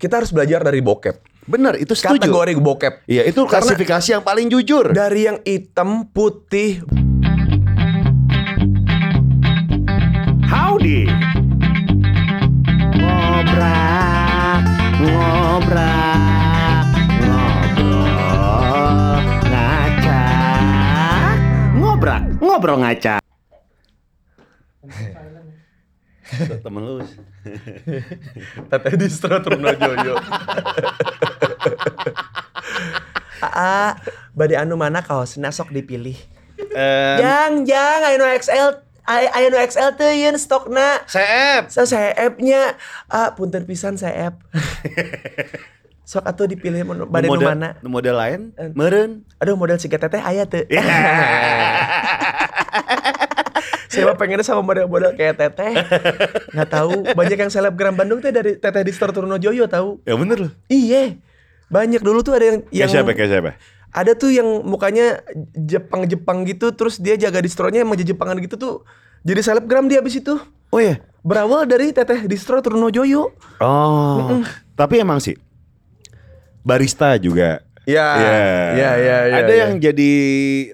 kita harus belajar dari bokep. Bener, itu setuju. Kategori bokep. Iya, itu Karena- klasifikasi yang paling jujur. Dari yang hitam, putih, Howdy. Ngobrak, ngobrak, ngobrol, ngacak, ngobrak, ngobrol ngacak. Temen lu. Teteh distro Truno Jojo. Aa, bade anu mana kaosna sok dipilih. Jang, jang, anu XL, anu XL tuh yen stokna. Sep. So saya app-nya, ah, punten pisan saya app. sok atuh dipilih mun- bade anu model, mana. nu model lain, Eh. Ya. meren. Aduh model si teteh aya tuh. Iya. Saya mah pengennya sama model-model kayak teteh. Nggak tahu. Banyak yang selebgram Bandung tuh dari teteh distro Truno Joyo tahu. ya bener loh. Iya. Banyak dulu tuh ada yang yang Kayak siapa, kayak siapa? ada tuh yang mukanya Jepang-Jepang gitu terus dia jaga distronya emang Jepangan gitu tuh. Jadi selebgram dia abis itu. Oh iya. Berawal dari teteh distro Trunojoyo. Oh. Tapi emang sih barista juga. Iya. Ya, ya, ya, ya, Ada ya. yang jadi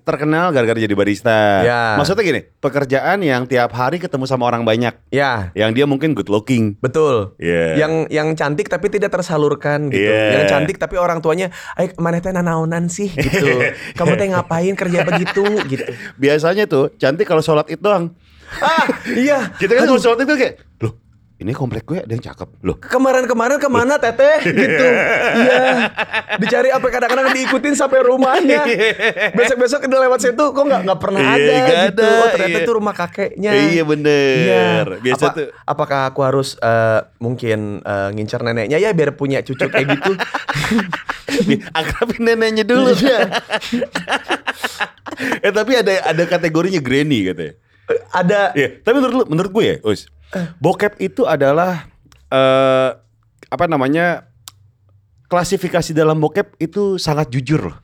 terkenal gara-gara jadi barista. Ya. Maksudnya gini, pekerjaan yang tiap hari ketemu sama orang banyak, Ya, yang dia mungkin good looking. betul. Iya. Yang yang cantik tapi tidak tersalurkan gitu. Iya. Yang cantik tapi orang tuanya, "Ay, maneh teh nanaonan sih?" gitu. "Kamu teh ngapain kerja begitu?" gitu. Biasanya tuh cantik kalau sholat itu doang. Ah, iya. Kita kan kalau sholat itu kayak, loh ini komplek gue ada yang cakep loh. kemarin-kemarin kemana teteh gitu iya dicari apa kadang-kadang diikutin sampai rumahnya Iya. besok-besok udah lewat situ kok nggak nggak pernah Iya, ada nggak gitu ada, oh ternyata iya. itu rumah kakeknya Iya, bener. Biasa Iya. Apa- tuh. apakah aku harus eh, mungkin eh, ngincar neneknya ya biar punya cucu kayak gitu Akrabin neneknya dulu. Iya. eh tapi ada ada kategorinya granny katanya. Eh, ada Iya, tapi menurut lu, menurut gue ya, Us, Eh. bokep itu adalah eh apa namanya klasifikasi dalam bokep itu sangat jujur loh.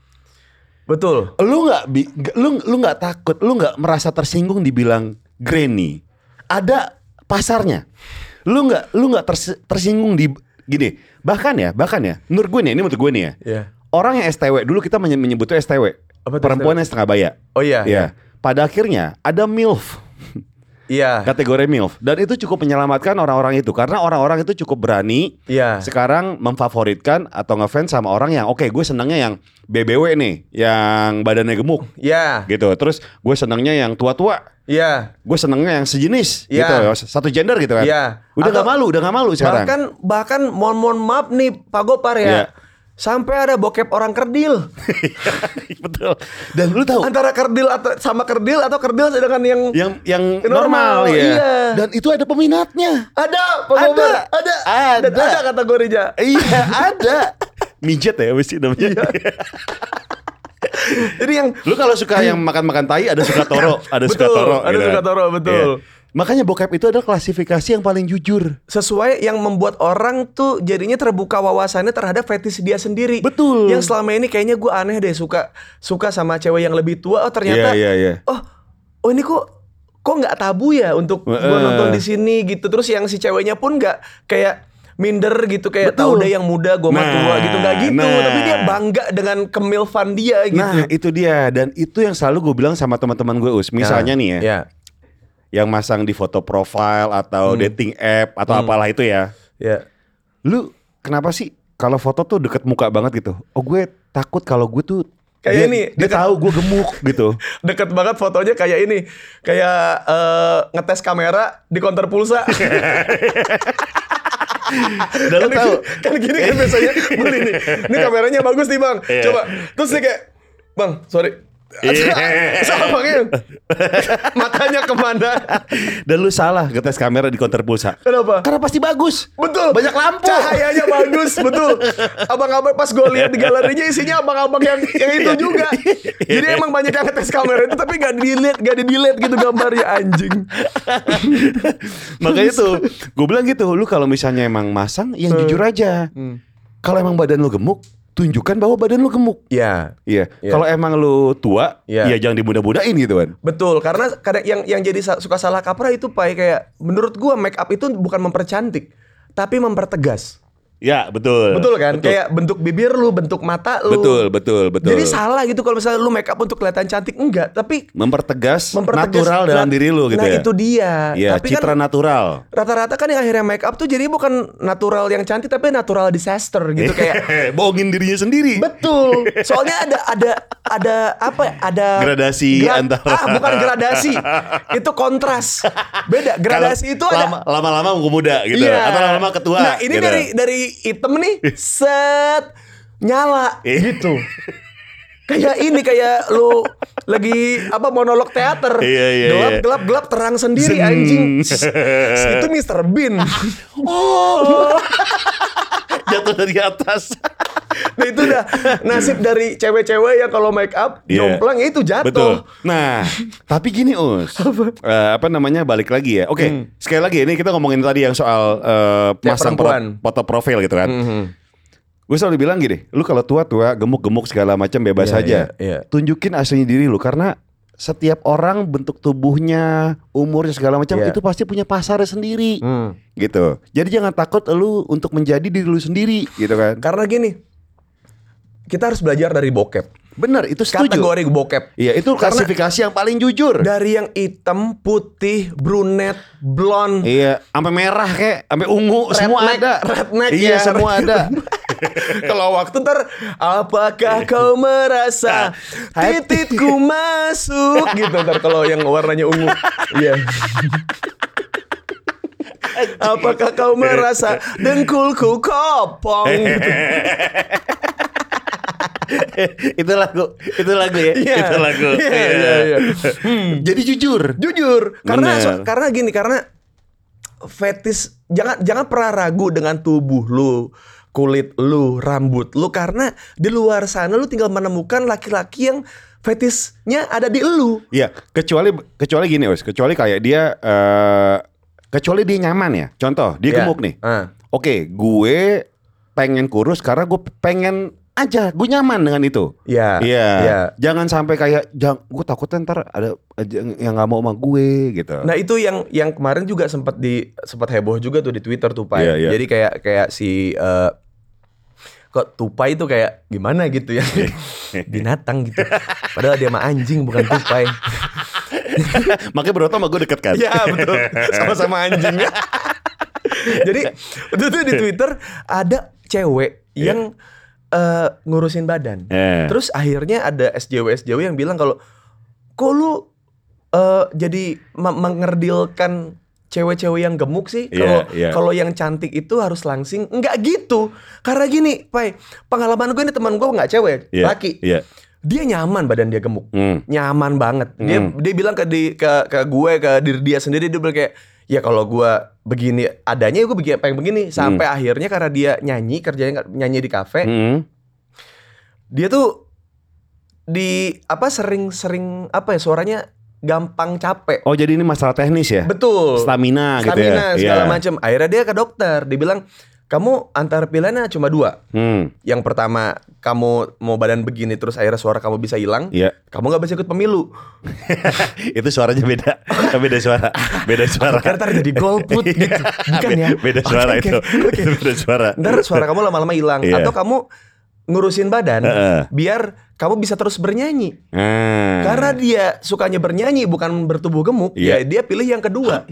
betul Lu nggak bi- nggak- lu lu nggak takut, lu nggak merasa tersinggung dibilang granny. Ada pasarnya. Lu nggak lu nggak tersi- tersinggung di gini. Bahkan ya, bahkan ya. Menurut gue nih, ini menurut gue nih ya. Iya. Orang yang STW dulu kita menye- menyebutnya STW. Apa tuh STW? perempuan yang setengah baya. oh iya Iya. Pada akhirnya ada MILF. iya kategori MILF dan itu cukup menyelamatkan orang-orang itu karena orang-orang itu cukup berani Iya. sekarang memfavoritkan atau ngefans sama orang yang oke gue senangnya yang BBW nih yang badannya gemuk iya gitu terus gue senangnya yang tua-tua iya gue senangnya yang sejenis Iya. gitu satu gender gitu kan Iya. udah Atau- gak malu udah gak malu sekarang Bahkan bahkan mohon mohon maaf nih Pak Gopar ya. Iya. Sampai ada bokep orang kerdil. betul dan lu tahu Antara kerdil atau sama kerdil atau kerdil dengan yang yang yang Normal, normal, ya iya. dan itu ada peminatnya ada Pak Gopar. Ada. Ada. Dan ada kategorinya. iya ada mijet ya mesti namanya Iya. Jadi yang Lu kalau suka yang makan-makan tai ada suka toro, ada suka Betul, toro. gitu kan. ada suka toro, betul. Iya. Makanya bokep itu adalah klasifikasi yang paling jujur. sesuai yang membuat orang tuh jadinya terbuka wawasannya terhadap fetish dia sendiri. Betul. Yang selama ini kayaknya gue aneh deh suka suka sama cewek yang lebih tua. Oh ternyata Iya, iya, iya. oh oh ini kok kok nggak tabu ya untuk gua Heeh. nonton di sini gitu. Terus yang si ceweknya pun nggak kayak minder gitu kayak tahu Betul. deh yang muda gue mah Nah, tua gitu nggak gitu nah. tapi dia bangga dengan kemilfan dia gitu Nah, itu dia dan itu yang selalu gue bilang sama teman-teman gue Us. Misalnya nih ya, ya yang masang di foto profile atau Hmm. dating app atau apalah itu ya. ya Lu kenapa sih kalau foto tuh deket muka banget gitu? Oh, gue takut kalau gue tuh Kayak dia, ini, dia deket- tahu gue gemuk gitu. deket banget fotonya kayak ini kayak eh, ngetes kamera di konter pulsa Dan Iya, lu kan tahu gini- kan gini kan biasanya beli nih ini kameranya bagus nih bang Iya. coba terus dia kayak bang sorry Iya. sama kayak matanya kemana dan lu salah ngetes kamera di konter pulsa. kenapa Karena pasti bagus. Betul. Banyak lampu. Cahayanya bagus, betul. Abang-abang pas gue lihat di galerinya isinya abang-abang yang yang itu juga. Jadi emang banyak yang ngetes kamera itu tapi gak dilihat, gak di delete gitu gambarnya anjing. Makanya tuh gue bilang gitu, lu kalau misalnya emang masang yang jujur aja. Kalau emang badan lu gemuk, tunjukkan bahwa badan lu gemuk. Ya, Iya. Iya. Kalau emang lu tua, Iya. ya jangan dimudah-mudahin gitu kan. betul. Karena kadang yang yang jadi sa- suka salah ya, kaprah itu pai kayak menurut gua make up itu bukan mempercantik, tapi mempertegas. Ya betul. Betul kan? Kayak bentuk bibir lu, bentuk mata lu. betul betul betul. Jadi salah gitu kalau misalnya lu make up untuk kelihatan cantik enggak, tapi mempertegas, mempertegas natural dalam nah, diri lu gitu nah, ya. itu dia. Ya, tapi citra kan natural. rata-rata kan yang akhirnya make up tuh jadi bukan natural yang cantik tapi natural disaster gitu Iya. kayak bohongin dirinya sendiri. Betul. Soalnya ada ada ada apa? ya? Ada Gradasi antara- Ah, bukan gradasi. itu kontras. Beda. Gradasi itu lama, ada lama-lama ungu muda gitu Iya. atau lama-lama ketua. Nah, ini gitu. Iya. dari dari item nih set nyala gitu. Kayak ini kayak lu lagi apa monolog teater. Iya, iya, gelap iya. gelap gelap terang sendiri Zeng. anjing. itu Mr. Bean. jatuh dari atas. nah, itu udah nasib dari cewek-cewek yang kalau make up Iya. jomplang ya itu jatuh. Betul. Nah, tapi gini Us. apa? apa namanya balik lagi ya. Oke, sekali lagi ini kita ngomongin tadi yang soal eh, Ya, masang foto, perempuan. Hmm. foto profil gitu kan. Gue selalu bilang gini, lu kalau tua-tua, gemuk-gemuk segala macam bebas Iya, aja. iya, iya. Tunjukin aslinya diri lu karena setiap orang bentuk tubuhnya, umurnya segala macam Iya. itu pasti punya pasarnya sendiri. Hmm. Gitu. Jadi jangan takut lu untuk menjadi diri lu sendiri gitu kan. Karena gini, kita harus belajar dari bokep. Bener, itu setuju. Kategori bokep. Iya, itu Karena- klasifikasi yang paling jujur. Dari yang hitam, putih, brunet, blonde, Iya, sampai merah kayak, sampai ungu, semua redneck, ada. redneck, iya, ya. semua ada. Kalau waktu ntar Apakah Iya. kau merasa Nah, Titikku masuk Gitu ntar kalau yang warnanya ungu Iya Apakah kau merasa Dengkulku kopong gitu. itu lagu, itu lagu ya. Iya. Itu lagu. Iya, iya, iya. Jadi jujur. Jujur, karena Bener. so- karena gini, karena fetis jangan jangan pernah ragu dengan tubuh lu, kulit lu, rambut lu karena di luar sana lu tinggal menemukan laki-laki yang fetisnya ada di lu. Iya, kecuali kecuali gini, Us. Kecuali kayak dia eh kecuali dia nyaman ya. Contoh, dia Iya. gemuk nih. Ah. Oke, gue pengen kurus karena gue pengen aja, gue nyaman dengan itu. Iya. Iya. Jangan sampai kayak jang, gue takutnya ntar ada ada yang nggak mau sama gue gitu. Nah itu yang yang kemarin juga sempat di sempat heboh juga tuh di Twitter Tupai. Iya, iya. Jadi kayak kayak si eh, kok Tupai itu kayak gimana gitu ya binatang gitu. Padahal dia mah anjing bukan Tupai. Makanya Broto sama gue deket kan. Iya betul Sama-sama anjing Jadi itu tuh di Twitter Ada cewek Iya. yang eh, ngurusin badan Eh. Terus akhirnya ada SJW-SJW yang bilang kalau Kok lu eh, jadi me- mengerdilkan cewek-cewek yang gemuk sih kalau Iya, iya. kalau yang cantik itu harus langsing nggak gitu karena gini pai pengalaman gue ini teman gue nggak cewek Iya, laki Iya. dia nyaman badan dia gemuk Hmm. nyaman banget dia Hmm. dia bilang ke di ke ke gue ke diri dia sendiri dia bilang kayak ya kalau gue begini adanya ya gue begini pengen begini sampai akhirnya karena dia nyanyi kerjanya nggak- nyanyi di kafe Hmm. dia tuh di apa sering-sering apa ya suaranya gampang capek Oh jadi ini masalah teknis ya? betul Stamina, gitu ya? stamina segala Iya. macam akhirnya dia ke dokter dibilang kamu antara pilihannya cuma dua Hmm. yang pertama kamu mau badan begini terus akhirnya suara kamu bisa hilang Iya. kamu nggak bisa ikut pemilu Itu suaranya beda. beda suara. Beda suara. Karena ntar jadi golput gitu Bukan ya Iya. Beda Oke, suara oke, itu. oke. Itu Beda suara. Ntar suara kamu lama-lama hilang Iya. Atau kamu ngurusin badan Heeh. Biar kamu bisa terus bernyanyi Ah. Karena dia sukanya bernyanyi Bukan bertubuh gemuk Iya. Ya dia pilih yang kedua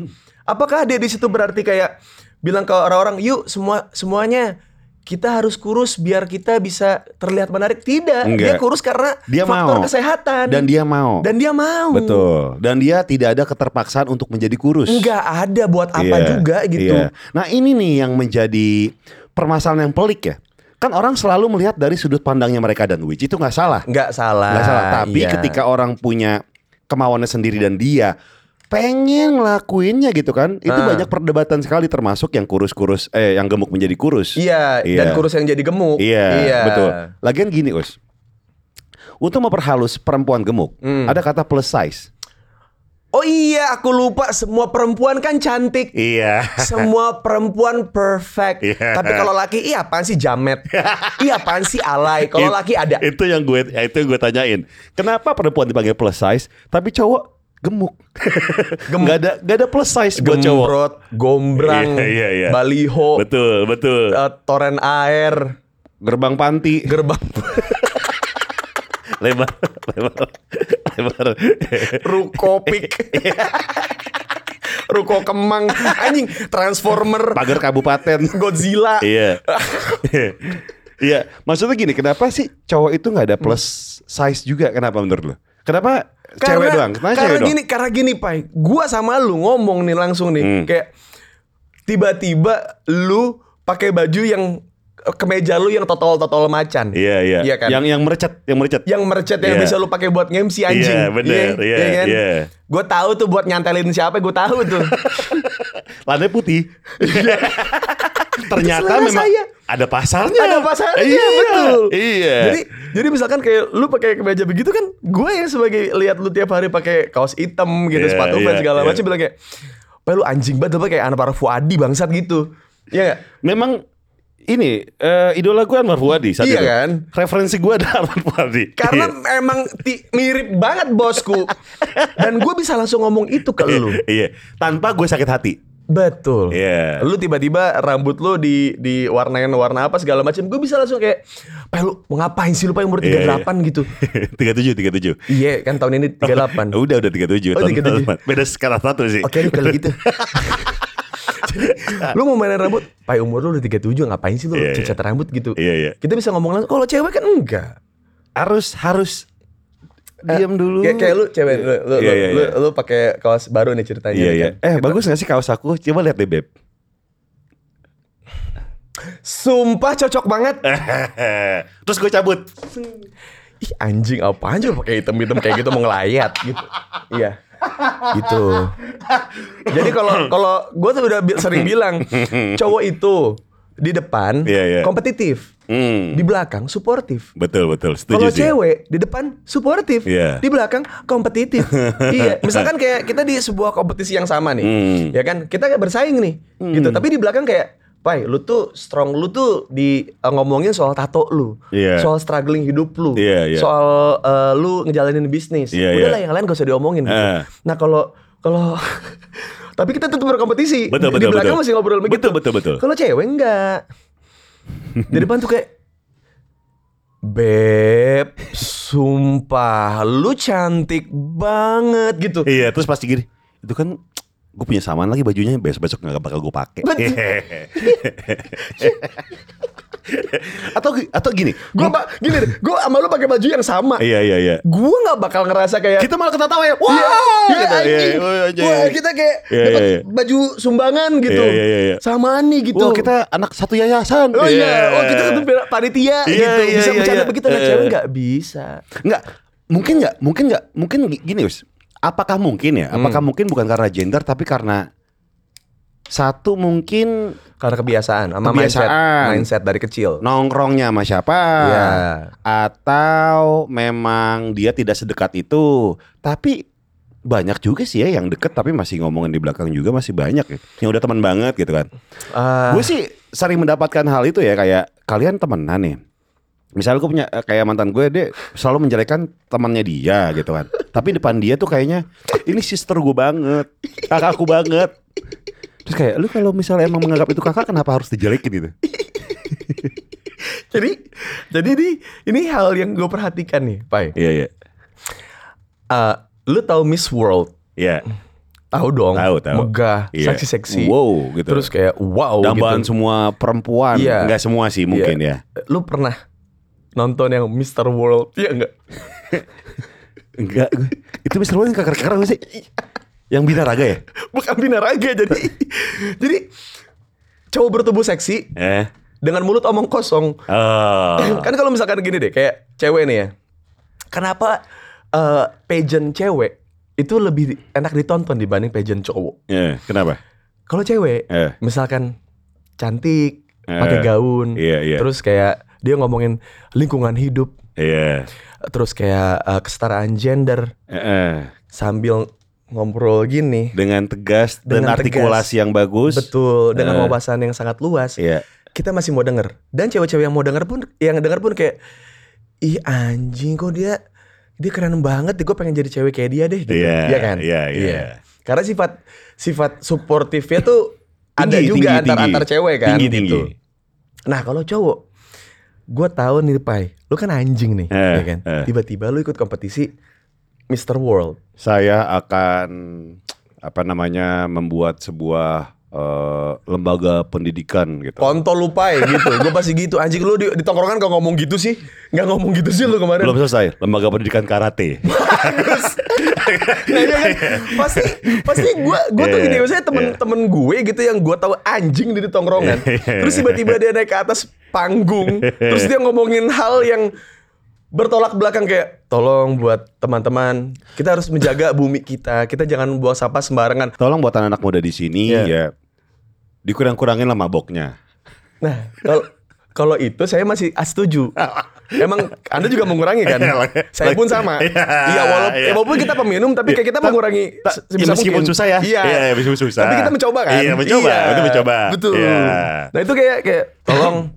Apakah dia di situ berarti kayak Bilang ke orang-orang Yuk semua semuanya kita harus kurus biar kita bisa terlihat menarik tidak dia Enggak. kurus karena Dia faktor mau. kesehatan dan dia mau. Dan dia mau Betul. Dan dia tidak ada keterpaksaan untuk menjadi kurus. nggak ada buat apa Iya, juga gitu iya. Nah ini nih yang menjadi permasalahan yang pelik ya. Kan orang selalu melihat dari sudut pandangnya mereka dan which itu nggak salah. nggak salah. Nggak salah. Tapi iya. ketika orang punya kemauannya sendiri dan dia pengen ngelakuinnya gitu kan, itu Ah. banyak perdebatan sekali termasuk yang kurus-kurus, eh yang gemuk menjadi kurus. iya, dan Iya. kurus yang jadi gemuk. Iya, betul. Lagian gini us, untuk memperhalus perempuan gemuk Hmm. ada kata plus size. Oh iya, aku lupa semua perempuan kan cantik. Iya. Semua perempuan perfect. Iya. Tapi kalau laki, iya apaan sih jamet? iya apaan sih alay? Kalau It- laki ada. ya, Itu yang gue, itu yang gue tanyain. Kenapa perempuan dipanggil plus size, tapi cowok gemuk. Gak ada gak ada plus size buat cowok. Gembrot, gombrang, Iya, iya, iya. baliho, Betul, betul. eh, toren air, Gerbang panti gerbang lebar, lebar, lebar. rukopik. Iya. Ruko Kemang, anjing Transformer, Pagar kabupaten. Godzilla. Iya. Iya, maksudnya gini, kenapa sih cowok itu nggak Hmm. ada plus size juga? Kenapa menurut lo? Kenapa cewek doang? Kenapa karena cewek doang? gini, karena gini, Pai. Gua sama lu ngomong nih langsung nih, Hmm. kayak tiba-tiba lu pakai baju yang eh, kemeja lu yang totol-totol macan. Iya, iya. Iya kan? Ya. Yang yang merecet, yang merecet. Yang merecet yang Iya. bisa lu pakai buat ngemsi anjing. kan? Iya, bener. Iya, iya. Gue tahu tuh buat nyantelin siapa, gue tahu tuh. Lantai putih. Ternyata Iya. Selera memang saya. ada pasarnya. Ada pasarnya iya, betul. Iya. Jadi jadi misalkan kayak lu pakai kemeja begitu kan, gue yang sebagai lihat lu tiap hari pakai kaos hitam gitu, Iya, sepatu fans iya, segala iya. macam bilang kayak, "Pak lu anjing banget apa kayak anak para Fuadi bangsat gitu." Iya gak? memang ini eh, idola gue Anwar Fuadi saat Iya itu. kan? Referensi gue ada Anwar Fuadi. Karena Iya. emang ti- mirip banget bosku. Dan gue bisa langsung ngomong itu ke lu. Iya, tanpa gue sakit hati. Betul. Iya. Lu tiba-tiba rambut lu di diwarnain warna apa segala macam. Gue bisa langsung kayak, "Pak lu mau ngapain sih lu Pak yang umur 38 Iya, iya. gitu?" 37 37. Iya, kan tahun ini 38. Udah udah 37 Oh, 37. tahun depan. Beda sekarang satu sih. Oke nih kalau gitu. lu mau mainin rambut, pai umur lu udah 37 ngapain sih lu Iya, iya. cecat rambut gitu. Iya, iya. Kita bisa ngomong langsung. Kalau cewek kan enggak. Harus harus diam dulu. Kayak, kayak lu cewek lu lu, Iya, iya, lu, iya. lu pakai kaos baru nih ceritanya. Iya, nih, iya. kan. Eh, bagus gak sih kaos aku? Coba lihat deh, Beb. Sumpah cocok banget. Eh. Terus gue cabut. Ih anjing apaan aja pakai hitam-hitam kayak gitu mau ngelayat gitu. Iya. Gitu. Jadi kalau kalau gue tuh udah bi- sering bilang cowok itu di depan Iya, iya. kompetitif, Hmm. di belakang suportif. Betul, betul. Setuju Kalau sih. cewek di depan suportif, Iya. di belakang kompetitif. iya, misalkan kayak kita di sebuah kompetisi yang sama nih, Hmm. ya kan? Kita kayak bersaing nih, gitu. Tapi di belakang kayak, Pai, lu tuh strong, lu tuh di eh, ngomongin soal tato lu, Iya. soal struggling hidup lu, Iya, iya. soal eh, lu ngejalanin bisnis. Iya, Udah iya. lah yang lain gak usah diomongin. gitu. Eh. Nah kalau kalau tapi kita tetap berkompetisi. di, di Betul, betul, belakang betul. masih ngobrol begitu. Betul, betul, betul. Kalau cewek enggak. di depan tuh kayak Beb, sumpah lu cantik banget gitu. Iya, terus pasti gini. Itu kan gue punya samaan lagi bajunya besok-besok nggak bakal gue pakai. Betul. atau atau gini. Gue pak, gini deh, gue sama lu pakai baju yang sama. Iya iya iya. Gue nggak bakal ngerasa kayak Kita malah ketawa ya. Wah, Iya, iya, gitu. anjing. Iya, iya, iya, Wah, iya. kita kayak Iya, dapat iya, iya. baju sumbangan gitu. Iya, iya, iya, iya. Samaan nih gitu. Wah, kita anak satu yayasan. Oh iya, Iya. oh kita satu pira- panitia Iya, gitu. iya, Bisa iya, bercanda iya. begitu, nah Iya. cewek nggak bisa. Enggak, mungkin enggak, mungkin enggak, mungkin gi- gini, Wis. Apakah mungkin Hmm. ya? Apakah mungkin bukan karena gender tapi karena satu mungkin Karena kebiasaan, sama Kebiasaan. Nah. mindset, mindset dari kecil. nongkrongnya sama siapa Iya. atau memang dia tidak sedekat itu. Tapi banyak juga sih ya yang deket tapi masih ngomongin di belakang juga masih banyak ya. Yang udah teman banget gitu kan. Ah, Gue sih sering mendapatkan hal itu ya kayak kalian temenan nih. Misalnya gue punya eh, kayak mantan gue dia selalu menjelekan temannya dia gitu kan. Tapi depan dia tuh kayaknya ini sister gue banget, kakakku banget. Terus kayak lu kalau misalnya emang menganggap itu kakak kenapa harus dijelekin gitu? jadi, jadi ini ini hal yang gue perhatikan nih, Pai. Iya iya. Ah, lu tahu Miss World? Iya. Tahu dong. Tahu tahu. Megah, Iya. seksi-seksi. Wow gitu. Terus kayak wow dambaan gitu. semua perempuan. Iya. Enggak semua sih mungkin ya. Lu pernah nonton yang Mr. World? Iya enggak? Enggak. gue- Itu Mr. Wan yang kakak-kakak gue sih. Yang binaraga ya? Bukan binaraga jadi. jadi cowok bertubuh seksi Eh. dengan mulut omong kosong Oh. kan kalau misalkan gini deh kayak cewek nih ya kenapa eh, pageant cewek itu lebih enak ditonton dibanding pageant cowok Iya, kenapa? kalau cewek Eh. misalkan cantik Eh, pakai gaun iya, iya. terus kayak dia ngomongin lingkungan hidup Iya. terus kayak eh, kesetaraan gender Eh, eh. sambil ngobrol gini Dengan tegas Dengan dan artikulasi yang bagus. betul dengan Eh. wawasan yang sangat luas Iya. kita masih mau denger dan cewek-cewek yang mau denger pun yang denger pun kayak ih anjing kok dia dia keren banget deh gue pengen jadi cewek kayak dia deh gitu Iya, Iya kan iya, iya. karena sifat sifat suportifnya tuh ada Tinggi, juga antar tinggi, tinggi. antar cewek kan Tinggi, gitu. tinggi. nah kalau cowok gue tahu nih pai lu kan anjing nih Eh, ya kan eh. tiba-tiba lu ikut kompetisi Mr. World Saya akan apa namanya membuat sebuah eh, lembaga pendidikan gitu. kontol lu pai gitu gue pasti gitu anjing lu di, di tongkrongan gak ngomong gitu sih nggak ngomong gitu sih lu kemarin Belum selesai, lembaga pendidikan karate. Nah, iya kan? pasti pasti gue gue tuh Iya, gini iya, maksudnya iya. temen-temen gue gitu yang gue tahu anjing di tongkrongan iya. terus tiba-tiba dia naik ke atas panggung terus dia ngomongin hal yang bertolak belakang kayak tolong buat teman-teman kita harus menjaga bumi kita kita jangan buang sampah sembarangan Tolong buat anak-anak muda di sini Iya. ya dikurang-kurangin lah maboknya. nah kalau kalau itu saya masih ah, setuju Emang Anda juga mengurangi kan? saya pun sama. Iya, Iya, walaupun, iya. walaupun kita peminum tapi kayak kita Ta- mengurangi ta- se- ya, meskipun susah ya. Iya, Iya, meskipun susah. Tapi kita mencoba kan? Iya, mencoba, itu mencoba. Betul. Iya. Nah, itu kayak kayak tolong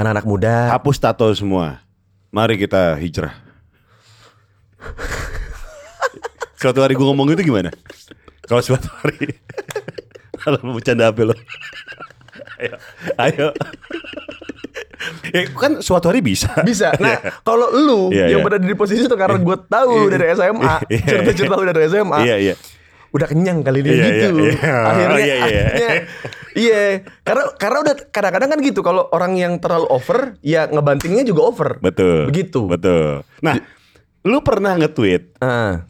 anak-anak muda. Hapus tato semua. Mari kita hijrah. suatu hari gue ngomong itu gimana? Kalau suatu hari kalau mau bercanda apa lo? ayo, ayo. ya, kan suatu hari bisa. Bisa. Nah, kalau lu Iya, yang iya. berada di posisi itu karena gue tahu dari SMA, Iya. cerita-cerita lu dari SMA. Iya, iya. udah kenyang kali dia Iya, gitu. iya, iya. Akhirnya, Oh, iya, iya. akhirnya, iya. Karena karena udah kadang-kadang kan gitu kalau orang yang terlalu over, ya ngebantingnya juga over. Betul. Begitu. Betul. Nah, lu pernah nge-tweet Ah.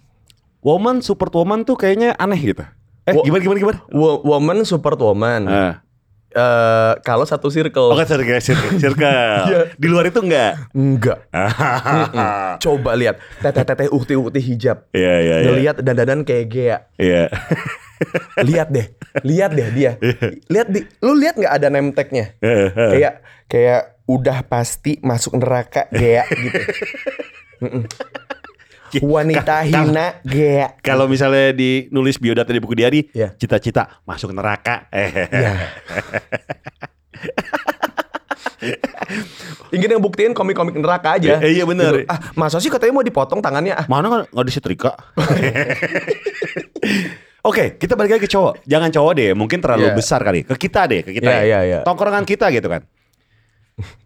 woman support woman tuh kayaknya aneh gitu. Eh, Wo- gimana gimana gimana? Wo- woman support woman. Eh Ah. kalau satu circle. Oh kan circle, circle, circle. Iya. Di luar itu enggak. Enggak. Coba lihat. Teteh-teteh ukti-ukti hijab. Iya iya iya. Ngelihat dandanan kayak gea. Iya. Lihat deh. Lihat deh dia. Lihat di lu lihat nggak ada name tag-nya? Iya. kayak kayak udah pasti masuk neraka gea gitu. Mm-mm. Iya. Wanita hina gea. Kalau misalnya dinulis biodata di buku diari, Iya. cita-cita masuk neraka. Eh. Ya. Ingin yang buktiin komik-komik neraka aja. Eh, iya, bener. Gitu. Ah, masa sih katanya mau dipotong tangannya? Ah, Mana kan nggak disetrika. Oke, kita balik lagi ke cowok. Jangan cowok deh, mungkin terlalu Iya. besar kali. Ke kita deh, ke kita. Iya, ya. iya, iya. Tongkrongan kita gitu kan.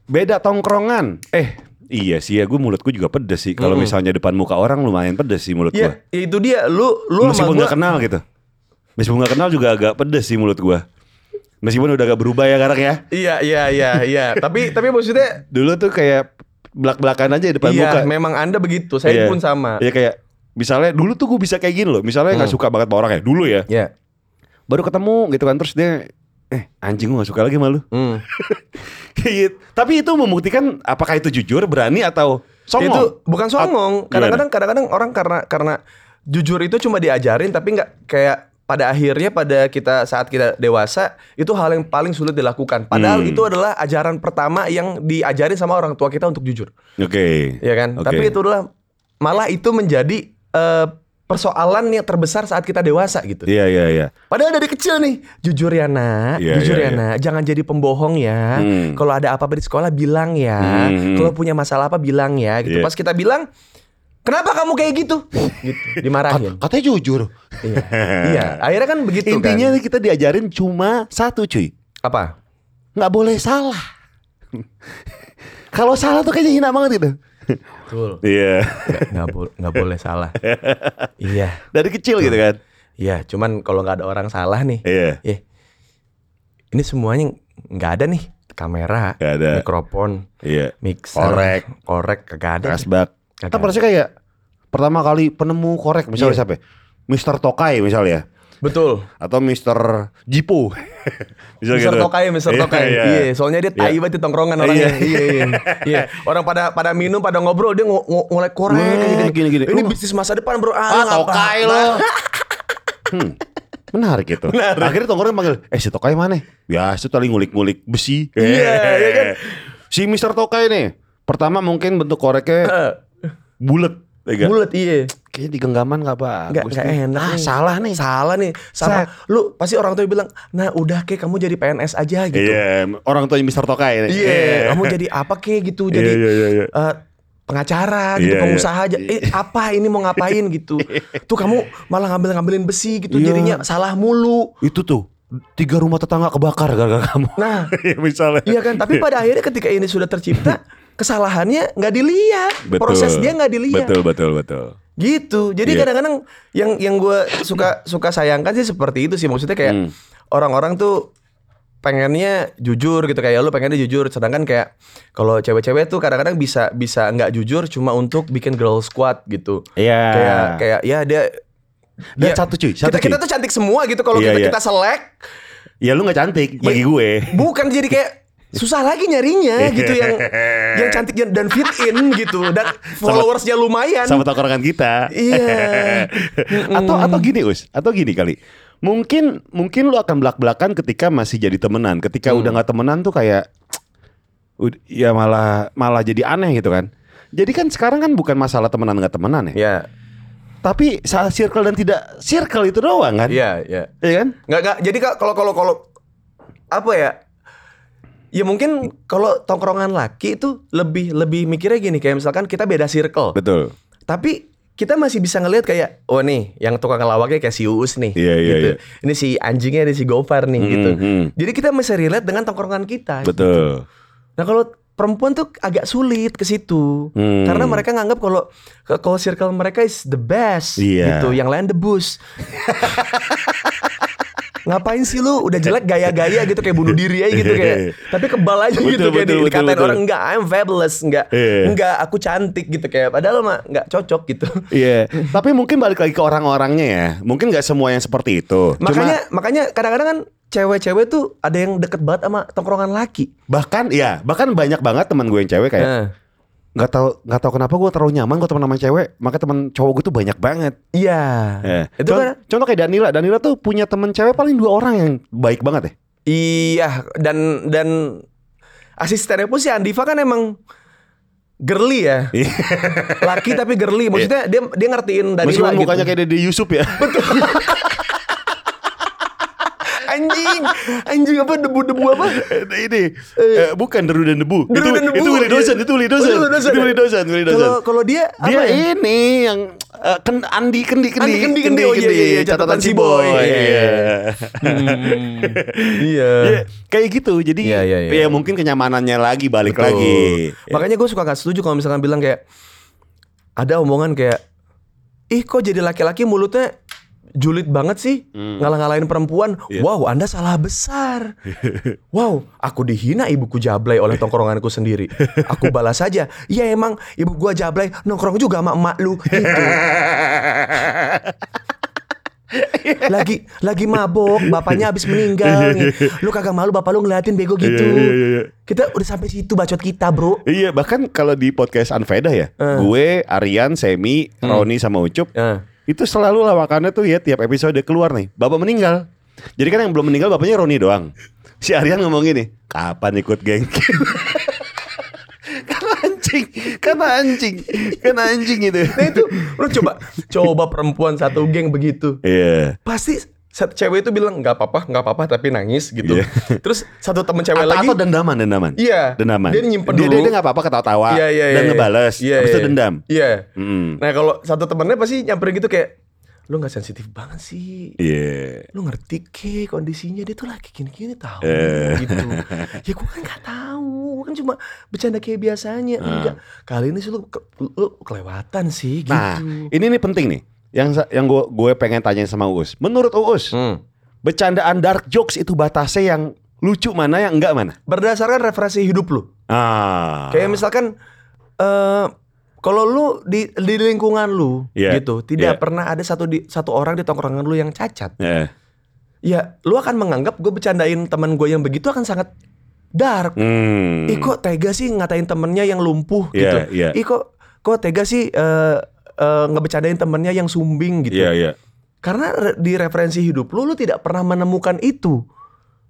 Beda tongkrongan. Eh, iya sih ya, gue mulutku juga pedes sih. Kalau misalnya depan muka orang lumayan pedes sih mulut gue. ya, ya itu dia. Lu lu sama Meskipun gua nggak kenal gitu. Meskipun nggak kenal juga agak pedes sih mulut gue. Meskipun udah agak berubah ya sekarang ya. Iya, iya, iya, iya. tapi tapi maksudnya Dulu tuh kayak belak-belakan aja depan iya, muka. memang Anda begitu. Saya Iya. pun sama. Iya kayak misalnya dulu tuh gue bisa kayak gini loh. Misalnya nggak suka banget sama orang ya dulu ya. Ya. Baru ketemu gitu kan terus dia eh anjing gue gak suka lagi malu. Hmm. Tapi itu membuktikan apakah itu jujur, berani atau songong. Itu bukan songong. At- Kadang-kadang kadang-kadang orang karena karena jujur itu cuma diajarin tapi nggak kayak pada akhirnya pada kita saat kita dewasa itu hal yang paling sulit dilakukan. Padahal Hmm. itu adalah ajaran pertama yang diajarin sama orang tua kita untuk jujur, Oke. ya kan? Oke. Tapi itu adalah malah itu menjadi eh, persoalan yang terbesar saat kita dewasa gitu. Iya iya iya. Padahal dari kecil nih, jujur ya nak, Iya, jujur ya iya, iya. nak, jangan jadi pembohong ya. Hmm. Kalau ada apa-apa di sekolah bilang ya. Hmm. Kalau punya masalah apa bilang ya. Gitu. Iya. Pas kita bilang, kenapa kamu kayak gitu? gitu. Dimarahin. Katanya jujur. Gitu iya. iya. Akhirnya kan begitu Intinya kan. kita diajarin cuma satu cuy. Apa? nggak boleh salah. Kalau salah tuh kayaknya hina banget gitu. Betul. Iya. Nggak, bo- nggak boleh salah. iya. Dari kecil gitu kan. Iya. Cuman kalau nggak ada orang salah nih. Iya. eh, Ini semuanya nggak ada nih. Kamera, Nggak ada. mikrofon, Iya. mixer, Korek. korek, kagak ada. Kasbak. Kagak. Kan harusnya kayak pertama kali penemu korek misalnya Iya. siapa? ya? Mr. Tokai misalnya Betul. atau Mr. Jipo. Misalnya Mister gitu. Tokai, Mister Iya, Tokai. Iya, iya. soalnya dia tai Iya. banget di tongkrongan orangnya. Iya. Iya, iya. Iya. Orang pada pada minum, pada ngobrol, dia ngo- ngo- ngolek korek Nah, kayak gini-gini. Ini Lu- bisnis masa depan, Bro. lu Ah, ngapa? Tokai lo. Hmm. Menarik gitu. Akhirnya tongkrongan panggil, "Eh, si Tokai mana?" Biasa tadi ngulik-ngulik besi. Eh, Iya, iya kan? Si Mr. Tokai nih, pertama mungkin bentuk koreknya Eh, bulat ya Bulet, iya. kayaknya di genggaman nggak bagus Enggak enggak nih. enak. ah salah nih Salah nih. Sama lu pasti orang tua bilang, "Nah, udah kek kamu jadi PNS aja gitu." Iya, orang tuanya Mister Tokai nih. Eh, Iya, kamu jadi apa kek gitu, jadi iya, iya, iya. eh, pengacara gitu, Iya, pengusaha iya. aja. Eh, apa ini mau ngapain gitu. Tuh kamu malah ngambil-ngambilin besi gitu Iya. jadinya salah mulu. Itu tuh tiga rumah tetangga kebakar gara-gara kamu. Nah, Ya, misalnya. Iya kan, tapi pada akhirnya ketika ini sudah tercipta, kesalahannya nggak dilihat, Betul. proses dia nggak dilihat, Betul, betul, betul. gitu. Jadi Iya. kadang-kadang yang yang gue suka suka sayangkan sih seperti itu sih, maksudnya kayak Hmm. orang-orang tuh pengennya jujur gitu kayak lu pengennya jujur, sedangkan kayak kalau cewek-cewek tuh kadang-kadang bisa bisa nggak jujur cuma untuk bikin girl squad gitu. Iya. Kayak kayak ya dia Dan ya, satu cuy, satu kita, cuy. kita tuh cantik semua gitu kalau Iya, kita iya. kita selek Ya lu nggak cantik bagi Ya, gue. Bukan jadi kayak susah lagi nyarinya gitu yang yang cantik dan- dan fit in gitu dan followersnya lumayan. Sama tongkrongan kita. Kan Iya. atau atau gini us atau gini kali mungkin mungkin lu akan belak belakan ketika masih jadi temenan ketika Hmm. udah nggak temenan tuh kayak ud- ya malah malah jadi aneh gitu kan jadi kan sekarang kan bukan masalah temenan nggak temenan ya Ya, tapi saat circle dan tidak circle itu doang kan ya, ya. Iya kan Nggak nggak. Jadi Kak, kalau kalau kalau apa ya? Ya mungkin kalau tongkrongan laki itu lebih lebih mikirnya gini kayak misalkan kita beda circle. betul Tapi kita masih bisa ngelihat kayak oh nih yang tukang lawaknya kayak si Uus nih Iya, iya, gitu. iya. Ini si anjingnya ini si Gofar nih gitu. Mhm. Jadi kita masih relate dengan tongkrongan kita. betul Nah kalau perempuan tuh agak sulit ke situ Hmm. karena mereka nganggap kalau kalau circle mereka is the best Iya. gitu, yang lain debus. Ngapain sih lu udah jelek gaya-gaya gitu kayak bunuh diri aja gitu kayak. Tapi kebal aja gitu Betul, kayak betul, di- betul, dikatain betul. orang enggak I'm fabulous, enggak Iya. enggak aku cantik gitu kayak padahal mah enggak cocok gitu. Iya, tapi mungkin balik lagi ke orang-orangnya ya. Mungkin nggak semua yang seperti itu. Cuma- Makanya makanya kadang-kadang kan cewek-cewek tuh ada yang deket banget sama tongkrongan laki. bahkan ya bahkan banyak banget teman gue yang cewek kayak Nah, nggak tahu nggak tahu kenapa gue terlalu nyaman gue teman sama cewek maka teman cowok gue tuh banyak banget Iya. Eh. Itu itu contoh, kan contoh kayak Danila Danila tuh punya teman cewek paling dua orang yang baik banget ya Iya dan dan asistennya pun si Andiva kan emang girly ya. Iya. Laki tapi girly. Maksudnya dia dia ngertiin dari meskipun gitu. mukanya kayak Dede Yusuf ya anjing. Anjing apa debu-debu apa? ini eh, bukan deru dan debu Deru itu dan debu. itu Willy Dawson itu Willy Oh, Willy Dawson Dawson itu ya? Willy Dawson Willy Dawson Kalau kalau dia apa dia ya? ini yang eh, Ken- Andi kendi kendi Andi Kendi, Kendi. Oh, iya, iya, iya, catatan si boy. Iya, iya, Hmm, iya. Iya, kayak gitu jadi Iya, iya, iya. ya mungkin kenyamanannya lagi balik Betul. lagi Makanya gue suka gak setuju kalau misalkan bilang kayak ada omongan kayak ih kok jadi laki-laki mulutnya julid banget sih Hmm. ngalah-ngalahin perempuan. Iya. Wow, Anda salah besar. wow, aku dihina ibuku jablay oleh tongkronganku sendiri. Aku balas saja. Ya emang ibu gua jablay nongkrong juga sama emak lu gitu. lagi lagi mabok, bapaknya habis meninggal nih. Lu kagak malu bapak lu ngeliatin bego gitu. iya, iya, iya. Kita udah sampai situ bacot kita, Bro. Iya bahkan kalau di podcast Anveda ya, gue, Aryan, Semi, Roni sama Ucup Hmm. Eh. itu selalu lawakannya tuh ya tiap episode keluar nih, bapak meninggal. Jadi kan yang belum meninggal bapaknya Roni doang. Si Aryan ngomong gini, kapan ikut geng? karena anjing, karena anjing, karena anjing gitu. Nah itu lu coba coba perempuan satu geng begitu. Iya. Pasti satu cewek itu bilang nggak apa-apa, nggak apa-apa tapi nangis gitu. Iya. Terus satu temen cewek Atau, lagi atau dendaman, dendaman. Iya. Dendaman. Dia nyimpen dia, dulu. Dia, dia nggak apa-apa ketawa-tawa Iya, iya, dan iya, ngebales. iya, habis itu iya. dendam. Iya. Mm. Nah, kalau satu temennya pasti nyamperin gitu kayak lu nggak sensitif banget sih. Iya. Lu ngerti ke kondisinya dia tuh lagi gini-gini tahu Eh. gitu. Ya gua kan nggak tahu, gua kan cuma bercanda kayak biasanya. Enggak. Kali ini sih lu, ke- lu kelewatan sih gitu. Ah. Nah, ini nih penting nih. Yang sa- yang gue gue pengen tanyain sama Uus. Menurut Uus, Hmm. bercandaan dark jokes itu batasnya yang lucu mana yang enggak mana? Berdasarkan referensi hidup lu. Ah. Kayak misalkan eh kalau lu di di lingkungan lu Iya, gitu, tidak iya. pernah ada satu di satu orang di tongkrongan lu yang cacat. Eh. Ya, lu akan menganggap gue bercandain teman gue yang begitu akan sangat dark. Hmm. Ih kok tega sih ngatain temennya yang lumpuh gitu. Iya, iya. Ih kok kok tega sih eh eh, ngebecandain temennya yang sumbing gitu. Iya, iya. Karena re- di referensi hidup lu lu tidak pernah menemukan itu.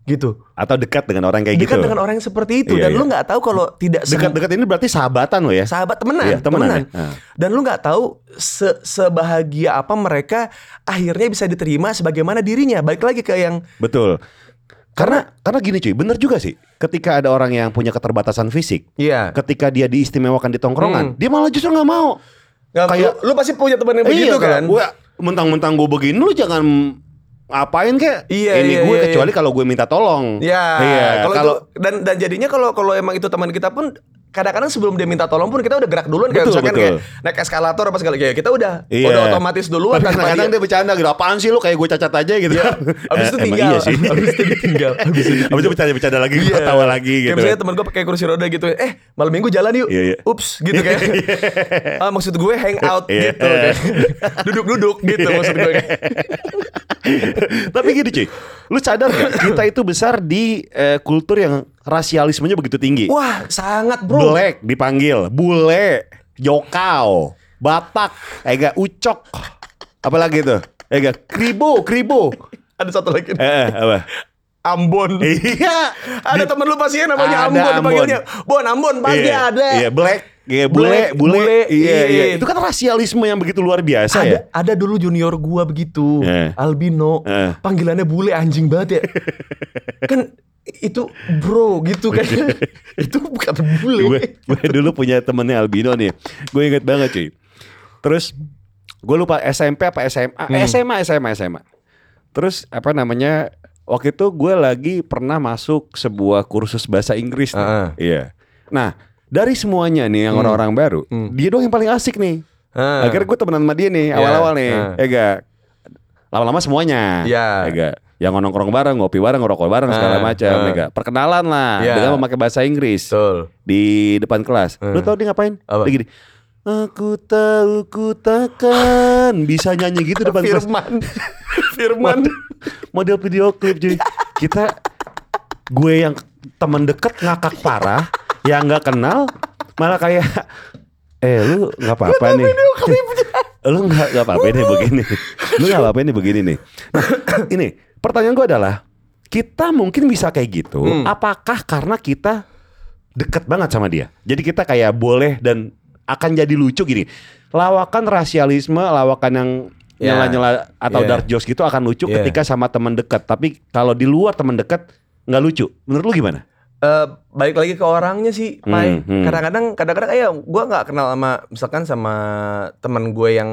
Gitu. Atau dekat dengan orang kayak Dekat gitu. dengan orang yang seperti itu Iya, dan iya. lu nggak tahu kalau tidak semu- Dekat-dekat ini berarti sahabatan lo ya? sahabat temenan, Iya, temenan temenan. ya. Ah. Dan lu nggak tahu se- sebahagia apa mereka akhirnya bisa diterima sebagaimana dirinya. Balik lagi ke yang Betul. Karena karena gini cuy, bener juga sih. Ketika ada orang yang punya keterbatasan fisik, Iya. ketika dia diistimewakan di Hmm. tongkrongan, dia malah justru nggak mau. Nggak, Kayak- lu, lu pasti punya teman yang begitu kan? Gue Iya, mentang-mentang gue begini lu jangan apain kek. Iya, Ini iya, gue iya, kecuali kalau gue minta tolong. Ya, Iya. kalau Kalau itu- dan dan jadinya kalau kalau emang itu teman kita pun kadang-kadang sebelum dia minta tolong pun kita udah gerak duluan kayak Betul, misalkan betul. kayak naik eskalator apa segala kayak kita udah Iya. udah otomatis duluan Tapi tanpa kadang-kadang dia dia- bercanda gitu Apaan sih lu kayak gue cacat aja gitu Iya. Abis itu Eh, emang tinggal, iya sih. abis itu ditinggal, abis itu ditinggal. Abis itu bercanda-bercanda lagi Iya. Ketawa lagi Kayak gitu misalnya temen gue pakai kursi roda gitu Eh malam minggu jalan yuk Iya, iya. Ups gitu kayak Ah, Maksud gue hang out Iya. gitu kayak. Duduk-duduk gitu maksud gue kayak. Tapi gini cuy Lu sadar gak Kita itu besar di eh, kultur yang Rasialismenya begitu tinggi Wah sangat bro Black dipanggil Bule Jokau Batak Ega Ucok Apalagi tuh Ega Kribo Kribo Ada satu lagi Eh, eh, apa? Ambon Iya Ada temen lu pasti ya namanya Ada Ambon, Ambon. dipanggilnya Bon Ambon pasti Iya, ada Iya, black. Iya, bule, Black, bule. bule, Iya, iya. iya. Itu kan rasialisme yang begitu luar biasa ada, ya. ada dulu junior gua begitu, Eh. albino, Eh. panggilannya bule anjing banget ya. kan itu bro gitu kan. itu bukan bule. Iya. Gue gue dulu punya temennya albino nih. Gue inget banget cuy. Terus gue lupa SMP apa SMA? Hmm. Eh, SMA, SMA, SMA. Terus apa namanya? Waktu itu gue lagi pernah masuk sebuah kursus bahasa Inggris. nih. Ah. Hmm. Iya. Nah dari semuanya nih yang orang-orang baru, dia doang yang paling asik nih. Ah. Akhirnya gue temenan sama dia nih awal-awal nih. ah. Ya gak? Lama-lama semuanya. Iya. Ya gak? Yang nongkrong bareng, ngopi bareng, ngerokok bareng Ah, segala macam. ah. ya gak? Perkenalan lah Iya. dengan memakai bahasa Inggris Betul. di depan kelas. Lu tau dia ngapain? Apa? Dia gini. Aku tahu ku takkan bisa nyanyi gitu depan kelas. Firman. Firman. Waduh, Model video klip cuy. Kita gue yang teman deket ngakak parah, yang nggak kenal malah kayak eh lu nggak apa-apa nih. lu nggak nggak apa-apa nih begini. Lu nggak apa-apa nih begini nih. Nah, ini pertanyaan gue adalah kita mungkin bisa kayak gitu. Hmm. Apakah karena kita deket banget sama dia? Jadi kita kayak boleh dan akan jadi lucu gini. Lawakan rasialisme, lawakan yang Ya. nyela-nyela atau Ya. dark jokes gitu akan lucu Iya. ketika sama teman dekat. Tapi kalau di luar teman dekat nggak lucu. Menurut lu gimana? Eh, balik lagi ke orangnya sih, Mai. Hmm, hmm. Kadang-kadang, kadang-kadang, ya, gue nggak kenal sama, misalkan sama teman gue yang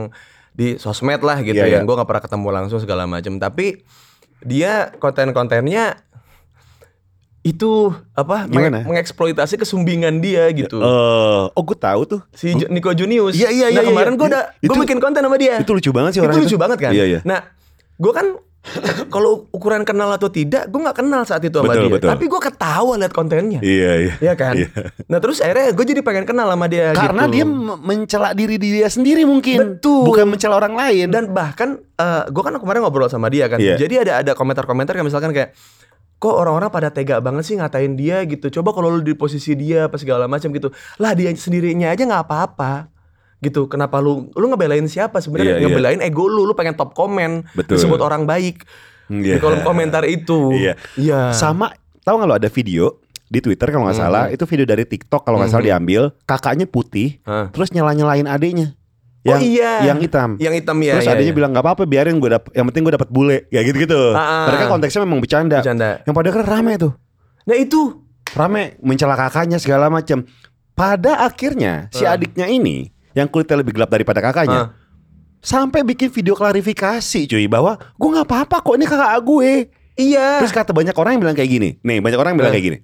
di sosmed lah gitu, Iya, yang iya. gue nggak pernah ketemu langsung segala macam. Tapi dia konten-kontennya itu apa? meng- Gimana? mengeksploitasi kesumbingan dia gitu. Eh, oh gue tahu tuh. si Jo- Nico Junius. Iya, iya, iya, Nah iya, kemarin iya. gue udah, gue Itu- bikin konten sama dia. itu lucu banget sih orang Eh. Itu lucu itu. banget kan. Iya, iya. Nah, gue kan kalau ukuran kenal atau tidak, gue nggak kenal saat itu sama Betul, dia. betul. Tapi gue ketawa lihat kontennya. Iya iya. Iya kan? Iya. Nah terus akhirnya gue jadi pengen kenal sama dia Karena gitu. dia me- mencela diri dia sendiri mungkin, Betul. bukan mencela orang lain. dan bahkan gue kan kemarin ngobrol sama dia kan. Iya. Jadi ada ada komentar-komentar kayak misalkan kayak kok orang-orang pada tega banget sih ngatain dia gitu. Coba kalau lu di posisi dia apa segala macam gitu. Lah dia sendirinya aja nggak apa-apa gitu kenapa lu lu ngebelain siapa sebenarnya Iya, iya. ngebelain ego lu lu pengen top komen Betul. disebut orang baik Iya. di kolom komentar itu Iya. iya Sama tahu nggak lo ada video di Twitter kalau Hmm. nggak salah itu video dari TikTok kalau nggak salah diambil kakaknya putih Hah. terus nyela nyelain adiknya Oh yang iya. yang hitam yang hitam ya iya, terus adiknya iya. bilang nggak apa-apa biarin gue dap yang penting gue dapat bule ya gitu gitu Ah, ah. mereka konteksnya memang bercanda. Bercanda. yang pada kan rame tuh nah itu rame mencela kakaknya segala macam pada akhirnya si adiknya ini yang kulitnya lebih gelap daripada kakaknya Ah. sampai bikin video klarifikasi cuy bahwa gue nggak apa-apa kok ini kakak gue iya Terus kata banyak orang yang bilang kayak gini. Nih, banyak orang yang bilang Eh. kayak gini.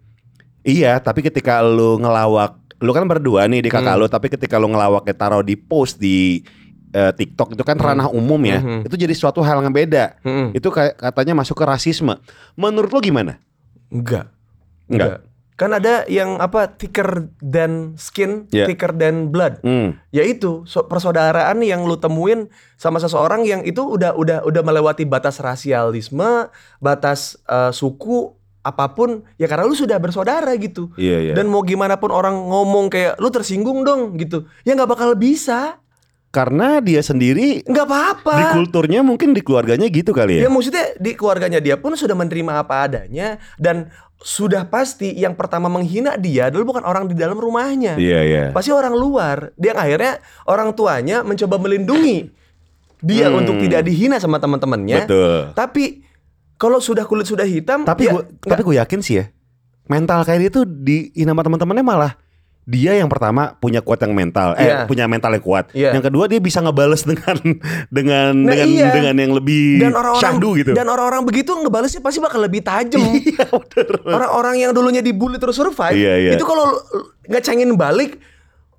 Iya, tapi ketika lu ngelawak, lu kan berdua nih di kakak lu, tapi ketika lu ngelawaknya taruh di post di eh, TikTok itu kan ranah umum ya. Mhm. Itu jadi suatu hal yang beda. Mm-mm. Itu kayak katanya masuk ke rasisme. Menurut lu gimana? Enggak. Enggak. Kan ada yang apa thicker than skin, Iya. thicker than blood. Hmm. Yaitu so- persaudaraan yang lu temuin sama seseorang yang itu udah udah udah melewati batas rasialisme, batas eh, suku apapun ya karena lu sudah bersaudara gitu. Iya, iya. Dan mau gimana pun orang ngomong kayak lu tersinggung dong gitu. Ya nggak bakal bisa. Karena dia sendiri nggak apa-apa. di kulturnya mungkin di keluarganya gitu kali ya. Ya maksudnya di keluarganya dia pun sudah menerima apa adanya dan sudah pasti yang pertama menghina dia dulu bukan orang di dalam rumahnya. Iya, iya. Pasti orang luar. Dia yang akhirnya orang tuanya mencoba melindungi dia Hmm. Ya. untuk tidak dihina sama teman-temannya. Betul. Tapi Kalau sudah kulit sudah hitam, ya, Tapi gua tapi gue yakin sih ya. Mental kayak dia tuh di ini sama teman-temannya malah dia yang pertama punya kuat yang mental, eh Iya. punya mental yang kuat. Iya. Yang kedua dia bisa ngebales dengan dengan Nah, dengan iya. dengan yang lebih dan orang-orang syahdu gitu. dan orang-orang begitu ngebalesnya pasti bakal lebih tajam. iya bener. orang-orang yang dulunya dibully terus survive, Iya, iya. itu kalau lu- lu nggak cengin balik,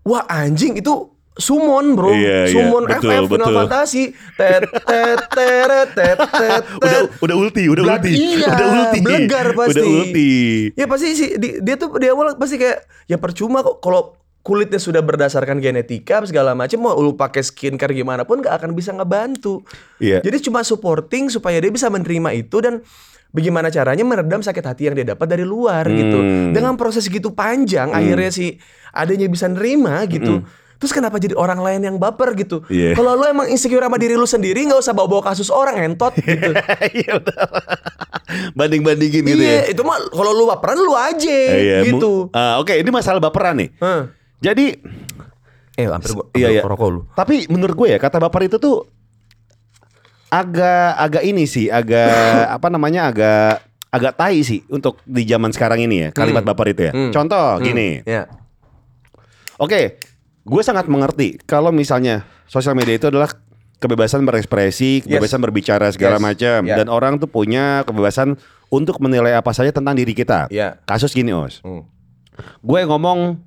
wah anjing itu sumon bro, Iya, iya. sumon Betul, FF Final betul. Fantasy, tet tet teret, tet tet udah tet. udah ulti, udah Blood- ulti. iya, udah ulti. belegar pasti. Udah ulti. Ya pasti sih di- dia tuh di awal pasti kayak ya percuma kok kalau kulitnya sudah berdasarkan genetika segala macam mau lu pakai skincare gimana pun nggak akan bisa ngebantu. Iya. Jadi cuma supporting supaya dia bisa menerima itu dan bagaimana caranya meredam sakit hati yang dia dapat dari luar gitu. Hmm. Dengan proses gitu panjang akhirnya si adanya bisa nerima gitu. Terus kenapa jadi orang lain yang baper gitu? Hmm. Iya. Kalau lu emang insecure sama diri lu sendiri nggak usah bawa-bawa kasus orang entot gitu. Iya bener. Banding-bandingin gitu ya. iya, itu mah kalau lu baperan lu aja Eh, iya, mu- gitu. Ah, Oke, ini masalah baperan nih. Heeh. Jadi Eh, hampir gua Iya, hampir iya. rokok lu. Tapi menurut gue ya kata baper itu tuh agak agak ini sih, agak apa namanya agak agak tai sih untuk di zaman sekarang ini ya kalimat baper itu ya. Hmm. Contoh gini. Iya. Oke, gue sangat mengerti kalau misalnya sosial media itu adalah kebebasan berekspresi, kebebasan berbicara segala Yes. macam, Yeah. dan orang tuh punya kebebasan untuk menilai apa saja tentang diri kita. Yeah. Kasus gini os, Hmm. gue ngomong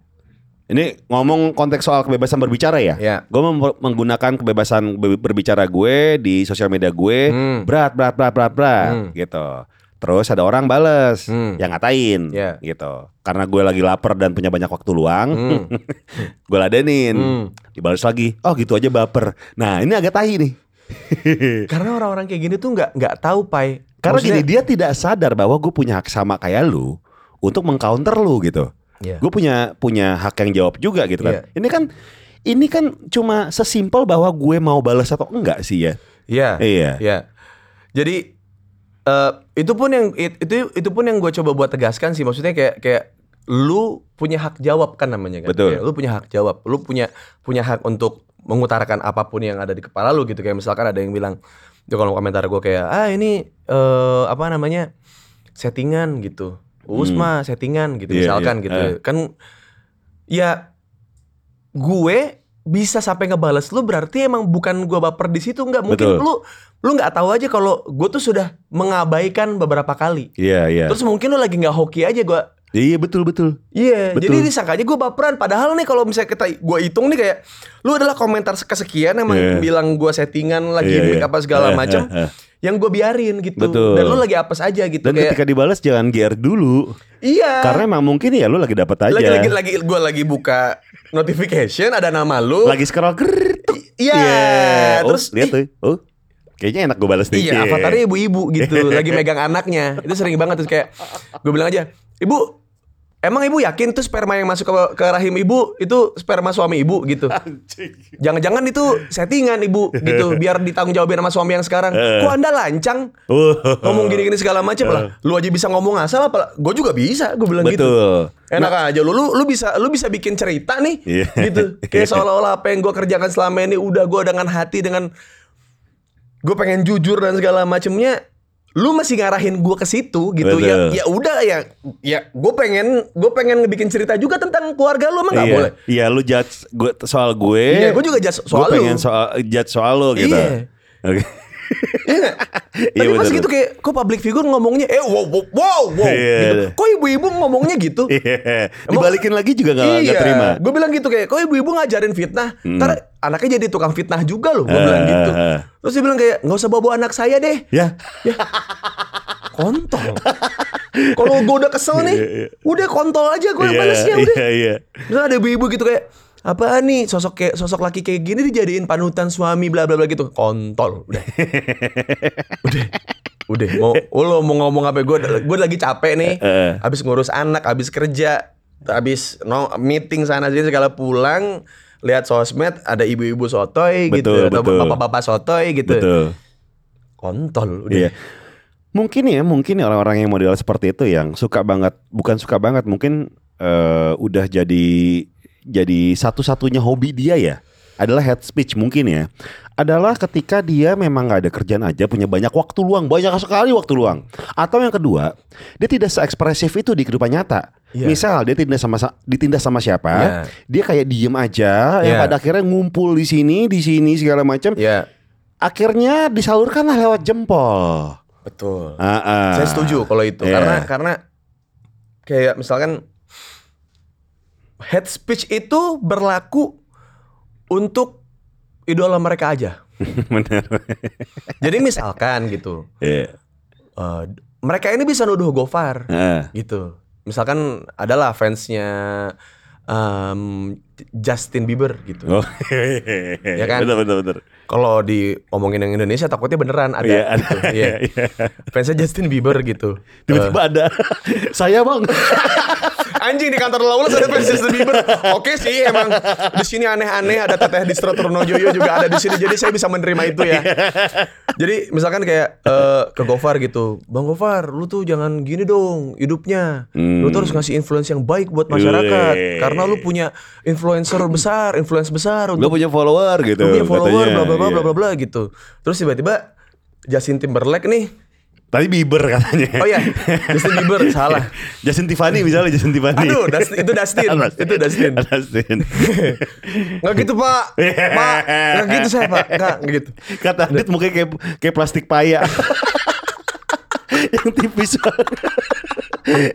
ini ngomong konteks soal kebebasan berbicara ya. Yeah. Gue mem- menggunakan kebebasan be- berbicara gue di sosial media gue Hmm. berat berat berat berat berat Hmm. gitu. Terus ada orang bales Hmm. yang ngatain Yeah. gitu. Karena gue lagi lapar dan punya banyak waktu luang. Hmm. gue ladenin Hmm. dibalas lagi oh gitu aja baper nah ini agak tai nih Karena orang-orang kayak gini tuh nggak nggak tahu pai. karena Maksudnya- gini dia tidak sadar bahwa gue punya hak sama kayak lu untuk mengcounter lu gitu Iya. gue punya punya hak yang jawab juga gitu kan ini kan ini kan cuma sesimpel bahwa gue mau balas atau enggak sih ya Iya. Iya. Iya. Jadi eh itu pun yang it- itu itu pun yang gue coba buat tegaskan sih. Maksudnya kayak kayak lu punya hak jawab kan namanya kan. Betul. Kayak lu punya hak jawab. Lu punya punya hak untuk mengutarakan apapun yang ada di kepala lu gitu. Kayak misalkan ada yang bilang di kolom komentar gue kayak ah ini eh apa namanya settingan gitu. Usma settingan gitu Iya, misalkan iya. gitu. Kan ya gue bisa sampai ngebales lu berarti emang bukan gue baper di situ nggak mungkin Betul. lu lu nggak tahu aja kalau gue tuh sudah mengabaikan beberapa kali iya iya terus mungkin lu lagi nggak hoki aja gue iya betul betul Iya, Betul. jadi disangkanya gue baperan. Padahal nih kalau misalnya kita gue hitung nih kayak lu adalah komentar kesekian yang Iya. bilang gue settingan lagi Iya, gimmick iya. apa segala Iya, macam, iya, iya. yang gue biarin gitu. Betul. Dan lu lagi apes aja gitu dan kayak. ketika dibalas jangan GR dulu iya. karena emang mungkin ya lu lagi dapat aja lagi lagi lagi gue lagi buka notification ada nama lu. Lagi scroll grrrr, tuk. Iya, Yeah. Oh, terus- lihat tuh oh kayaknya enak gue balas nih Iya, avatarnya ibu-ibu gitu, lagi megang anaknya. Itu sering banget terus kayak gue bilang aja, "Ibu, emang ibu yakin tuh sperma yang masuk ke, ke rahim ibu itu sperma suami ibu gitu?" Jangan-jangan itu settingan ibu gitu, biar ditanggung jawabin sama suami yang sekarang. Kok Anda lancang? Eh. Ngomong gini-gini segala macam lah. Lu aja bisa ngomong asal apa? Gue juga bisa, gue bilang gitu. Betul. Enak aja lu, lu lu bisa lu bisa bikin cerita nih Nah. Iya. gitu. Kayak seolah-olah apa yang gue kerjakan selama ini udah gue dengan hati dengan gue pengen jujur dan segala macemnya lu masih ngarahin gue ke situ gitu ya Betul. ya udah ya ya gue pengen gue pengen ngebikin cerita juga tentang keluarga lu emang nggak iya. boleh Iya, lu judge gue soal gue. Iya, gue juga judge soal lu. gue pengen soal judge soal lu gitu. Iya. Oke. Iya, tapi pas betul. gitu kayak kok public figure ngomongnya eh wow wow wow, wow," Iya. gitu. kok ibu-ibu ngomongnya gitu Iya. Dibalikin lagi juga gak, nggak terima. Hmm. Gue bilang gitu kayak, kok ibu-ibu ngajarin fitnah, ntar anaknya jadi tukang fitnah juga loh. Gue Ah, bilang gitu. ah, ah. Terus dia bilang kayak, nggak usah bawa anak saya deh. Ya. Kontol. Kalau gue udah kesel nih, udah kontol aja gue Iya, balesnya udah. Iya, iya. Terus ada ibu-ibu gitu kayak, apaan nih sosok kayak sosok laki kayak gini dijadiin panutan suami bla bla bla gitu. Kontol udah. udah. Udah mau oh, lo mau ngomong apa gue gue lagi capek nih. Heeh. Habis ngurus anak, habis kerja, habis no meeting sana sini segala pulang lihat sosmed ada ibu-ibu sotoy Betul, gitu atau betul. bapak-bapak sotoy gitu. Betul. Kontol udah. Iya. Mungkin ya, mungkin ya orang-orang yang model seperti itu yang suka banget, bukan suka banget, mungkin eh, udah jadi jadi satu-satunya hobi dia ya. adalah head speech mungkin ya adalah ketika dia memang nggak ada kerjaan aja punya banyak waktu luang banyak sekali waktu luang atau yang kedua dia tidak seekspresif itu di kehidupan nyata Iya. misal dia tidak sama ditindas sama siapa Iya. dia kayak diem aja yang Iya. pada akhirnya ngumpul di sini di sini segala macam Ya, akhirnya disalurkanlah lewat jempol betul. Ah, ah. Saya setuju kalau itu Iya. karena karena kayak misalkan head speech itu berlaku untuk idola mereka aja. benar Jadi misalkan gitu, Iya. eh, mereka ini bisa nuduh Gofar Ah. gitu. Misalkan adalah fansnya em, Justin Bieber gitu. Oh, Ya kan? Bener bener bener. Kalau diomongin yang Indonesia takutnya beneran ada. Iya, ada. gitu. Iya. Iya. Fansnya Justin Bieber gitu. Tiba-tiba ada saya bang. Anjing di kantor Lawless ada fans Justin Bieber. Oke sih emang di sini aneh-aneh ada teteh distro Trunojoyo juga ada di sini. Jadi saya bisa menerima itu Iya. ya. Jadi misalkan kayak eh, ke Gofar gitu, Bang Gofar, lu tuh jangan gini dong hidupnya. Lu tuh harus Hmm. ngasih influence yang baik buat masyarakat Yoi. karena lu punya influencer besar, influence besar Lu untuk punya follower gitu. lu punya follower bla katanya. bla bla Iya. bla bla bla gitu. Terus tiba-tiba Justin Timberlake nih. Tadi Bieber katanya. Oh ya, Justin Bieber salah. Justin Tiffany misalnya Justin Tiffany. Aduh, Dustin- itu Dustin. Itu Dustin. Dustin. Nggak gitu pak Pak Nggak gitu saya pak Nggak nggak gitu Kata Adit mukanya kayak kayak plastik paya. yang tipis banget.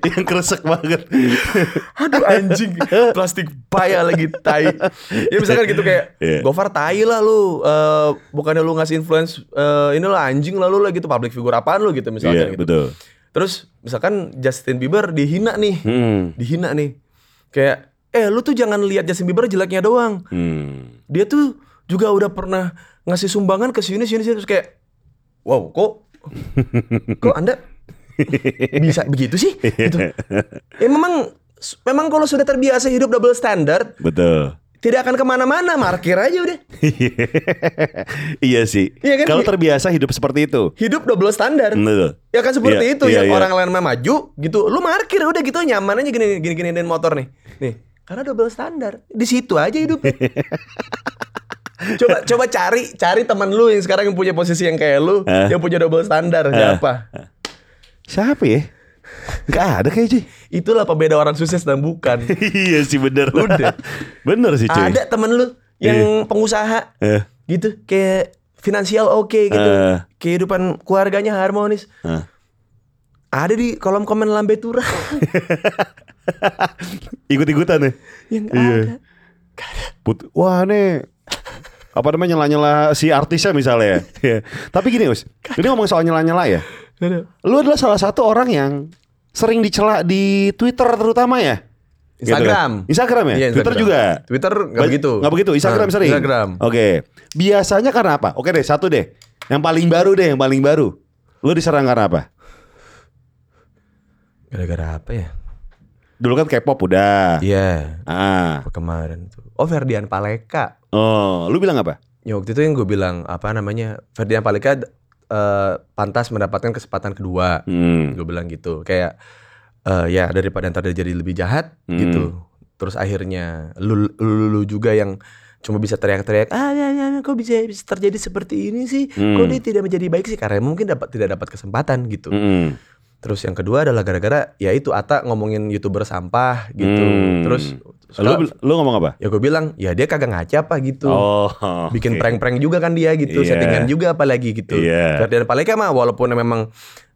yang kresek banget. Aduh anjing Plastik paya lagi tai Ya misalkan gitu kayak Iya. Gofar tai lah lu Eh, Bukannya lu ngasih influence eh, Ini lah anjing lah lu lah gitu Public figure apaan lu gitu misalkan Iya, gitu. betul. Terus misalkan Justin Bieber dihina nih Hmm. Dihina nih Kayak Eh lu tuh jangan lihat Justin Bieber jeleknya doang Hmm. dia tuh juga udah pernah ngasih sumbangan ke sini sini sini terus kayak wow kok kok anda bisa begitu sih gitu. ya memang memang kalau sudah terbiasa hidup double standard Betul. tidak akan kemana-mana markir aja udah iya sih. Iya kan? Kalau terbiasa hidup seperti itu. hidup double standard Betul. ya kan seperti Iya, itu iya, yang iya. orang lain mah maju gitu lu markir udah gitu nyaman aja gini gini gini dan motor nih nih karena double standar di situ aja hidupnya coba coba cari cari teman lu yang sekarang yang punya posisi yang kayak lu Eh. yang punya double standar siapa Siapa ya? Gak ada kayaknya. itulah pembeda orang sukses dan bukan iya sih bener. Udah. bener sih cuy. ada teman lu yang pengusaha Eh. gitu kayak finansial oke gitu Eh. kehidupan keluarganya harmonis Hah. ada di kolom komen lambe turah Ikut-ikutan ya. yang Iya. ada Put- Wah nih. Apa namanya nyela-nyela si artisnya misalnya. Iya. Tapi gini Us. Ini ngomong soal nyela-nyela ya. Aduh. Lu adalah salah satu orang yang sering dicela di Twitter terutama ya. Gitu kan? Instagram. Instagram ya. Iya, Twitter Instagram. juga. Twitter nggak Ba- begitu. Nggak begitu. Instagram Oh. Nah, sering. Instagram. Oke. Biasanya karena apa? Oke deh, satu deh. Yang paling baru deh, yang paling baru. Lu diserang karena apa? Gara-gara apa ya? Dulu kan K-pop udah. Iya, Ah. apa kemarin tuh. Oh, Ferdian Paleka. Oh, lu bilang apa? Ya waktu itu yang gue bilang apa namanya? Ferdian Paleka eh, pantas mendapatkan kesempatan kedua. Hmm. Gue bilang gitu. Kayak eh, ya daripada ntar dia jadi lebih jahat Hmm. gitu. Terus akhirnya lu, lu, lu juga yang cuma bisa teriak-teriak, ah ya, ya, ya, kok bisa bisa terjadi seperti ini sih? Kok Hmm. dia tidak menjadi baik sih? Karena mungkin dapat tidak dapat kesempatan gitu. Mm-mm. Terus yang kedua adalah gara-gara ya itu Ata ngomongin youtuber sampah gitu. Hmm. Terus Lu bil- lu ngomong apa? ya gue bilang ya dia kagak ngaca apa gitu. Oh. Bikin oke. prank-prank juga kan dia gitu, Iya. settingan juga apalagi gitu. Iya. Dan Paleka mah walaupun memang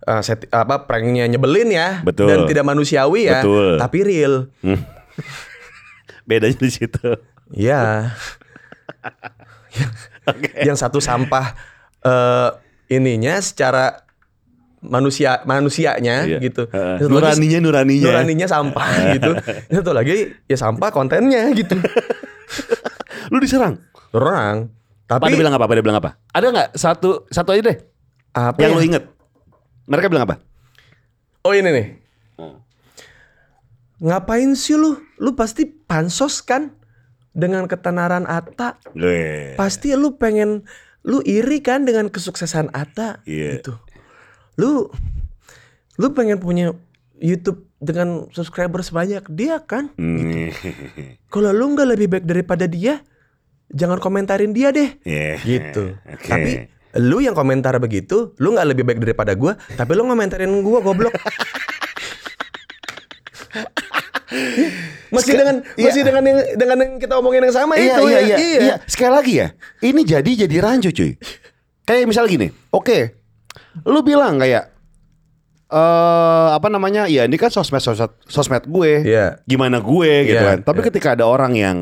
eh, seti- apa pranknya nyebelin ya Betul. dan tidak manusiawi ya, Betul. tapi real. Bedanya di situ. Iya. Oke. yang satu sampah eh ininya secara manusia manusianya Iya. gitu. Heeh. Yang satu lagi Nuraninya, nuraninya. Nuraninya sampah gitu. Yang Satu lagi ya sampah kontennya gitu. Lu diserang. Orang. Apa Tapi dia bilang apa? Apa dia bilang apa? Ada nggak satu satu aja deh apa yang ya? lu inget? Mereka bilang apa? Oh ini nih. Hmm. Ngapain sih lu? Lu pasti pansos kan dengan ketenaran Ata. Gitu. Pasti lu pengen lu iri kan dengan kesuksesan Ata Iya. gitu. Lu lu pengen punya YouTube dengan subscriber sebanyak dia kan? Hmm. Kalau lu nggak lebih baik daripada dia, jangan komentarin dia deh. Iya. Gitu. Oke. Tapi lu yang komentar begitu, lu nggak lebih baik daripada gua, tapi lu ngomentarin gua goblok. masih Sek- dengan iya. masih dengan yang dengan yang kita omongin yang sama Iya, itu iya, ya. iya, iya. Sekali lagi ya, ini jadi jadi rancu cuy. Kayak misal gini, oke, lu bilang kayak eh apa namanya? Ya ini kan sosmed sosmed, sosmed gue. Iya. Gimana gue gitu Iya, kan. Tapi iya. ketika ada orang yang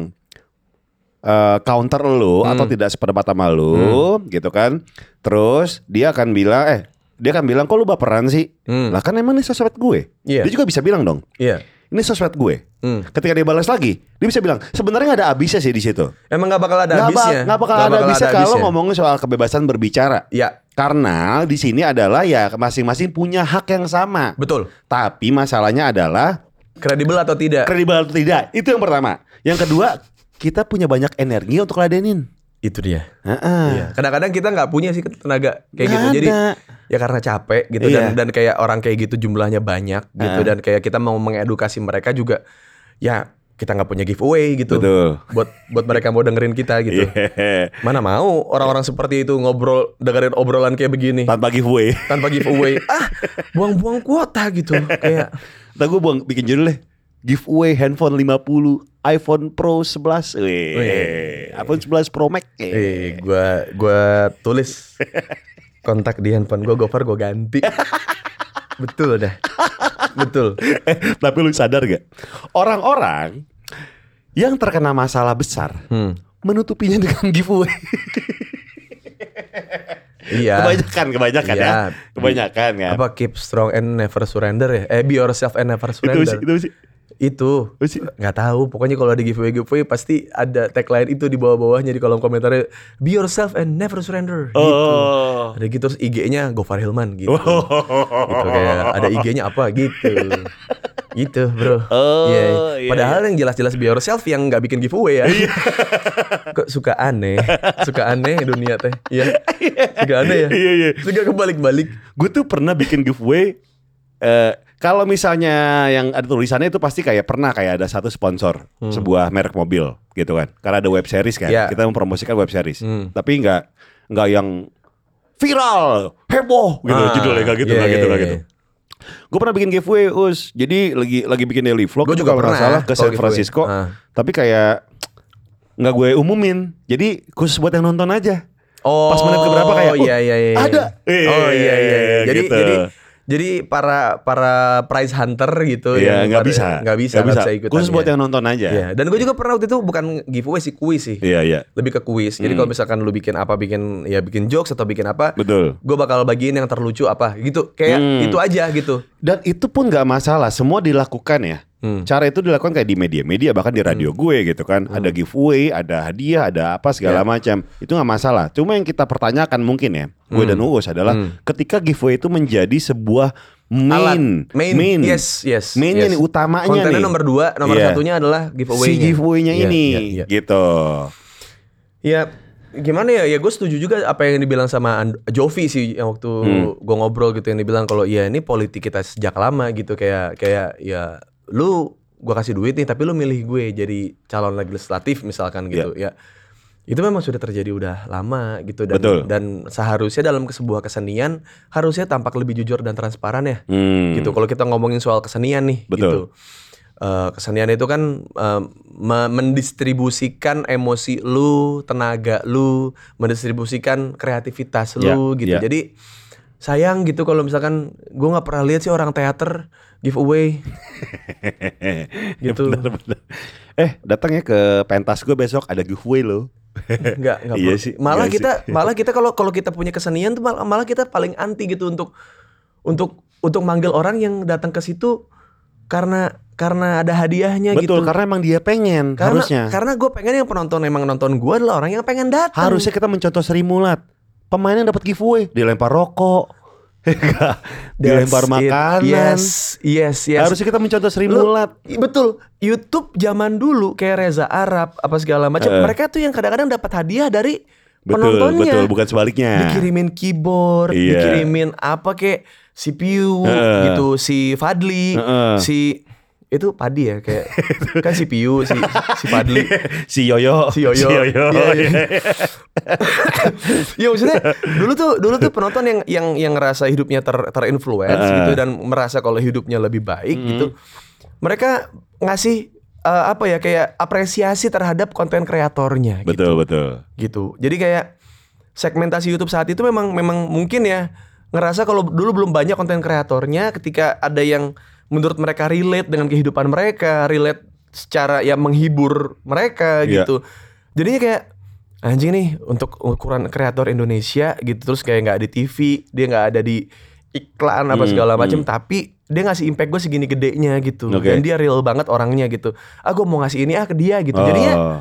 eh, counter lu atau Hmm. tidak sependapat sama lu gitu kan. Terus dia akan bilang eh dia akan bilang kok lu baperan sih? Hmm. Lah kan emang ini sosmed gue. Iya. Dia juga bisa bilang dong. Iya. Ini sosmed gue. Hmm. Ketika dia balas lagi, dia bisa bilang sebenarnya nggak ada habisnya sih di situ. Emang nggak bakal ada Nggak ba- habisnya. nggak bakal ada habisnya kalau ngomongin soal kebebasan berbicara. Ya, Karena di sini adalah ya masing-masing punya hak yang sama. betul. Tapi masalahnya adalah Kredibel atau tidak? kredibel atau tidak. Itu yang pertama. Yang kedua, kita punya banyak energi untuk ladenin. itu dia. Iya. Heeh. Kadang-kadang kita nggak punya sih tenaga kayak Nah. Nggak gitu. Jadi ada. ya karena capek gitu Iya. dan dan kayak orang kayak gitu jumlahnya banyak gitu Ah. dan kayak kita mau mengedukasi mereka juga ya kita nggak punya giveaway gitu. Betul. Iya. Buat buat mereka mau dengerin kita gitu. Mana mau orang-orang seperti itu ngobrol dengerin obrolan kayak begini Tanpa giveaway. tanpa giveaway. ah, buang-buang kuota gitu kayak Ntar gue buang bikin judul deh. Giveaway handphone 50 iPhone Pro 11. Weh. Weh. iPhone 11 Pro Max. eh gua gua tulis kontak di handphone gua Gopar gua ganti. Betul dah. Betul. Eh, Tapi lu sadar gak? Orang-orang yang terkena masalah besar Hmm. menutupinya dengan giveaway. Iya. Kebanyakan, kebanyakan Iya. ya. Kebanyakan kan. apa keep strong and never surrender ya eh be yourself and never Itu surrender sih, itu sih. itu Apa sih? nggak tahu pokoknya kalau ada giveaway giveaway pasti ada tagline itu di bawah-bawahnya di kolom komentarnya be yourself and never surrender gitu Oh. ada gitu terus IG-nya Gofar Hilman gitu gitu kayak ada IG-nya apa gitu gitu bro Oh, Iya. iya, padahal yang jelas-jelas be yourself yang nggak bikin giveaway ya kok suka aneh suka aneh dunia teh Iya suka aneh ya Iya, iya. suka kebalik-balik Gue tuh pernah bikin giveaway eh kalau misalnya yang ada tulisannya itu pasti kayak pernah kayak ada satu sponsor Hmm. sebuah merek mobil gitu kan. Karena ada web series kan. Iya. Kita mempromosikan web series. Hmm. Tapi nggak nggak yang viral, heboh gitu Ah, judulnya nggak gitu iya, nggak iya, gitu nggak iya. gitu. Gue pernah bikin giveaway us. Jadi lagi lagi bikin daily vlog. Gua itu juga kalau nggak pernah salah ke kalau San giveaway. Francisco. Ah. Tapi kayak nggak gue umumin. Jadi khusus buat yang nonton aja. Oh, Pas menit keberapa kayak, "Uh, iya, iya, iya. ada." Eh, Oh iya iya. iya. Jadi Gitu. jadi jadi para para prize hunter gitu Iya yang nggak pada- bisa. nggak bisa nggak bisa ikutan. Khusus buat ya. yang nonton aja. Iya, dan gue juga pernah waktu itu bukan giveaway sih kuis sih. Iya iya. Lebih ke kuis. Jadi kalau misalkan lu bikin apa bikin ya bikin jokes atau bikin apa, Betul. gue bakal bagiin yang terlucu apa gitu. Kayak Hmm. itu aja gitu. Dan itu pun nggak masalah. Semua dilakukan ya. Hmm. Cara itu dilakukan kayak di media-media bahkan di radio gue gitu kan. Ada Hmm. giveaway, ada hadiah, ada apa Iya. segala macam. Itu nggak masalah. Cuma yang kita pertanyakan mungkin ya, gue Hmm. dan Uus adalah ketika giveaway itu menjadi sebuah Alat. main main, yes, yes. mainnya yes. nih utamanya Kontennya nih. nomor dua, Iya, nomor Iya. satunya adalah giveaway. si giveaway-nya ini gitu. Ya gimana ya? Ya gue setuju juga apa yang dibilang sama And- Jovi sih yang waktu gue ngobrol gitu yang dibilang kalau ya ini politik kita sejak lama gitu kayak kayak ya lu gue kasih duit nih tapi lu milih gue jadi calon legislatif misalkan gitu ya. Itu memang sudah terjadi udah lama gitu dan Betul. dan seharusnya dalam ke- sebuah kesenian harusnya tampak lebih jujur dan transparan ya Hmm. gitu. Kalau kita ngomongin soal kesenian nih, Betul. gitu. Eh, kesenian itu kan eh, me- mendistribusikan emosi lu, tenaga lu, mendistribusikan kreativitas lu, Ya, gitu. ya. Jadi sayang gitu kalau misalkan gue nggak pernah lihat sih orang teater giveaway. Gitu. Bener, bener. Eh, datang ya ke pentas gue besok ada giveaway loh. nggak nggak Iya perlu. sih, malah iya kita malah kita kalau kalau kita punya kesenian tuh malah, malah kita paling anti gitu untuk untuk untuk manggil orang yang datang ke situ karena karena ada hadiahnya gitu. Betul, karena emang dia pengen Karena, harusnya. Karena gue pengen yang penonton emang nonton gue adalah orang yang pengen datang. harusnya kita mencontoh Sri Mulat. Pemainnya dapat giveaway, dilempar rokok. Enggak, That's dilempar it. makanan. Yes, yes, yes. Harusnya kita mencontoh Sri Lu- Mulat. i- betul. YouTube zaman dulu kayak Reza Arab apa segala macam. Eh. Mereka tuh yang kadang-kadang dapat hadiah dari Betul, penontonnya. betul, bukan sebaliknya. Dikirimin keyboard, Iya. dikirimin apa kayak CPU Heeh. gitu, si Fadli, Heeh. si itu padi ya kayak kan si Piu si si Padli si Yoyo, si Yoyo. si Yoyo. Iya, iya. ya maksudnya dulu tuh dulu tuh penonton yang yang yang ngerasa hidupnya ter terinfluence Heeh. gitu dan merasa kalau hidupnya lebih baik gitu. Mereka ngasih eh, apa ya kayak apresiasi terhadap konten kreatornya gitu. Betul betul. gitu. Jadi kayak segmentasi YouTube saat itu memang memang mungkin ya ngerasa kalau dulu belum banyak konten kreatornya ketika ada yang menurut mereka relate dengan kehidupan mereka, relate secara ya menghibur mereka Iya. gitu. Jadinya kayak anjing nih untuk ukuran kreator Indonesia gitu terus kayak nggak di TV, dia nggak ada di iklan apa Hmm, segala macam tapi dia ngasih impact gue segini gedenya gitu Oke. dan dia real banget orangnya gitu. Ah gue mau ngasih ini ah ke dia gitu. Jadinya Oh.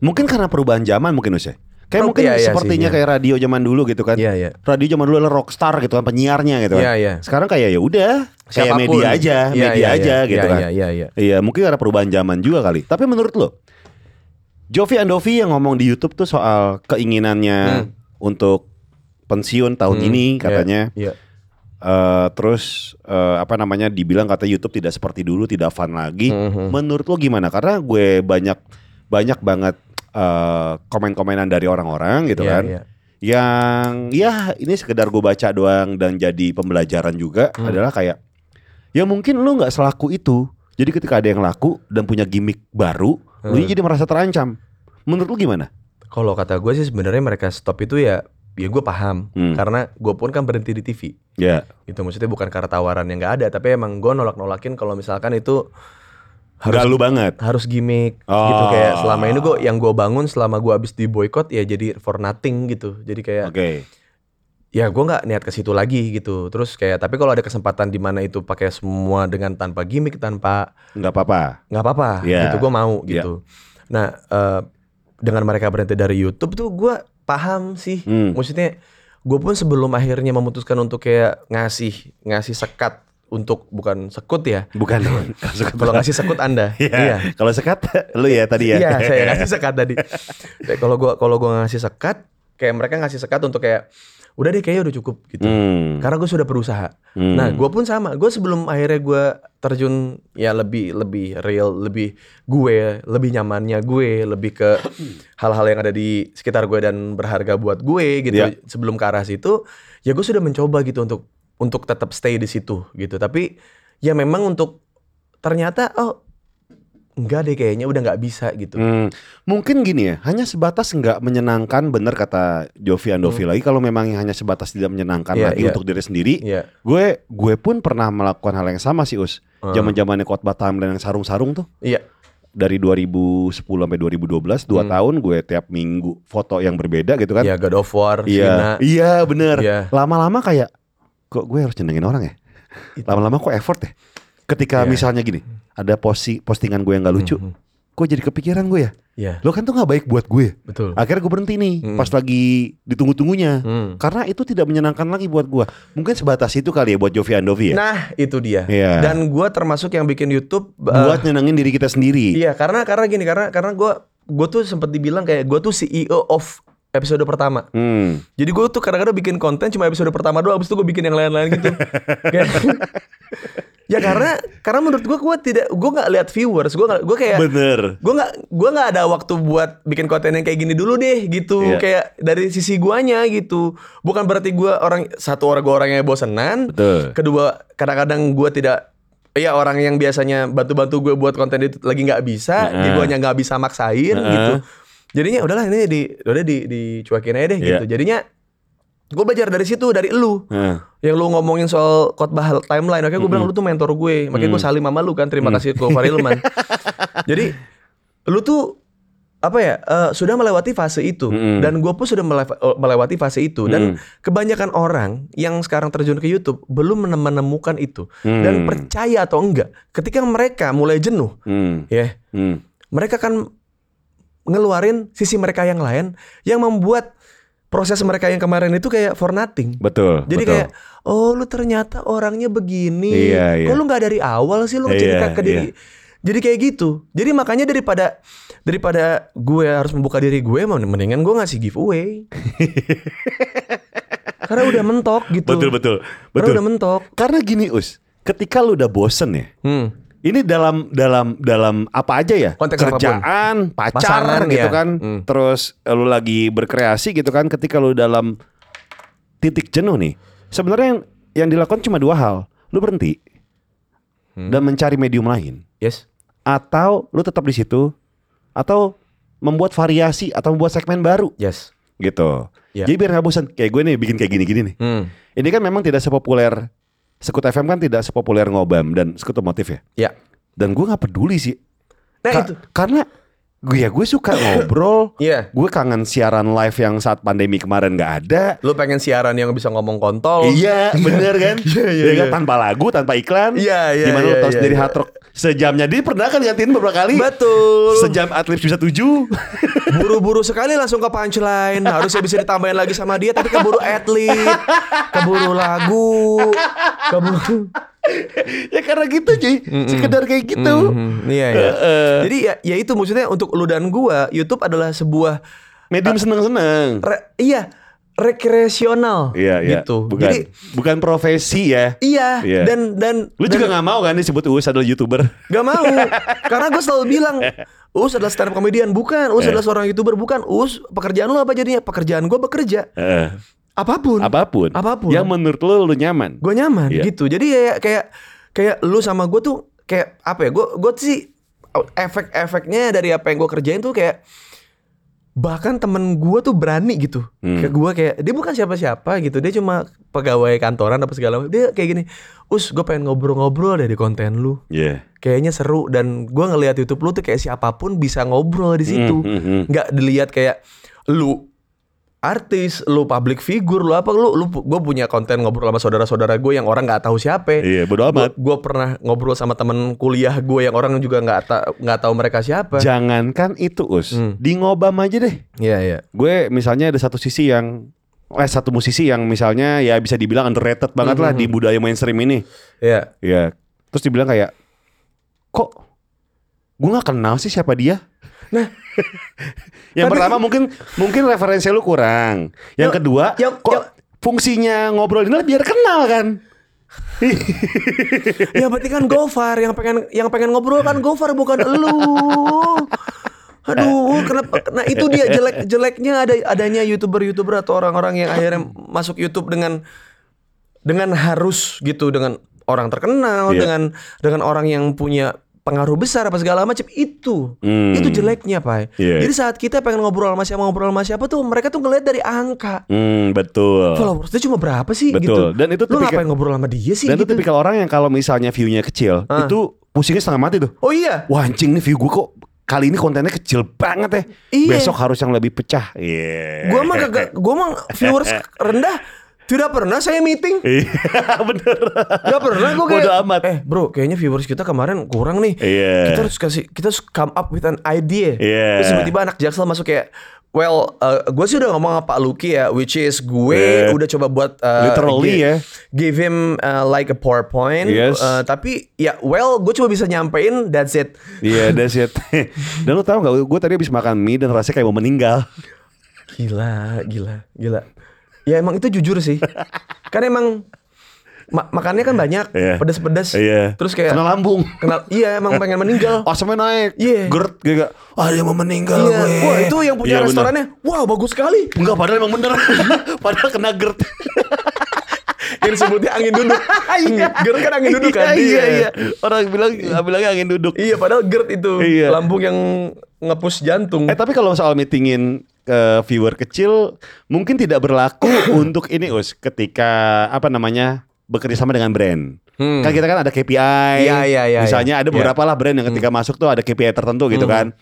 mungkin karena perubahan zaman mungkin Usai. Pro- Kayak mungkin iya, iya sepertinya sih, iya. kayak radio zaman dulu gitu kan. Iya, iya. Radio zaman dulu adalah rockstar gitu kan penyiarnya gitu kan. Iya, iya. Sekarang kayak ya udah, kayak Siapapun. media aja, Iya, media iya, aja iya, gitu iya, kan. iya, iya, iya. Iya, mungkin karena perubahan zaman juga kali. Tapi menurut lo Jovi Andovi yang ngomong di YouTube tuh soal keinginannya untuk pensiun tahun Hmm, ini iya, Oh, katanya. iya. Eh, terus eh, apa namanya dibilang kata YouTube tidak seperti dulu tidak fun lagi. Mhm. Menurut lo gimana? Karena gue banyak banyak banget eh, komen-komenan dari orang-orang gitu Iya, kan. iya. Yang ya ini sekedar gue baca doang dan jadi pembelajaran juga adalah kayak ya mungkin lo nggak selaku itu. Jadi ketika ada yang laku dan punya gimmick baru, lo jadi merasa terancam. Menurut lo gimana? Kalau kata gue sih sebenarnya mereka stop itu ya, ya gue paham Hmm. karena gue pun kan berhenti di TV. Ya, Itu maksudnya bukan karena tawaran yang nggak ada, tapi emang gue nolak-nolakin kalau misalkan itu harus galu banget. harus gimmick Oh. gitu kayak selama ini gue yang gue bangun selama gue abis di boykot ya jadi for nothing gitu. Jadi kayak Oke. ya gue nggak niat ke situ lagi gitu. Terus kayak tapi kalau ada kesempatan di mana itu pakai semua dengan tanpa gimmick tanpa nggak apa-apa. nggak apa-apa Iya. gitu gue mau Iya. gitu nah eh, dengan mereka berhenti dari YouTube tuh gue paham sih Hmm. maksudnya gue pun sebelum akhirnya memutuskan untuk kayak ngasih ngasih sekat untuk bukan sekut ya Bukan. Kalau suka kalau ngasih sekut anda Iya. Kalau sekat lu ya tadi ya. Iya, saya ngasih sekat tadi. Kayak Kalau gua kalau gua ngasih sekat, kayak mereka ngasih sekat untuk kayak udah deh kayaknya udah cukup gitu. Hmm. Karena gue sudah berusaha. Hmm. Nah, gue pun sama. Gue sebelum akhirnya gue terjun ya lebih lebih real, lebih gue, lebih nyamannya gue, lebih ke hal-hal yang ada di sekitar gue dan berharga buat gue gitu. Iya. Sebelum ke arah situ, ya gue sudah mencoba gitu untuk untuk tetap stay di situ gitu. Tapi ya memang untuk ternyata oh enggak deh kayaknya udah nggak bisa gitu. Hmm. Mungkin gini ya, hanya sebatas nggak menyenangkan bener kata Jovi Andovi lagi kalau memang hanya sebatas tidak menyenangkan Hmm. Iya, lagi iya. untuk diri sendiri. Iya. Gue gue pun pernah melakukan hal yang sama sih Us. Zaman-zamannya khotbah timeline yang sarung-sarung tuh Iya. dari 2010 sampai 2012 dua tahun gue tiap minggu foto yang berbeda gitu kan. Hmm. Iya God of War, Cina. Iya, iya bener. Iya. Lama-lama kayak kok gue harus nyenengin orang ya. Itu. Lama-lama kok effort ya. Ketika Iya. misalnya gini, ada posi postingan gue yang gak lucu, Mhm. kok jadi kepikiran gue ya. Iya, Lo kan tuh gak baik buat gue. betul. Akhirnya gue berhenti nih, Mm. pas lagi ditunggu-tunggunya. Hmm. Karena itu tidak menyenangkan lagi buat gue. Mungkin sebatas itu kali ya buat Jovi Andovi ya. Nah, itu dia. Iya. Dan gua termasuk yang bikin YouTube eh, buat nyenengin diri kita sendiri. Iya, karena karena gini, karena karena gua gua tuh sempat dibilang kayak gua tuh CEO of episode pertama. Hmm. Jadi gua tuh kadang-kadang bikin konten cuma episode pertama doang, abis itu gua bikin yang lain-lain gitu. Kayak- ya karena karena menurut gua gua tidak gua nggak lihat viewers, gua nggak gua Iya. kayak Bener. gue nggak gue nggak ada waktu buat bikin konten yang kayak gini dulu deh gitu Iya. kayak dari sisi guanya gitu bukan berarti gue orang satu orang gue orangnya bosenan Betul. kedua kadang-kadang gue tidak ya orang yang biasanya bantu-bantu gue buat konten itu lagi nggak bisa jadi Heeh. gue nggak bisa maksain Heeh. gitu jadinya udahlah ini di udah di dicuekin aja deh Iya. gitu jadinya gue belajar dari situ dari lu Nah, yang lu ngomongin soal khotbah timeline, akhirnya gue bilang lu tuh mentor gue, makanya Mm. gue salim sama lu kan, terima kasih ke Farilman. Jadi lu tuh apa ya eh, sudah melewati fase itu Mm-mm. dan gue pun sudah melewa- melewati fase itu dan Mm. kebanyakan orang yang sekarang terjun ke YouTube belum menem- menemukan itu dan Mm. percaya atau enggak, ketika mereka mulai jenuh, Hmm. ya Hmm. mereka akan ngeluarin sisi mereka yang lain yang membuat proses mereka yang kemarin itu kayak for nothing. Betul. Jadi betul. kayak oh lu ternyata orangnya begini. Iya, iya. Kok lu nggak dari awal sih lu Iya, cerita ke diri. iya. Jadi kayak gitu. Jadi makanya daripada daripada gue harus membuka diri gue mendingan gue ngasih giveaway. Karena udah mentok gitu. betul betul Karena betul. udah mentok. Karena gini Us, ketika lu udah bosen ya, Hmm. Ini dalam dalam dalam apa aja ya? Konteks Kerjaan, pacar Pasangan gitu ya. kan. Hmm. Terus eh, lu lagi berkreasi gitu kan ketika lu dalam titik jenuh nih. Sebenarnya yang, yang dilakukan cuma dua hal. Lu berhenti Hmm. dan mencari medium lain Yes. atau lu tetap di situ atau membuat variasi atau membuat segmen baru Yes. gitu. Ya. Jadi biar nggak bosan. Kayak gue nih bikin kayak gini-gini nih. Hmm. Ini kan memang tidak sepopuler Sekut FM kan tidak sepopuler ngobam dan sekut motif ya. Ya. Dan gue nggak peduli sih. Nah, Ka- itu. Karena gue ya gue suka ngobrol. Iya. Gue kangen siaran live yang saat pandemi kemarin nggak ada. Lu pengen siaran yang bisa ngomong kontol. Iya, bener kan? Oh. Iya, iya, Ya kan? iya. Tanpa lagu, tanpa iklan. Iya, iya, Gimana iya, lo tahu iya, sendiri iya. hard rock sejamnya dia pernah kan gantiin beberapa kali. Betul. Sejam atlet bisa tujuh. Buru-buru sekali langsung ke punchline. Harusnya bisa ditambahin lagi sama dia tapi keburu atlet, keburu lagu, keburu ya karena gitu cuy. Sekedar kayak gitu. Mhm, iya ya. eh. Jadi ya, ya itu maksudnya untuk lu dan gua, YouTube adalah sebuah Medium seneng-seneng. re- iya rekreasional Iya, iya. gitu. Bukan, Jadi bukan profesi ya. iya Iya. dan dan Lu dan juga nggak mau kan disebut Uus adalah youtuber? Gak mau Karena gue selalu bilang Us adalah stand up comedian Bukan Us Eh. adalah seorang youtuber Bukan Us pekerjaan lu apa jadinya Pekerjaan gue bekerja Eh, Apapun apapun. Apapun. Yang menurut lu lu nyaman. Gue nyaman Iya. gitu Jadi kayak Kayak kayak lu sama gue tuh Kayak apa ya Gue gue sih Efek-efeknya dari apa yang gue kerjain tuh kayak Bahkan temen gue tuh berani gitu Hmm. Ke gue kayak Dia bukan siapa-siapa gitu Dia cuma pegawai kantoran apa segala macam Dia kayak gini Us gue pengen ngobrol-ngobrol deh di konten lu Iya. kayaknya seru dan gua ngelihat YouTube lu tuh kayak siapapun bisa ngobrol di situ Hmm, hmm, hmm. nggak dilihat kayak lu artis lu public figure lu apa lu lu gue punya konten ngobrol sama saudara-saudara gue yang orang nggak tahu siapa Iya, bodo Gua- amat. gua pernah ngobrol sama temen kuliah gue yang orang juga nggak ta- nggak tahu mereka siapa Jangankan itu Us. Hmm. Di ngobam aja deh. iya iya gue misalnya ada satu sisi yang eh satu musisi yang misalnya ya bisa dibilang underrated banget lah di budaya mainstream ini iya ya terus dibilang kayak kok gue nggak kenal sih siapa dia Nah. yang Tapi- pertama mungkin mungkin referensi lu kurang yang Yo, kedua yo, kok yo. fungsinya ngobrol ini biar kenal kan ya berarti kan Gofar yang pengen yang pengen ngobrol kan Gofar bukan elu. Aduh, kenapa? Nah itu dia jelek jeleknya ada adanya youtuber-youtuber atau orang-orang yang akhirnya masuk YouTube dengan dengan harus gitu dengan orang terkenal Iya. dengan dengan orang yang punya pengaruh besar apa segala macam itu Hmm. itu jeleknya pak. Iya. Jadi saat kita pengen ngobrol sama siapa ngobrol sama siapa tuh mereka tuh ngeliat dari angka. hmm betul Followers dia cuma berapa sih gitu. Betul. Dan itu Lu tipikal- ngapain ngobrol sama dia sih dan itu gitu. tipikal orang yang kalau misalnya view-nya kecil Ah. itu pusingnya setengah mati tuh Oh iya. Wah anjing nih view gue kok kali ini kontennya kecil banget ya. Iya. Besok harus yang lebih pecah. Iya. Gua mah kagak, gua mah viewers rendah. Tidak pernah saya meeting. Iya bener. Gak pernah gua kayak. Bodo amat. Eh, bro, kayaknya viewers kita kemarin kurang nih. Iya. Kita harus kasih kita harus come up with an idea. Iya. Terus tiba-tiba anak Jaksel masuk kayak Well, gue sih udah ngomong sama Pak Lucky ya, which is gue Yeah. udah coba buat uh, Iya. Literally gi- ya. give him uh, like a PowerPoint. Yes. Uh, tapi ya, well, gue cuma bisa nyampein that's it. Iya that's it. Dan lu tau gak gue tadi habis makan mie dan rasanya kayak mau meninggal. Gila, gila, gila. Ya emang itu jujur sih. kan emang ma- makannya kan banyak, Iya. pedas-pedas. Iya. Terus kayak Kena lambung. kenal iya emang pengen meninggal. Asamnya naik. Iya. Gerd kayak ah dia mau meninggal Iya. gue. Wah, itu yang punya Iya, bener. restorannya. Wow, bagus sekali. Enggak padahal emang bener. padahal kena gerd. Yang sebutnya angin duduk. GERD kan angin duduk kan. Iya, iya, dia. iya. Orang bilang bilangnya angin duduk. Iya, padahal GERD itu Iya. lambung yang ngepus jantung. Eh tapi kalau soal meetingin eh, viewer kecil mungkin tidak berlaku untuk ini us ketika apa namanya bekerja sama dengan brand. Kan kita kan ada KPI. Hmm. Iya, iya, iya, misalnya iya. Hmm. ada beberapa lah brand yang ketika masuk tuh ada KPI tertentu gitu kan.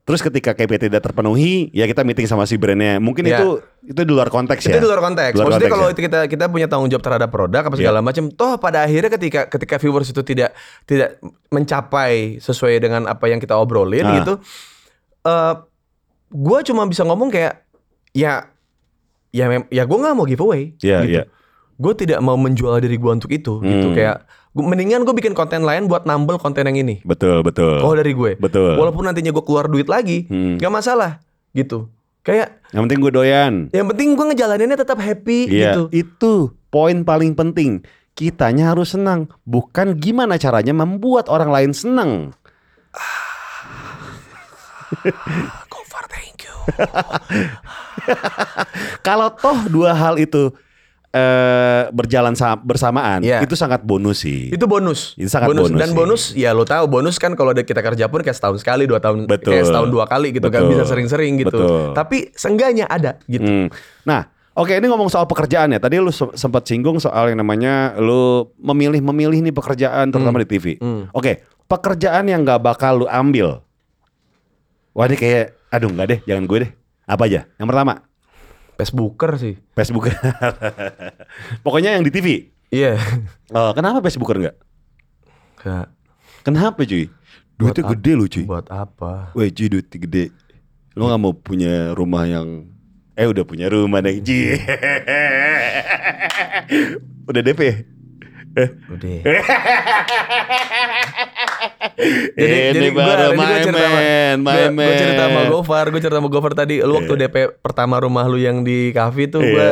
Terus ketika KPI tidak terpenuhi, ya kita meeting sama si brandnya. Mungkin Iya. itu itu di luar konteks Itu ya. di luar konteks. Luar Maksudnya konteks kalau ya. itu kita kita punya tanggung jawab terhadap produk apa segala macam, toh pada akhirnya ketika ketika viewers itu tidak tidak mencapai sesuai dengan apa yang kita obrolin Ah. gitu, eh gue cuma bisa ngomong kayak ya ya mem ya gue nggak mau giveaway. Iya, iya. Gue tidak mau menjual diri gue untuk itu. Gitu Hmm. kayak gua- mendingan gue bikin konten lain buat nambel konten yang ini. ya. betul betul. Kalau dari gue, Betul. walaupun nantinya gue keluar duit lagi, Hmm. nggak masalah gitu. Kayak Yang penting gue doyan. yang penting gue ngejalaninnya tetap happy Iya. gitu. Itu poin paling penting. kitanya harus senang, bukan gimana caranya membuat orang lain senang. Gofar, thank you. Kalau toh dua hal itu eh berjalan sa- bersamaan, Iya. itu sangat bonus sih. Itu bonus. Itu sangat bonus Dan sih. bonus ya lo tahu bonus kan kalau ada kita kerja pun kayak setahun sekali, dua tahun Betul. kayak setahun dua kali gitu kan Betul. bisa sering-sering gitu. Betul. Tapi seenggaknya ada gitu. Hmm. Nah, oke ini ngomong soal pekerjaan ya. Tadi lu se- sempat singgung soal yang namanya lu memilih-memilih nih pekerjaan terutama di TV. Hmm. Oke, pekerjaan yang nggak bakal lu ambil. Wah ini kayak, aduh nggak deh, jangan gue deh. Apa aja? Yang pertama, Facebooker sih. Facebooker. Pokoknya yang di TV. Iya. Eh, kenapa Facebooker nggak? Kayak, Kenapa cuy? Duitnya Buat gede loh cuy. Buat apa? Woi cuy duitnya gede. Lu nggak mau punya rumah yang eh udah punya rumah deh Ji. udah DP. Udah. Eh, Jadi, ini gua- gua baru main cerita sama- man, gua- main gua cerita sama man. Gofar, gue cerita sama Gofar tadi lu waktu DP pertama rumah lu yang di kafe tuh Iya. gue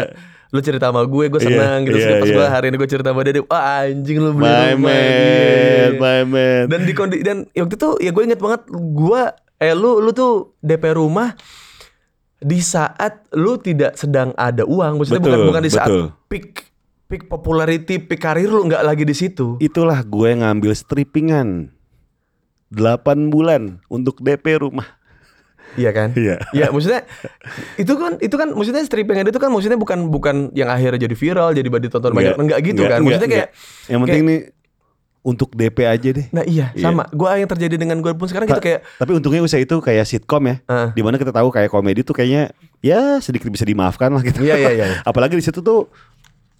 lu cerita sama gue, gue Iya, senang gitu. Terus iya, pas iya. gue hari ini gue cerita sama dia, dia, wah anjing lu beli My rumah. Iya, man, iya, iya. my man. Dan di kondi dan waktu itu ya gue inget banget gue eh lu lu tuh DP rumah di saat lu tidak sedang ada uang, maksudnya bukan Betul, bukan di saat betul. peak peak popularity, peak karir lu nggak lagi di situ. Itulah gue ngambil strippingan 8 bulan untuk DP rumah. Iya kan? Iya. Iya, maksudnya itu kan itu kan maksudnya stripping itu kan maksudnya bukan bukan yang akhirnya jadi viral, jadi badi tonton banyak. Enggak gitu kan. Maksudnya kayak yang penting nih untuk DP aja deh. Nah, iya, Iya. sama. Gua yang terjadi dengan gue pun sekarang gitu Ta- kayak Tapi untungnya usaha itu kayak sitkom ya. Heeh. Dimana kita tahu kayak komedi tuh kayaknya ya sedikit bisa dimaafkan lah gitu. Iya, iya, iya. Apalagi di situ tuh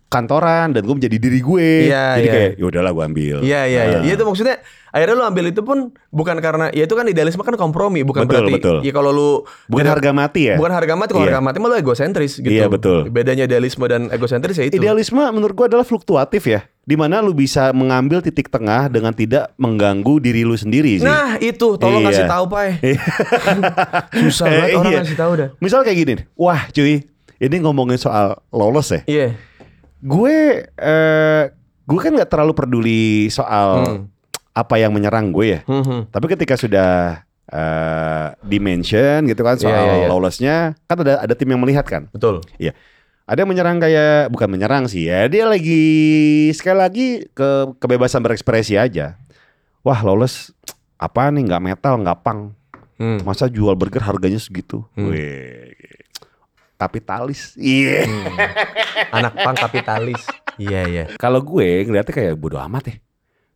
kantoran dan gue menjadi diri gue. Iya, Jadi iya. kayak ya udahlah gue ambil. Iya iya iya. Nah. Iya itu maksudnya akhirnya lu ambil itu pun bukan karena ya itu kan idealisme kan kompromi bukan Betul, berarti betul. ya kalau lu Bukan tidak- harga mati ya. bukan harga mati kalau Iya. harga mati malu egosentris gitu. Iya, betul. Bedanya idealisme dan egosentris ya itu. Idealisme menurut gue adalah fluktuatif ya. Dimana lu bisa mengambil titik tengah dengan tidak mengganggu diri lu sendiri sih. Nah, itu tolong kasih Iya. tahu, Pai. Iya. Susah banget orang Iya. kasih tahu dah. Misal kayak gini, nih, wah cuy, ini ngomongin soal lolos ya. Iya. Gue eh gue kan nggak terlalu peduli soal Hmm. apa yang menyerang gue ya. Hmm, hmm. Tapi ketika sudah eh dimension gitu kan soal Iya, iya, iya. lolosnya, kan ada ada tim yang melihat kan. Betul. Iya. Ada yang menyerang kayak bukan menyerang sih ya. Dia lagi sekali lagi ke kebebasan berekspresi aja. Wah, lolos apa nih nggak metal, nggak pang. Hmm. Masa jual burger harganya segitu? Hmm. Wih. Kapitalis. Iya. anak pang kapitalis. Iya iya. Kalau gue ngeliatnya kayak bodo amat ya.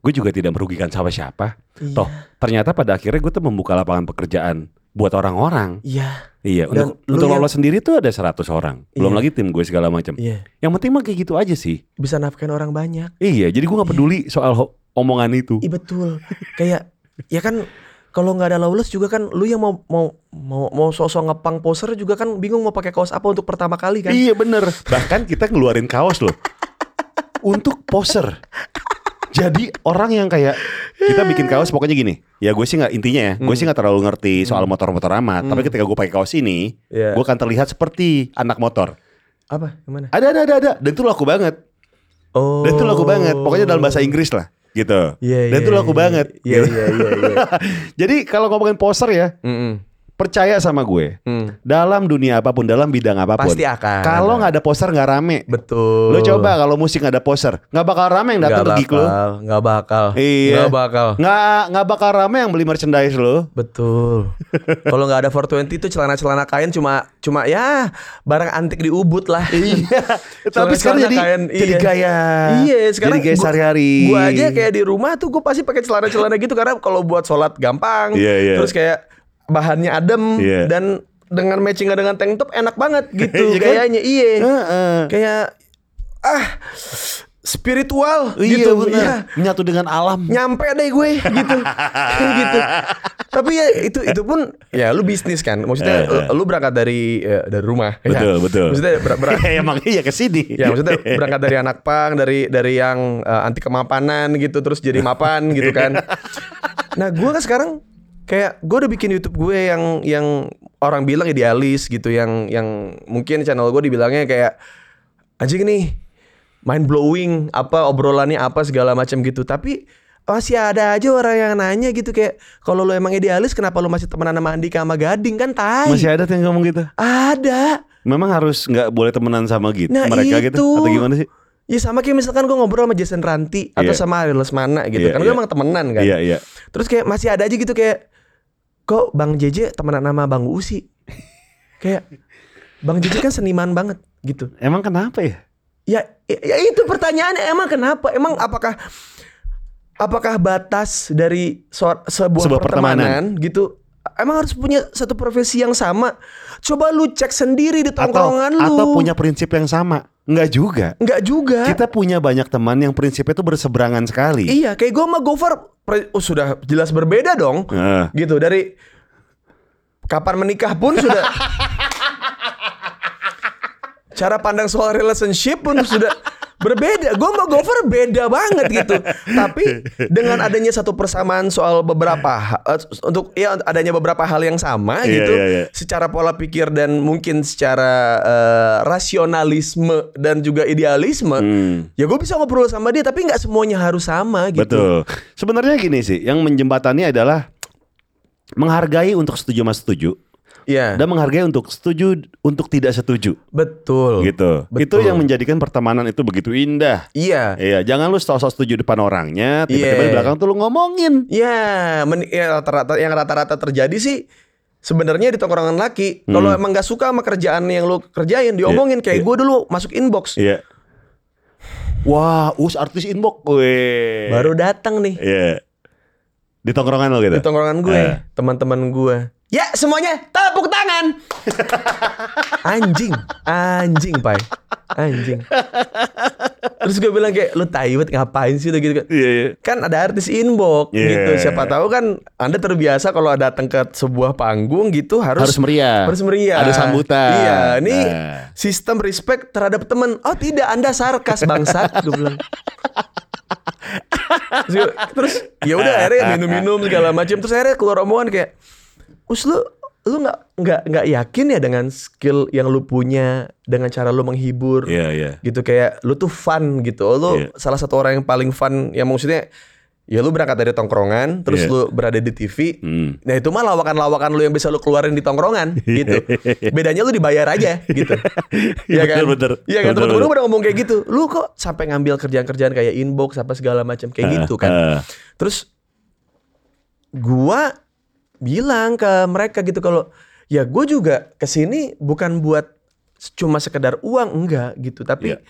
Gue juga tidak merugikan siapa-siapa. Iya. Toh ternyata pada akhirnya gue tuh membuka lapangan pekerjaan buat orang-orang. Iya. Iya. Dan Untuk, lu untuk yang- lolos sendiri tuh ada 100 orang. Belum Iya. lagi tim gue segala macam. Iya. Yang penting mah kayak gitu aja sih. Bisa nafkain orang banyak. Iya. Jadi gue nggak peduli soal ho- omongan itu. Iya betul. Kayak ya kan kalau nggak ada lawless juga kan lu yang mau mau mau mau sosok ngepang poser juga kan bingung mau pakai kaos apa untuk pertama kali kan. Iya bener. Bahkan kita ngeluarin kaos loh. untuk poser. Jadi orang yang kayak kita bikin kaos pokoknya gini. Ya gue sih nggak intinya ya. Gue sih nggak terlalu ngerti soal motor-motor amat. Tapi ketika gue pakai kaos ini, Hmm. Iya. gue akan terlihat seperti anak motor. Apa? Gimana? Ada ada ada ada. Dan itu laku banget. Oh. Dan itu laku banget. Pokoknya dalam bahasa Inggris lah gitu. Iya, Dan iya, itu laku iya. banget. Iya gitu. iya iya iya. Jadi kalau ngomongin poser ya, Mm-mm. percaya sama gue. Mm. Dalam dunia apapun, dalam bidang apapun. Pasti akan. Kalau nggak ada poser nggak rame. Betul. Lo coba kalau musik nggak ada poser, nggak bakal rame yang datang Nggak ke gig lo. bakal, nggak bakal. Iya. Nggak bakal. Nggak nggak bakal rame yang beli merchandise lo. Betul. Kalau nggak ada 420 itu celana-celana kain cuma cuma ya barang antik di Ubud lah. Iya. Tapi sekarang jadi jadi gaya. kan, Iya, sekarang jadi gaya gua- sehari-hari. Gua aja kayak di rumah tuh gua pasti pakai celana-celana gitu karena kalau buat sholat gampang. Iya, iya. Terus kayak bahannya adem Iya. dan dengan matchingnya dengan tank top enak banget gitu Iya kan? kayaknya. Iya. Heeh. Kayak ah spiritual Iya gitu. benar. Iya Menyatu dengan alam. nyampe deh gue gitu Kayak gitu tapi ya itu itu pun ya lu bisnis kan maksudnya Eh, eh. lu berangkat dari eh, dari rumah ya. Betul betul. maksudnya ber- ber- Emang iya ke sini. ya maksudnya berangkat dari anak pang dari dari yang eh, anti kemapanan gitu terus jadi mapan gitu kan nah gue kan sekarang kayak gue udah bikin YouTube gue yang yang orang bilang idealis gitu yang yang mungkin channel gue dibilangnya kayak anjing nih mind blowing apa obrolannya apa segala macam gitu tapi masih ada aja orang yang nanya gitu kayak kalau lu emang idealis kenapa lu masih temenan sama Andika sama Gading kan tai Masih ada tuh yang ngomong gitu. ada Iya. Memang harus nggak boleh temenan sama gitu Nah, mereka gitu itu. atau gimana sih? ya sama kayak misalkan gue ngobrol sama Jason Ranti atau Iya. sama Ariel Lesmana gitu Iya, kan gue iya. emang temenan kan Iya iya. Terus kayak masih ada aja gitu kayak kok Bang JJ temenan sama Bang Usi. kayak Bang JJ kan seniman banget gitu. Emang kenapa ya? Ya, ya itu pertanyaannya emang kenapa? Emang apakah apakah batas dari so- sebuah, Sebuah pertemanan, gitu emang harus punya satu profesi yang sama? Coba lu cek sendiri di Atau tongkrongan lu. atau punya prinsip yang sama? Nggak juga. Enggak juga. Kita punya banyak teman yang prinsipnya itu berseberangan sekali. Iya, kayak gue sama Gofar pre- oh, sudah jelas berbeda dong. Heeh. gitu dari kapan menikah pun sudah cara pandang soal relationship pun sudah berbeda gue sama Gofar beda banget gitu tapi dengan adanya satu persamaan soal beberapa ha- eh, untuk ya adanya beberapa hal yang sama Iya, gitu iya, iya. secara pola pikir dan mungkin secara eh, rasionalisme dan juga idealisme Hmm. ya gue bisa ngobrol sama dia tapi nggak semuanya harus sama gitu Betul. Sebenarnya gini sih, yang menjembatani adalah menghargai untuk setuju mas setuju ya dan menghargai untuk setuju untuk tidak setuju betul gitu. Itu Betul. yang menjadikan pertemanan itu begitu indah. iya Iya, jangan lu sok-sok setuju depan orangnya, Iya. tiba-tiba di belakang tuh lu ngomongin. Ya, men- ya, rata-rata yang rata-rata terjadi sih sebenarnya di tongkrongan laki. Kalau emang gak suka sama kerjaan yang lo kerjain, diomongin kayak Hmm. iya. gue dulu masuk inbox, Iya. Wah, us artis inbox gue. baru datang nih Iya. Di tongkrongan lo gitu. di tongkrongan gue, Eh. teman-teman gue. Ya semuanya tepuk tangan. anjing, anjing pai, anjing. Terus gue bilang kayak lu tai banget ngapain sih gitu gitu. Iya, iya. kan ada artis inbox Yeah. gitu siapa tahu kan anda terbiasa kalau datang ke sebuah panggung gitu harus Harus meriah. harus meriah Ada sambutan. iya ini Nah. sistem respect terhadap teman oh tidak anda sarkas bangsat gue bilang terus, gua- terus ya udah akhirnya minum-minum segala macam terus akhirnya keluar omongan kayak us lu lu nggak nggak nggak yakin ya dengan skill yang lu punya dengan cara lu menghibur Iya, iya. gitu kayak lu tuh fun gitu Oh, lu Iya. salah satu orang yang paling fun yang maksudnya ya lu berangkat dari tongkrongan terus Iya. lu berada di TV Hmm. nah itu mah lawakan-lawakan lu yang bisa lu keluarin di tongkrongan gitu bedanya lu dibayar aja gitu Iya Iya, kan bener, bener. Iya kan Bener, temen-temen bener. lu pada ngomong kayak gitu lu kok sampai ngambil kerjaan-kerjaan kayak inbox apa segala macam Ah, kayak gitu kan ah. Terus gua bilang ke mereka gitu kalau ya gue juga kesini bukan buat cuma sekedar uang enggak gitu tapi Iya.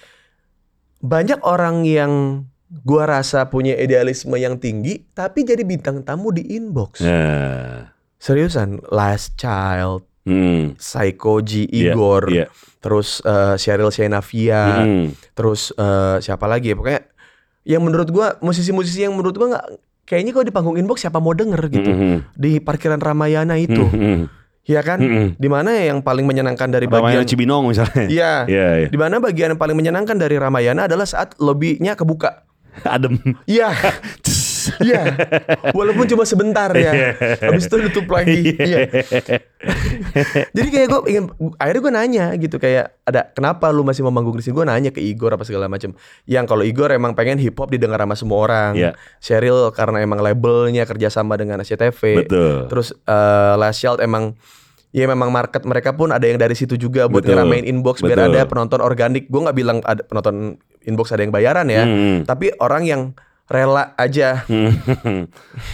banyak orang yang gua rasa punya idealisme yang tinggi tapi jadi bintang tamu di inbox Nah. seriusan last child Hmm. Psychoji Iya, Igor ah, iya. terus eh, Sheryl Senavia Hmm. terus eh, siapa lagi ya pokoknya yang menurut gua musisi-musisi yang menurut gua nggak kayaknya kalau di panggung inbox siapa mau denger gitu Mhm. di parkiran Ramayana itu Mhm. ya kan Mhm. di mana yang paling menyenangkan dari Ramayana bagian Cibinong misalnya. Iya. Iya, iya. di mana bagian yang paling menyenangkan dari Ramayana adalah saat lobbynya kebuka Adem. iya Tss. iya walaupun cuma sebentar ya habis itu tutup lagi iya Jadi kayak gue ingin akhirnya gue nanya gitu kayak ada kenapa lu masih mau manggung di sini? Gue nanya ke Igor apa segala macam. Yang kalau Igor emang pengen hip hop didengar sama semua orang. Iya. Sheryl karena emang labelnya kerjasama dengan SCTV. Betul. Terus eh, Last Child emang ya memang market mereka pun ada yang dari situ juga buat Betul. ngeramein inbox biar Betul. ada penonton organik. Gue nggak bilang ada penonton inbox ada yang bayaran ya, Hmm. tapi orang yang rela aja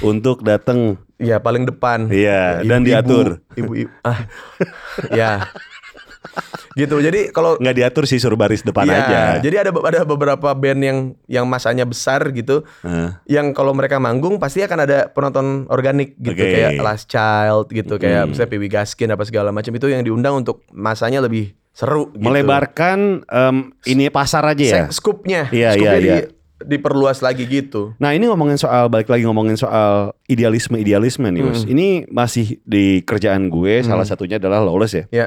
Untuk datang ya paling depan. Iya, Ibu- dan ibu- diatur. Ibu, ibu, ah, ya, gitu. Jadi kalau nggak diatur sih suruh baris depan Iya, aja. Jadi ada ada beberapa band yang yang masanya besar gitu. Heeh. Yang kalau mereka manggung pasti akan ada penonton organik gitu Oke. Hmm. kayak Last Child gitu kayak misalnya Pee Wee Gaskin apa segala macam itu yang diundang untuk masanya lebih seru gitu. Melebarkan em, ini pasar aja ya. Se- scoopnya Iya, scoopnya iya, di- iya. diperluas lagi gitu. Nah ini ngomongin soal balik lagi ngomongin soal idealisme idealisme nih Us. Hmm. Ini masih di kerjaan gue salah satunya adalah lawless ya. Ya.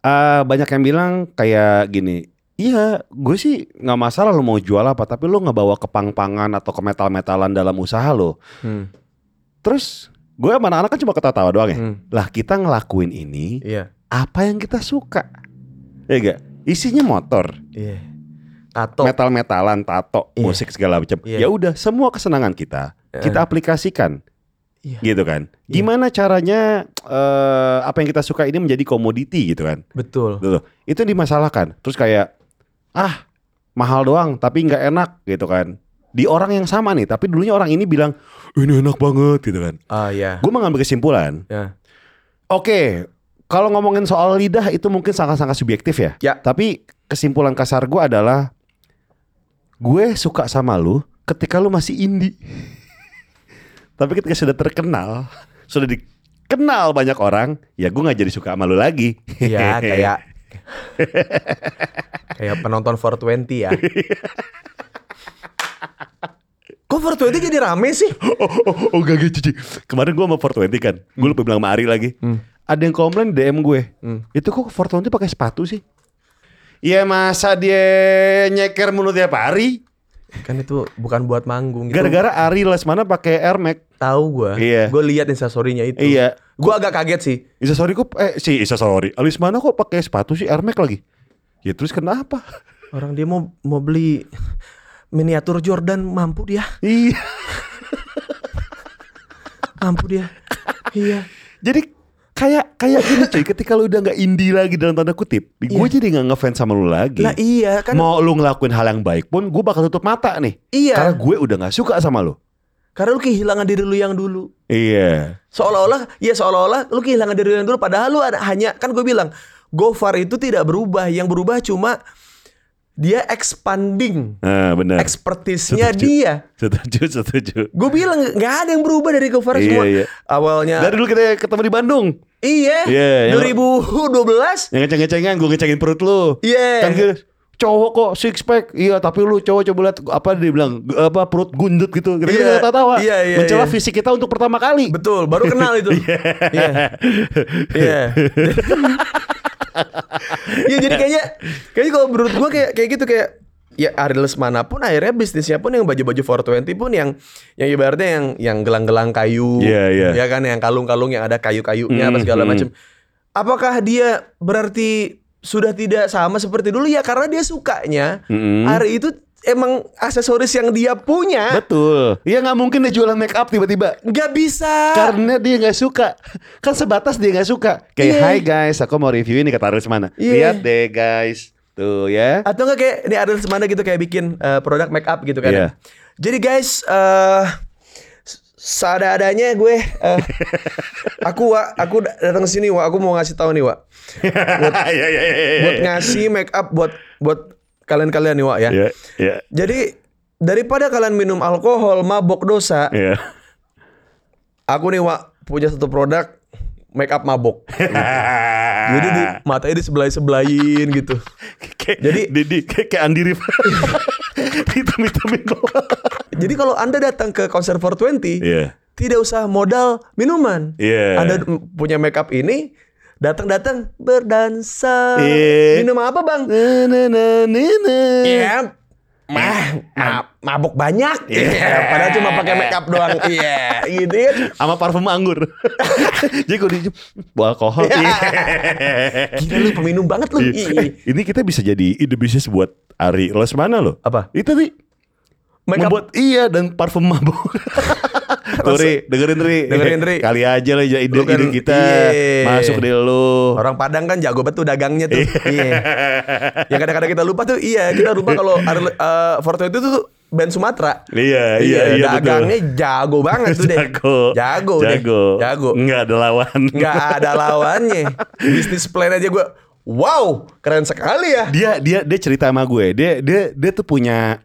Eh, banyak yang bilang kayak gini. Iya, gue sih nggak masalah lo mau jual apa, tapi lo nggak bawa ke pang-pangan atau ke metal-metalan dalam usaha lo. Hmm. Terus gue sama anak-anak kan cuma ketawa-tawa doang ya. Hmm. Lah kita ngelakuin ini Iya. apa yang kita suka. Ya gak? Isinya motor. Iya. Tato. metal-metalan, tato, Iya. musik segala macam. Iya. Ya udah, semua kesenangan kita Eh, kita aplikasikan. Iya. Gitu kan. Gimana caranya eh, apa yang kita suka ini menjadi komoditi gitu kan. Betul. Tuh, tuh. Itu yang dimasalahkan. Terus kayak ah, mahal doang tapi nggak enak gitu kan. Di orang yang sama nih, tapi dulunya orang ini bilang ini enak banget gitu kan. Ah ya. Gue mengambil kesimpulan. Ya. Oke, kalau ngomongin soal lidah itu mungkin sangat-sangat subjektif ya. Ya. Tapi kesimpulan kasar gue adalah gue suka sama lu ketika lu masih indie. Tapi ketika sudah terkenal, sudah dikenal banyak orang, ya gue nggak jadi suka sama lu lagi. Ya kayak kayak penonton 420 ya. Kok 420 jadi rame sih? oh, oh, oh, oh, gak gitu, Ci. Kemarin gue sama 420 kan, gue lupa bilang sama Ari lagi. Ada yang komplain di DM gue, itu kok 420 pakai sepatu sih? Iya masa dia nyeker mulu tiap hari? Kan itu bukan buat manggung. itu Gara-gara Ari Lesmana pakai Air Max. tahu gua. Iya. Gua lihat instastory-nya itu. Iya. Gua agak kaget sih. Isa sorry kok eh si Isa sorry. Lesmana kok pakai sepatu sih Air Max lagi? Ya terus kenapa? Orang dia mau mau beli miniatur Jordan mampu dia, Iya. mampu dia. iya. Jadi kayak kayak gini cuy, ketika lu udah nggak indie lagi dalam tanda kutip, gue jadi nggak ngefans sama lu lagi. Lah iya kan Mau lu ngelakuin hal yang baik pun gue bakal tutup mata nih. Iya. Karena gue udah nggak suka sama lu. karena lu kehilangan diri lu yang dulu. Iya. Seolah-olah ya seolah-olah lu kehilangan diri lu yang dulu padahal lu ada hanya kan gue bilang Gofar itu tidak berubah, yang berubah cuma dia expanding Nah, benar. expertise-nya Setuju. dia. Setuju, setuju. Gue bilang nggak ada yang berubah dari Gofar Iya, semua. iya. Awalnya Dari dulu kita ketemu di Bandung. iya, Iya, yang- 2012 Yang ngeceng-ngecengan, gue ngecengin perut lu. Iya. Kan gitu, cowok kok six pack. Iya, tapi lu cowok coba lihat apa dia bilang "G- apa perut gundut gitu. Kita Iya. kita tawa. Iya, iya, Mencela iya. fisik kita untuk pertama kali. betul baru kenal itu. Iya. Iya. Iya jadi kayaknya kayaknya kalau menurut gua kayak kayak gitu kayak ya Ariles manapun akhirnya bisnisnya pun yang baju-baju 420 pun yang yang ibaratnya yang yang gelang-gelang kayu Iya, Hmm, iya. ya kan yang kalung-kalung yang ada kayu-kayunya apa segala macam. Apakah dia berarti sudah tidak sama seperti dulu ya karena dia sukanya Hmm. hari itu emang aksesoris yang dia punya Betul. Iya nggak mungkin dia jualan make up tiba-tiba. nggak bisa Karena dia nggak suka. Kan sebatas dia nggak suka. Kayak Iya. hai guys, aku mau review ini kata Aris mana. Iya. Lihat deh guys. Tuh ya. Atau enggak kayak ini ada semana gitu kayak bikin eh, produk make up gitu kan. Iya. Jadi guys eh s- seada-adanya gue eh, aku wa aku da- datang ke sini wa aku mau ngasih tahu nih wa Iya, iya, iya, iya, buat iya. ngasih make up buat buat kalian-kalian nih wa ya. Iya, iya, Jadi daripada kalian minum alkohol mabok dosa, iya. aku nih wa punya satu produk make up mabok. Jadi di, Ah. matanya di sebelah sebelahin gitu. Jadi Jadi- Didi kayak kayak Andi Rif. Hitam-hitamin doang. Jadi kalau anda datang ke konser 420 Iya. tidak usah modal minuman. Iya. Anda m- punya makeup ini, datang-datang berdansa. Iya. Minum apa bang? Na na na na na. Iya. Mah, ma- mabuk banyak. Iya. Padahal cuma pakai makeup doang. Iya. Gitu ya. Sama parfum anggur. Jadi kalau dicium bau alkohol. Iya. Gila lu peminum banget lu. Iya. Eh, Ini kita bisa jadi ide bisnis buat Ari Lesmana loh. Apa? Itu nih. Makeup- Membuat iya dan parfum mabuk. Tuh Ri, dengerin Ri. Dengerin, Ri. Kali aja lah ide, Lu kan- ide kita Iya. masuk deh lu. Orang Padang kan jago banget tuh dagangnya tuh. Iya. Yang kadang-kadang kita lupa tuh iya, kita lupa kalau uh, Forte itu tuh band Sumatera. Iya, iya, iya, betul. dagangnya jago banget tuh deh. Jago. Jago, deh. Jago. Jago. Enggak ada lawan. nggak ada lawannya. Bisnis plan aja gue, wow, keren sekali ya. Dia dia dia cerita sama gue. Dia dia dia tuh punya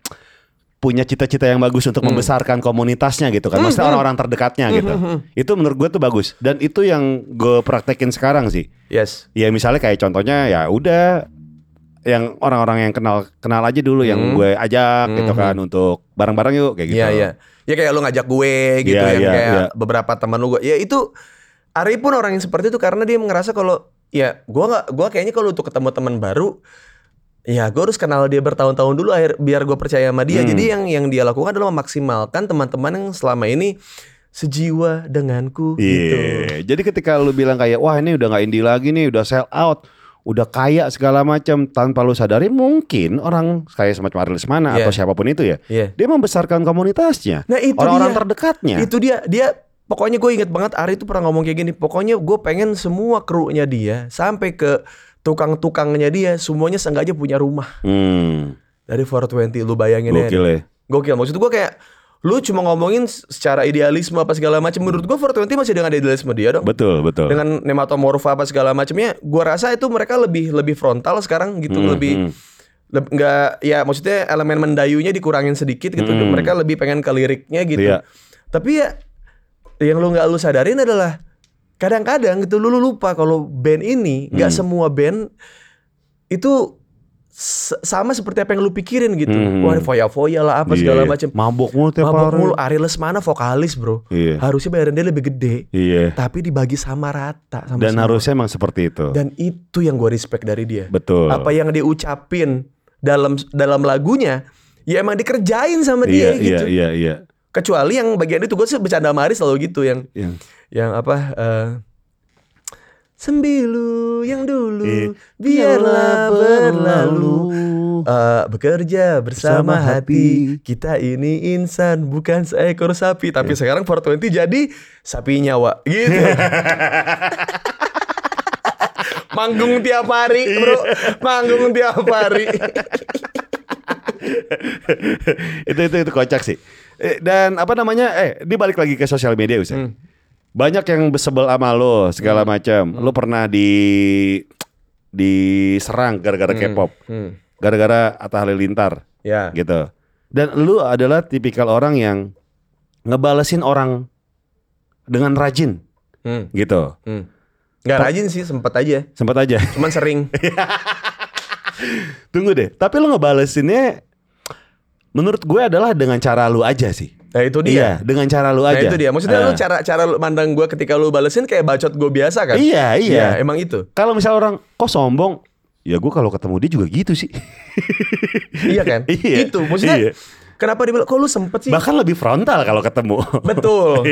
punya cita-cita yang bagus untuk Hmm. membesarkan komunitasnya gitu kan. Maksudnya orang-orang terdekatnya gitu. hmm. Itu menurut gue tuh bagus dan itu yang gue praktekin sekarang sih. Yes. Ya misalnya kayak contohnya ya udah yang orang-orang yang kenal kenal aja dulu yang gue ajak gitu kan untuk bareng-bareng yuk kayak gitu. Hmm. Iya, iya. Ya kayak lu ngajak gue gitu Iya, yang iya, kayak iya. beberapa teman lu gue. Ya itu Ari pun orang yang seperti itu karena dia ngerasa kalau ya gua nggak gua kayaknya kalau untuk ketemu teman baru ya gue harus kenal dia bertahun-tahun dulu akhir biar gue percaya sama Hmm. dia. Jadi yang yang dia lakukan adalah memaksimalkan teman-teman yang selama ini sejiwa denganku Iya. gitu. Jadi ketika lu bilang kayak wah ini udah nggak indie lagi nih, udah sell out. udah kaya segala macam tanpa lu sadari mungkin orang kayak semacam Arilis mana Iya. atau siapapun itu ya Iya. dia membesarkan komunitasnya Nah, itu orang-orang dia. terdekatnya Itu dia, dia pokoknya gue inget banget Ari itu pernah ngomong kayak gini. Pokoknya gue pengen semua krunya dia sampai ke tukang-tukangnya dia semuanya sengaja punya rumah hmm, dari 420 lu bayangin gokil ya. ya Gokil. Maksud gue kayak lu cuma ngomongin secara idealisme apa segala macam. Menurut gue 420 masih dengan idealisme dia dong. betul betul dengan nematomorfa apa segala macamnya gua rasa itu mereka lebih lebih frontal sekarang gitu Hmm, lebih hmm. leb- nggak ya maksudnya elemen mendayunya dikurangin sedikit gitu Hmm. mereka lebih pengen ke liriknya gitu Iya. tapi ya yang lu nggak lu sadarin adalah kadang-kadang gitu lu, lu lupa kalau band ini nggak Hmm. semua band itu se- sama seperti apa yang lu pikirin gitu Hmm. wah foya-foya lah apa segala Iya. macam mabok mulu tiap mabok hari. mulu Ari Lesmana vokalis bro Iya. harusnya bayaran dia lebih gede iya tapi dibagi sama rata sama dan semua. harusnya emang seperti itu dan itu yang gue respect dari dia betul apa ya, yang dia ucapin dalam dalam lagunya ya emang dikerjain sama iya dia iya gitu iya iya kecuali yang bagian itu gue sih bercanda sama Ari selalu gitu yang Yang yang apa eh, sembilu yang Iya. dulu biarlah berlalu Eh, bekerja bersama Bersama hati. hati. Iya. kita ini insan bukan seekor sapi tapi sekarang 420 jadi sapinya wa gitu manggung tiap hari Iya. bro manggung tiap hari itu itu itu kocak sih. Eh, Dan apa namanya? Eh, dia balik lagi ke sosial media Ustaz. Hmm. Banyak yang besebel sama lo segala macam. Hmm. Lo pernah di diserang gara-gara Hmm. K-pop, gara-gara Atta Halilintar ya gitu. Dan lu adalah tipikal orang yang ngebalesin orang dengan rajin hmm. gitu. hmm. nggak rajin sih sempet aja Sempat aja. cuman sering Tunggu deh. Tapi lu ngebalesinnya menurut gue adalah dengan cara lu aja sih. nah itu dia Iya, dengan cara lu Nah aja. itu dia. Maksudnya Eh. lu cara cara lu mandang gue ketika lu balesin kayak bacot gue biasa kan? Iya, iya. Ya, emang itu. Kalau misalnya orang kok sombong, ya gue kalau ketemu dia juga gitu sih. iya kan? Iya. Itu maksudnya. Iya. Kenapa dibilang kok lu sempet sih? Bahkan lebih frontal kalau ketemu. Betul.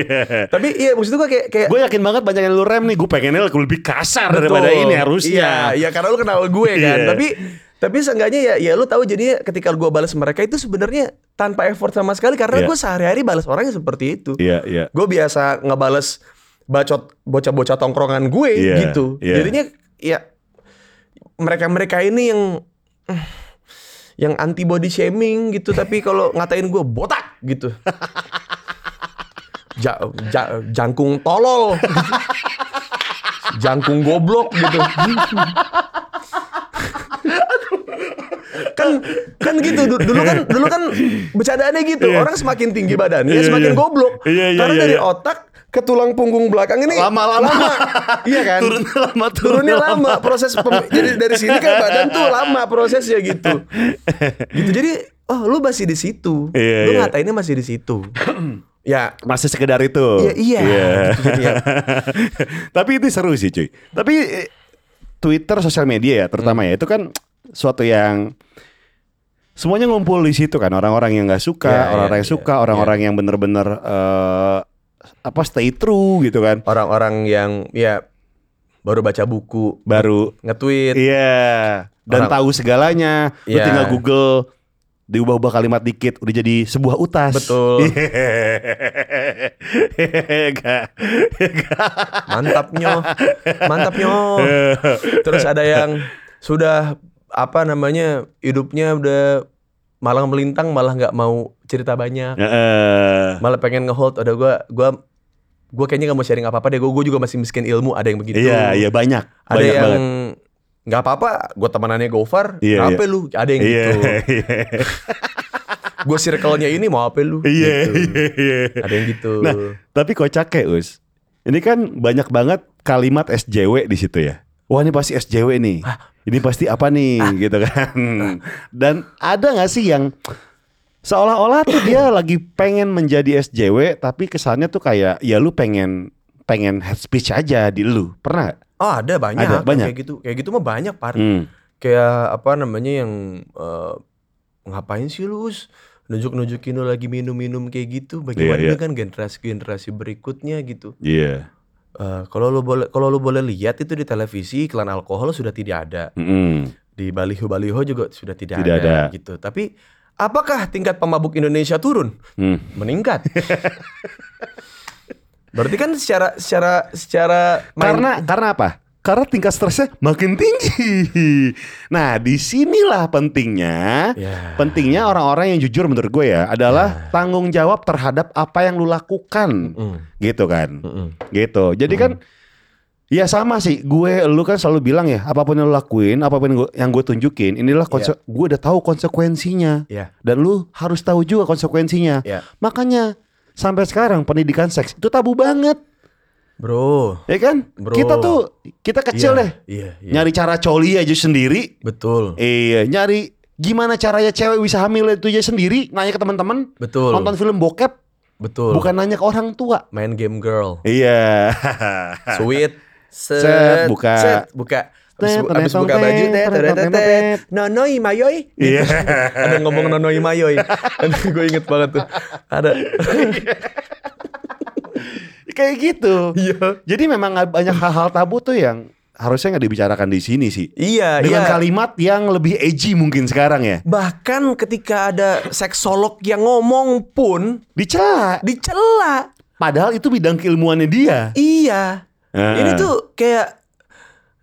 Tapi iya maksud gue kayak kayak gue yakin banget banyak yang lu rem nih. Gue pengennya lebih kasar Betul. daripada ini harusnya. Iya, iya karena lu kenal gue kan. Iya. Tapi tapi seenggaknya ya ya lu tahu jadinya ketika gue balas mereka itu sebenarnya tanpa effort sama sekali karena Iya. gue sehari-hari balas orangnya seperti itu. Iya, iya. Gue biasa ngebales bacot bocah-bocah tongkrongan gue Iya, gitu. iya. Jadinya ya mereka-mereka ini yang yang anti body shaming gitu tapi kalau ngatain gue botak gitu. Ja- ja- jangkung tolol. jangkung goblok gitu. kan kan gitu Du- dulu kan dulu kan bercandaannya gitu orang semakin tinggi badannya Iya, semakin iya. goblok Iya, iya, karena iya, dari iya. otak ke tulang punggung belakang ini Lama-lama. iya kan Turunnya lama, turunnya turunnya lama proses pem- jadi dari sini ke badan tuh lama prosesnya gitu gitu jadi oh lu masih di situ Iya, lu iya. ngatainnya masih di situ ya Masih sekedar itu. Iya, iya. Gitu, gitu ya. Tapi itu seru sih cuy. Tapi eh, Twitter, sosial media ya terutama ya Hmm. itu kan suatu yang semuanya ngumpul di situ kan orang-orang yang nggak suka, Iya, orang-orang iya, yang suka, iya, orang-orang yang bener-bener eh, apa stay true gitu kan. orang-orang yang ya baru baca buku Baru nge-tweet iya dan Orang- tahu segalanya. Lu Iya. tinggal Google diubah-ubah kalimat dikit udah jadi sebuah utas. Iya. Betul. Gak- gak- mantapnya mantapnya terus ada yang sudah apa namanya hidupnya udah malang melintang malah nggak mau cerita banyak Heeh. malah pengen ngehold ada gua gua gua kayaknya nggak mau sharing apa apa deh gua, gua juga masih miskin ilmu ada yang begitu Iya, iya banyak. ada banyak yang banget. nggak apa-apa gua temenannya Gofar Iya, apa lu ada yang Iya, gitu iya. gua circle-nya ini mau apa lu Iya, Gitu. iya, iya. ada yang gitu Nah, tapi kocak ya, Us. Ini kan banyak banget kalimat SJW di situ ya. Wah, ini pasti SJW nih. Ini pasti apa nih gitu kan. Dan ada nggak sih yang seolah-olah tuh dia lagi pengen menjadi SJW tapi kesannya tuh kayak ya lu pengen pengen head speech aja di lu. Pernah? nggak? oh ada banyak Ada, banyak. kayak gitu kayak gitu mah banyak par Hmm. kayak apa namanya yang eh, ngapain sih lu us nunjuk-nunjukin lu lagi minum-minum kayak gitu bagaimana Iya, iya. dengan generasi-generasi berikutnya gitu Iya. Eh, kalau lu boleh kalau lu boleh lihat itu di televisi iklan alkohol sudah tidak ada. Mm-mm. Di baliho-baliho juga sudah tidak, Tidak ada, ada. gitu. Tapi apakah tingkat pemabuk Indonesia turun? Hmm. Meningkat. Berarti kan secara secara secara main- Karena karena apa? Karena tingkat stresnya makin tinggi. Nah, disinilah pentingnya. Ya. Pentingnya orang-orang yang jujur menurut gue ya adalah tanggung jawab terhadap apa yang lu lakukan, Mm, gitu kan? mm-mm. Gitu. Jadi kan, ya sama sih. Gue, lu kan selalu bilang ya, apapun yang lu lakuin, apapun yang gue, yang gue tunjukin, inilah konse- gue udah tahu konsekuensinya, Ya. dan lu harus tahu juga konsekuensinya. Ya. Makanya sampai sekarang pendidikan seks itu tabu banget. Bro. Ya kan? Bro. Kita tuh kita kecil Iya, deh. Iya, iya. Nyari cara coli aja sendiri. Betul. Iya, nyari gimana caranya cewek bisa hamil itu aja sendiri, nanya ke teman-teman. Betul. Nonton film bokep, Betul. bukan nanya ke orang tua. main game girl. Iya. Sweet. Set, buka. Set, buka. Abis, Tet, bu- abis tet, buka tet, baju tet, tet, tet, tet, tet, tet. tet. Nonoi mayoi. Iya. Ada yang ngomong nonoi mayoi. Gue inget banget tuh. Ada. Kayak gitu. Iya. Jadi memang nggak banyak hal-hal tabu tuh yang harusnya nggak dibicarakan di sini sih. Iya, Dengan iya. kalimat yang lebih edgy mungkin sekarang ya. Bahkan ketika ada seksolog yang ngomong pun Dicela. dicela. Padahal itu bidang keilmuannya dia. Iya. Ah. Ini tuh kayak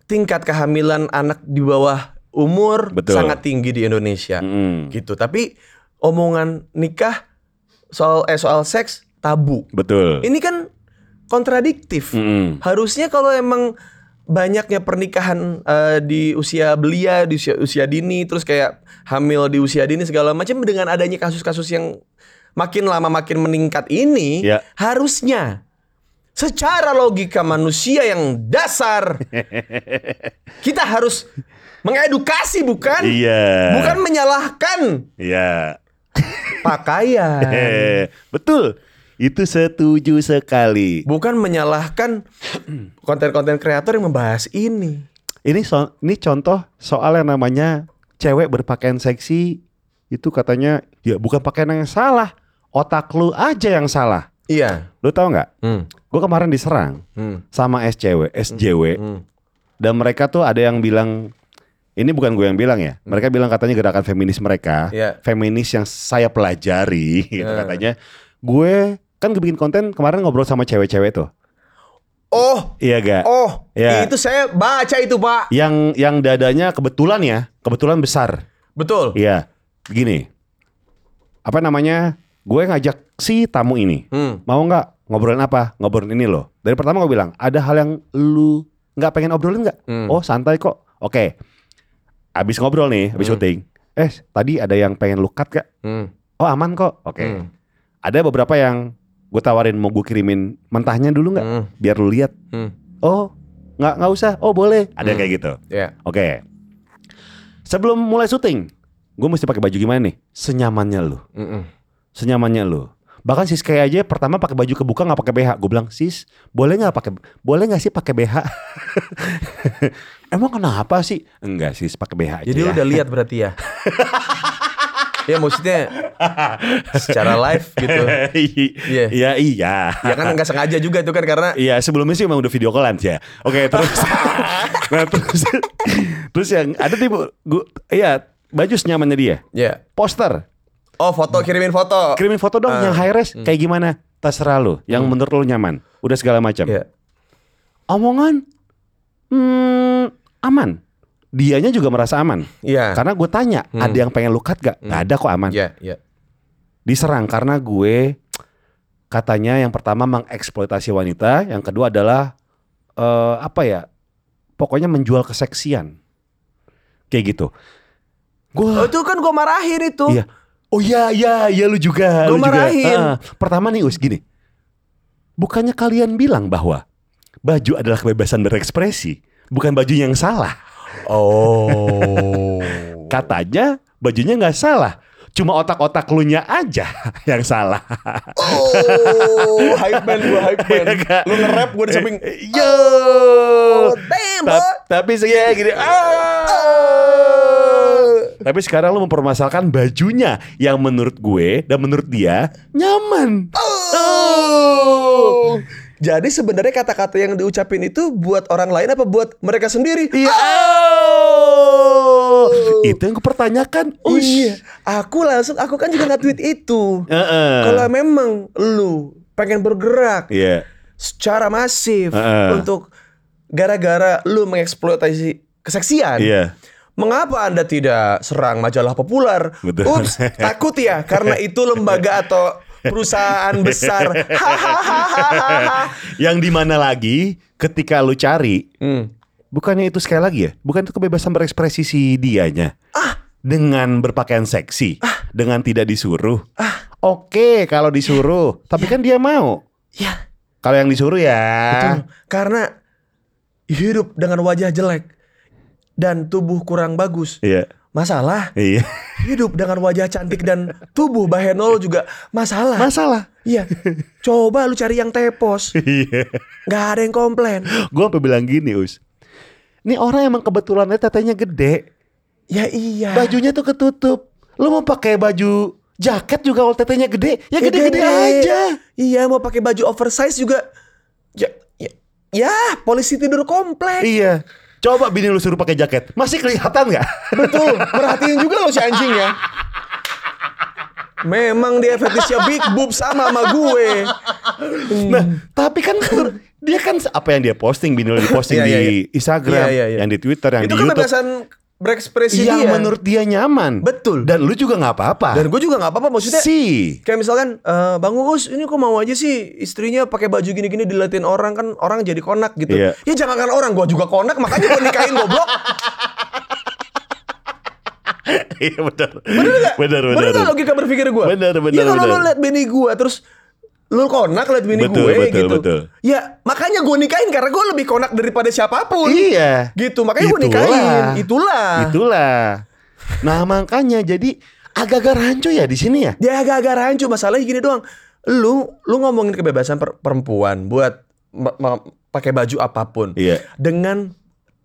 tingkat kehamilan anak di bawah umur Betul. sangat tinggi di Indonesia. Mm, Gitu. Tapi omongan nikah soal eh soal seks tabu. betul. Ini kan kontradiktif. Mm. Harusnya kalau emang banyaknya pernikahan eh, di usia belia, di usia, usia dini, terus kayak hamil di usia dini segala macam dengan adanya kasus-kasus yang makin lama makin meningkat ini, Ya. harusnya secara logika manusia yang dasar kita harus mengedukasi bukan Iya. bukan menyalahkan Iya. pakaian Eh, betul. Itu setuju sekali. bukan menyalahkan konten-konten kreator yang membahas ini. Ini so- ini contoh soal yang namanya cewek berpakaian seksi itu katanya ya bukan pakaian yang salah, otak lu aja yang salah. Iya. Lu tahu nggak? Hmm. Gue kemarin diserang Hmm. sama SCW, SJW Hmm. dan mereka tuh ada yang bilang ini bukan gue yang bilang ya. Hmm. Mereka bilang katanya gerakan feminis mereka, Iya. feminis yang saya pelajari gitu Ya. katanya. Gue kan bikin konten kemarin ngobrol sama cewek-cewek tuh. Oh, Iya gak? oh, Ya. itu saya baca itu pak. yang yang dadanya kebetulan ya, kebetulan besar. Betul. Iya. Begini. Apa namanya? Gue ngajak si tamu ini. Hmm. Mau nggak ngobrolin apa? Ngobrolin ini loh. Dari pertama gue bilang, ada hal yang lu nggak pengen obrolin nggak? Hmm. Oh santai kok. Oke. Abis ngobrol nih, abis syuting. Eh tadi ada yang pengen lu cut gak? Hmm. Oh aman kok. Oke. Hmm. Ada beberapa yang gue tawarin mau gue kirimin mentahnya dulu nggak? Hmm. Biar lu lihat. Hmm. Oh nggak nggak usah. Oh boleh. Ada yang Hmm. kayak gitu. Ya. Oke. Sebelum mulai syuting, gue mesti pakai baju gimana nih? Senyamannya lu, Mm-mm. senyamannya lu. Bahkan sis kayak aja pertama pakai baju kebuka nggak pakai BH. Gue bilang sis, boleh nggak pakai, boleh nggak sih pakai BH? Emang kenapa sih? Enggak sis pakai BH aja. Jadi ya. lu udah lihat berarti ya. ya maksudnya secara live gitu. Iya. Iya iya. Ya kan nggak sengaja juga itu kan karena Iya sebelumnya sih emang udah video callan sih ya. Oke terus, nah, terus, terus yang ada tipe, gue, iya baju senyamannya dia. ya. Poster, Oh foto kirimin foto. kirimin foto dong yang high res kayak gimana terserah lu yang menurut lu nyaman udah segala macam Ya. omongan hmm, aman dianya juga merasa aman Iya. karena gue tanya ada yang pengen lu cut gak Nggak ada kok aman Iya. Iya. diserang karena gue katanya yang pertama mengeksploitasi wanita yang kedua adalah eh, apa ya pokoknya menjual keseksian kayak gitu gue Oh itu kan gue marahin itu. Iya. Oh iya iya iya lu juga. Gua lu juga. marahin. Ah, pertama nih Us gini. Bukannya kalian bilang bahwa baju adalah kebebasan berekspresi, bukan baju yang salah. Oh. Kan. Katanya bajunya nggak salah. Cuma otak-otak lu nya aja yang salah. oh. Hype man gue hype man. Iya Lu nge-rap gue di samping. kan? Eh, Yo. Oh, damn, Ta- boy. tapi se- ya gini. Eh. "Ah." Tapi sekarang lu mempermasalahkan bajunya yang menurut gue dan menurut dia nyaman. Oh. Jadi sebenarnya kata-kata yang diucapin itu buat orang lain apa buat mereka sendiri? Iya. Oh. Itu yang kupertanyakan. Oh Ush. iya, aku langsung aku kan juga nge-tweet itu. Heeh. Kalau memang lu pengen bergerak Iya. secara masif Heeh. untuk gara-gara lu mengeksploitasi keseksian. Iya. Mengapa Anda tidak serang majalah populer? Betul. Ups, takut ya karena itu lembaga atau perusahaan besar. Hahaha. Yang dimana lagi ketika lu cari Hmm. Bukannya itu sekali lagi ya? Bukan itu kebebasan berekspresi si dianya. Ah, dengan berpakaian seksi, Ah. dengan tidak disuruh. Ah, oke kalau disuruh, tapi Iya. kan dia mau. Ya, Kalau yang disuruh ya. betul. Karena hidup dengan wajah jelek dan tubuh kurang bagus. Iya. Masalah Iya. hidup dengan wajah cantik dan tubuh bahenol juga masalah. Masalah. Iya. Coba lu cari yang tepos. Iya. Nggak ada yang komplain. Gue sampai bilang gini, Us. Ini orang emang kebetulannya tetenya gede, Ya iya. bajunya tuh ketutup. Lu mau pakai baju jaket juga kalau tetenya gede, ya gede-gede aja. Iya mau pakai baju oversize juga. Ya, ya, ya, polisi tidur kompleks. Iya. Coba bini lu suruh pakai jaket, masih kelihatan nggak? Betul. Perhatiin juga lo si anjing ya. Memang dia fetisnya big boob sama sama gue. Hmm. Nah, tapi kan dia kan apa yang dia posting, bini lu diposting Iya, di iya, Instagram, Iya, iya, iya. yang di Twitter, yang Itu kan di YouTube, kebebasan berekspresi yang dia. menurut dia nyaman. Betul. Dan lu juga nggak apa-apa. Dan gue juga nggak apa-apa maksudnya. si Kayak misalkan eh, Bang Uus ini kok mau aja sih istrinya pakai baju gini-gini dilatin orang kan orang jadi konak gitu. Iya. Ya jangan kan orang gua juga konak makanya gua nikahin goblok. Iya benar. Bener gak? Benar, Bener benar. gak logika berpikir gua? Bener, bener, Ya kalau bener. lu liat bini gua terus lu konak liat bini Betul, gue betul, gitu. betul. Ya makanya gua nikahin karena gua lebih konak daripada siapapun. Iya. Gitu makanya gua nikahin. Itulah. Itulah. Nah, makanya jadi agak-agak rancu ya di sini ya. Dia agak-agak rancu masalahnya gini doang. Lu lu ngomongin kebebasan per- perempuan buat me- me- pakai baju apapun. Iya. Dengan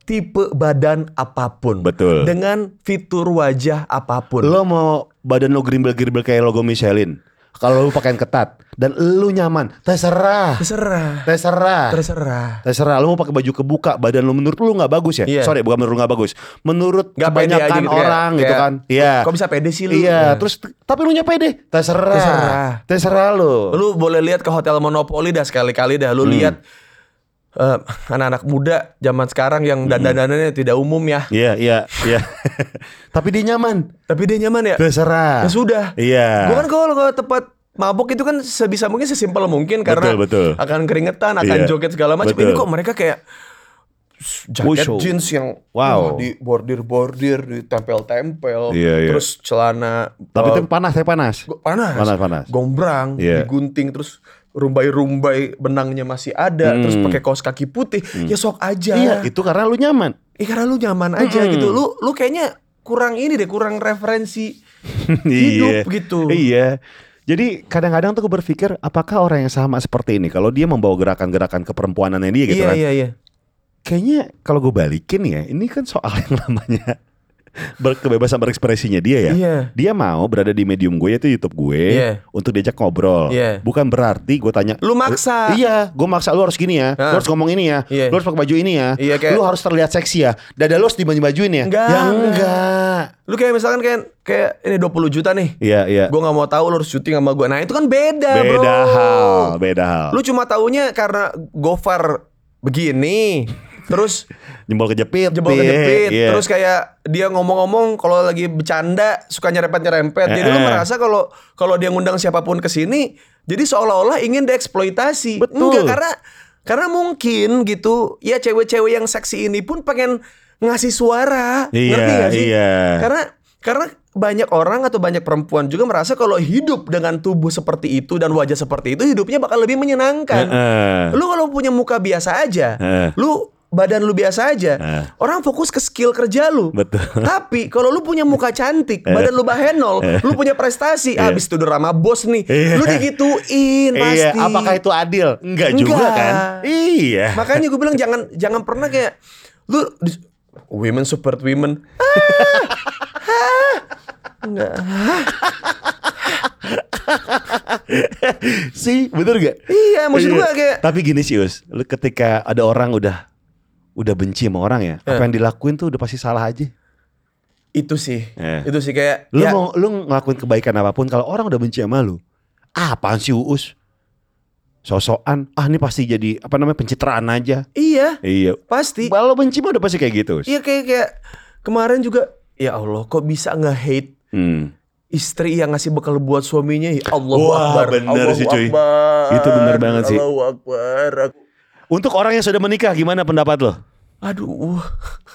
tipe badan apapun. Betul. Dengan fitur wajah apapun. Lo mau badan lo gerimbel-gerimbel kayak logo Michelin. Kalau lu pakaian ketat dan lu nyaman, terserah. terserah. Terserah. Terserah. Terserah lu mau pakai baju kebuka badan lu menurut lu nggak bagus ya? Iya. Sorry bukan menurut lu nggak bagus. Menurut Nggak pede aja kebanyakan gitu, kayak- orang gitu kayak, kan. Iya. "Kok bisa pede sih lu?" Iya, Nah. terus t- tapi lu nyampe deh. Terserah. Terserah. Terserah lu. Lu boleh lihat ke hotel monopoli dah sekali-kali dah Hmm. lu lihat eh, anak-anak muda zaman sekarang yang Hmm. dandanannya tidak umum ya. Iya, iya, iya. tapi dia nyaman. Tapi dia nyaman ya. Ya Terserah. sudah. Iya. Gue kan kalau ke tempat mabok itu kan sebisa mungkin sesimpel mungkin karena Betul, betul. akan keringetan, akan Iya. joget segala macam. Betul. Ini kok mereka kayak s- jaket Wushu. jeans yang Wow. wah, di bordir-bordir, ditempel-tempel, Iya, iya. terus celana Tapi eh, itu panas, saya panas. go- panas, Panas, panas. gombrang, Iya. digunting terus rumbai-rumbai benangnya masih ada, terus pakai kaos kaki putih, ya sok aja. Hmm. Iya, Hmm. itu karena lu nyaman. Ih, karena lu nyaman aja gitu. Lu lu kayaknya kurang ini deh, kurang referensi Iya. hidup gitu. Iya. Jadi kadang-kadang tuh gue berpikir apakah orang yang sama seperti ini kalau dia membawa gerakan-gerakan keperempuanannya dia gitu iya, kan. iya, iya. kayaknya kalau gue balikin ya ini kan soal yang namanya berkebebasan berekspresinya dia ya. Iya. Dia mau berada di medium gue yaitu YouTube gue Iya. untuk diajak ngobrol. Iya. Bukan berarti gue tanya Lu maksa. Iya, gue maksa lu harus gini ya. Hah. Lu harus ngomong ini ya. Iya. Lu harus pakai baju ini ya. Iya, kayak- Lu harus terlihat seksi ya. Dada lu harus dibanyu-bajuin ya. Enggak, Ya enggak. enggak. Lu kayak misalkan kayak kayak ini 20 juta nih. Iya, iya. Gua nggak mau tahu lu harus syuting sama gua. Nah, itu kan beda, bro. Beda hal, beda hal. Lu cuma taunya karena Gofar begini. Terus jempol kejepit. jebol iya, kejepit, iya. terus kayak dia ngomong-ngomong kalau lagi bercanda suka nyerempet-nyerempet. Jadi lu Eh, eh. merasa kalau kalau dia ngundang siapapun ke sini, jadi seolah-olah ingin dieksploitasi. Betul. Enggak karena karena mungkin gitu, ya cewek-cewek yang seksi ini pun pengen ngasih suara. Iya, Ngerti nggak sih? iya. Karena karena banyak orang atau banyak perempuan juga merasa kalau hidup dengan tubuh seperti itu dan wajah seperti itu hidupnya bakal lebih menyenangkan. Eh, Heeh. kan Lu kalau punya muka biasa aja, Heeh. lu badan lu biasa aja, Heeh. orang fokus ke skill kerja lu. Eh. Betul. Eh. Tapi kalau lu punya muka cantik, badan lu bahenol, lu punya prestasi, Iya. habis tidur sama bos nih, Iya. lu digituin Iya, pasti. apakah itu adil? Enggak, juga Enggak. kan? Iya. Makanya gue bilang jangan jangan pernah kayak lu dis- women support women. Ah, ah, enggak. ah. sih bener gak? Iya, maksud Iya. gue kayak Tapi gini sih Us, lu ketika ada orang udah udah benci sama orang ya, Eh. apa yang dilakuin tuh udah pasti salah aja. itu sih, Iya. itu sih kayak Lu ya, mau lu ngelakuin kebaikan apapun kalau orang udah benci sama lu, ah, apaan sih Uus? Sosokan, ah ini pasti jadi apa namanya pencitraan aja. iya Iya. pasti. Kalau benci mah udah pasti kayak gitu. Us. Iya kayak kayak kemarin juga ya Allah kok bisa nge-hate Hmm. istri yang ngasih bekal buat suaminya ya Allah Wah, bener sih, cuy. Itu bener banget sih. Allahu Akbar Aku- Untuk orang yang sudah menikah gimana pendapat lo? Aduh uh. wah.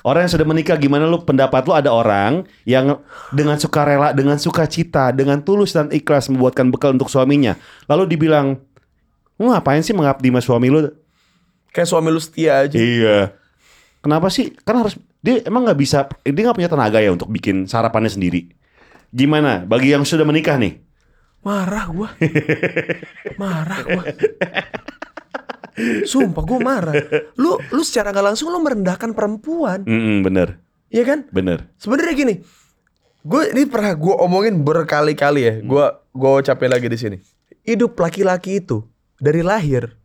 Orang yang sudah menikah gimana lu pendapat lu ada orang yang dengan sukarela, dengan sukacita, dengan tulus dan ikhlas membuatkan bekal untuk suaminya. Lalu dibilang, "Lu ngapain sih mengabdi sama suami lu?" Kayak suami lu setia aja Iya. Kenapa sih? Kan harus dia emang nggak bisa dia nggak punya tenaga ya untuk bikin sarapannya sendiri. Gimana bagi yang sudah menikah nih? Marah gua Marah gua Sumpah gua marah Lu lu secara nggak langsung lu merendahkan perempuan Mm-mm, bener, Iya kan bener. Sebenarnya gini, gue ini pernah gue omongin berkali-kali ya. Gue gue ucapin lagi di sini. Hidup laki-laki itu dari lahir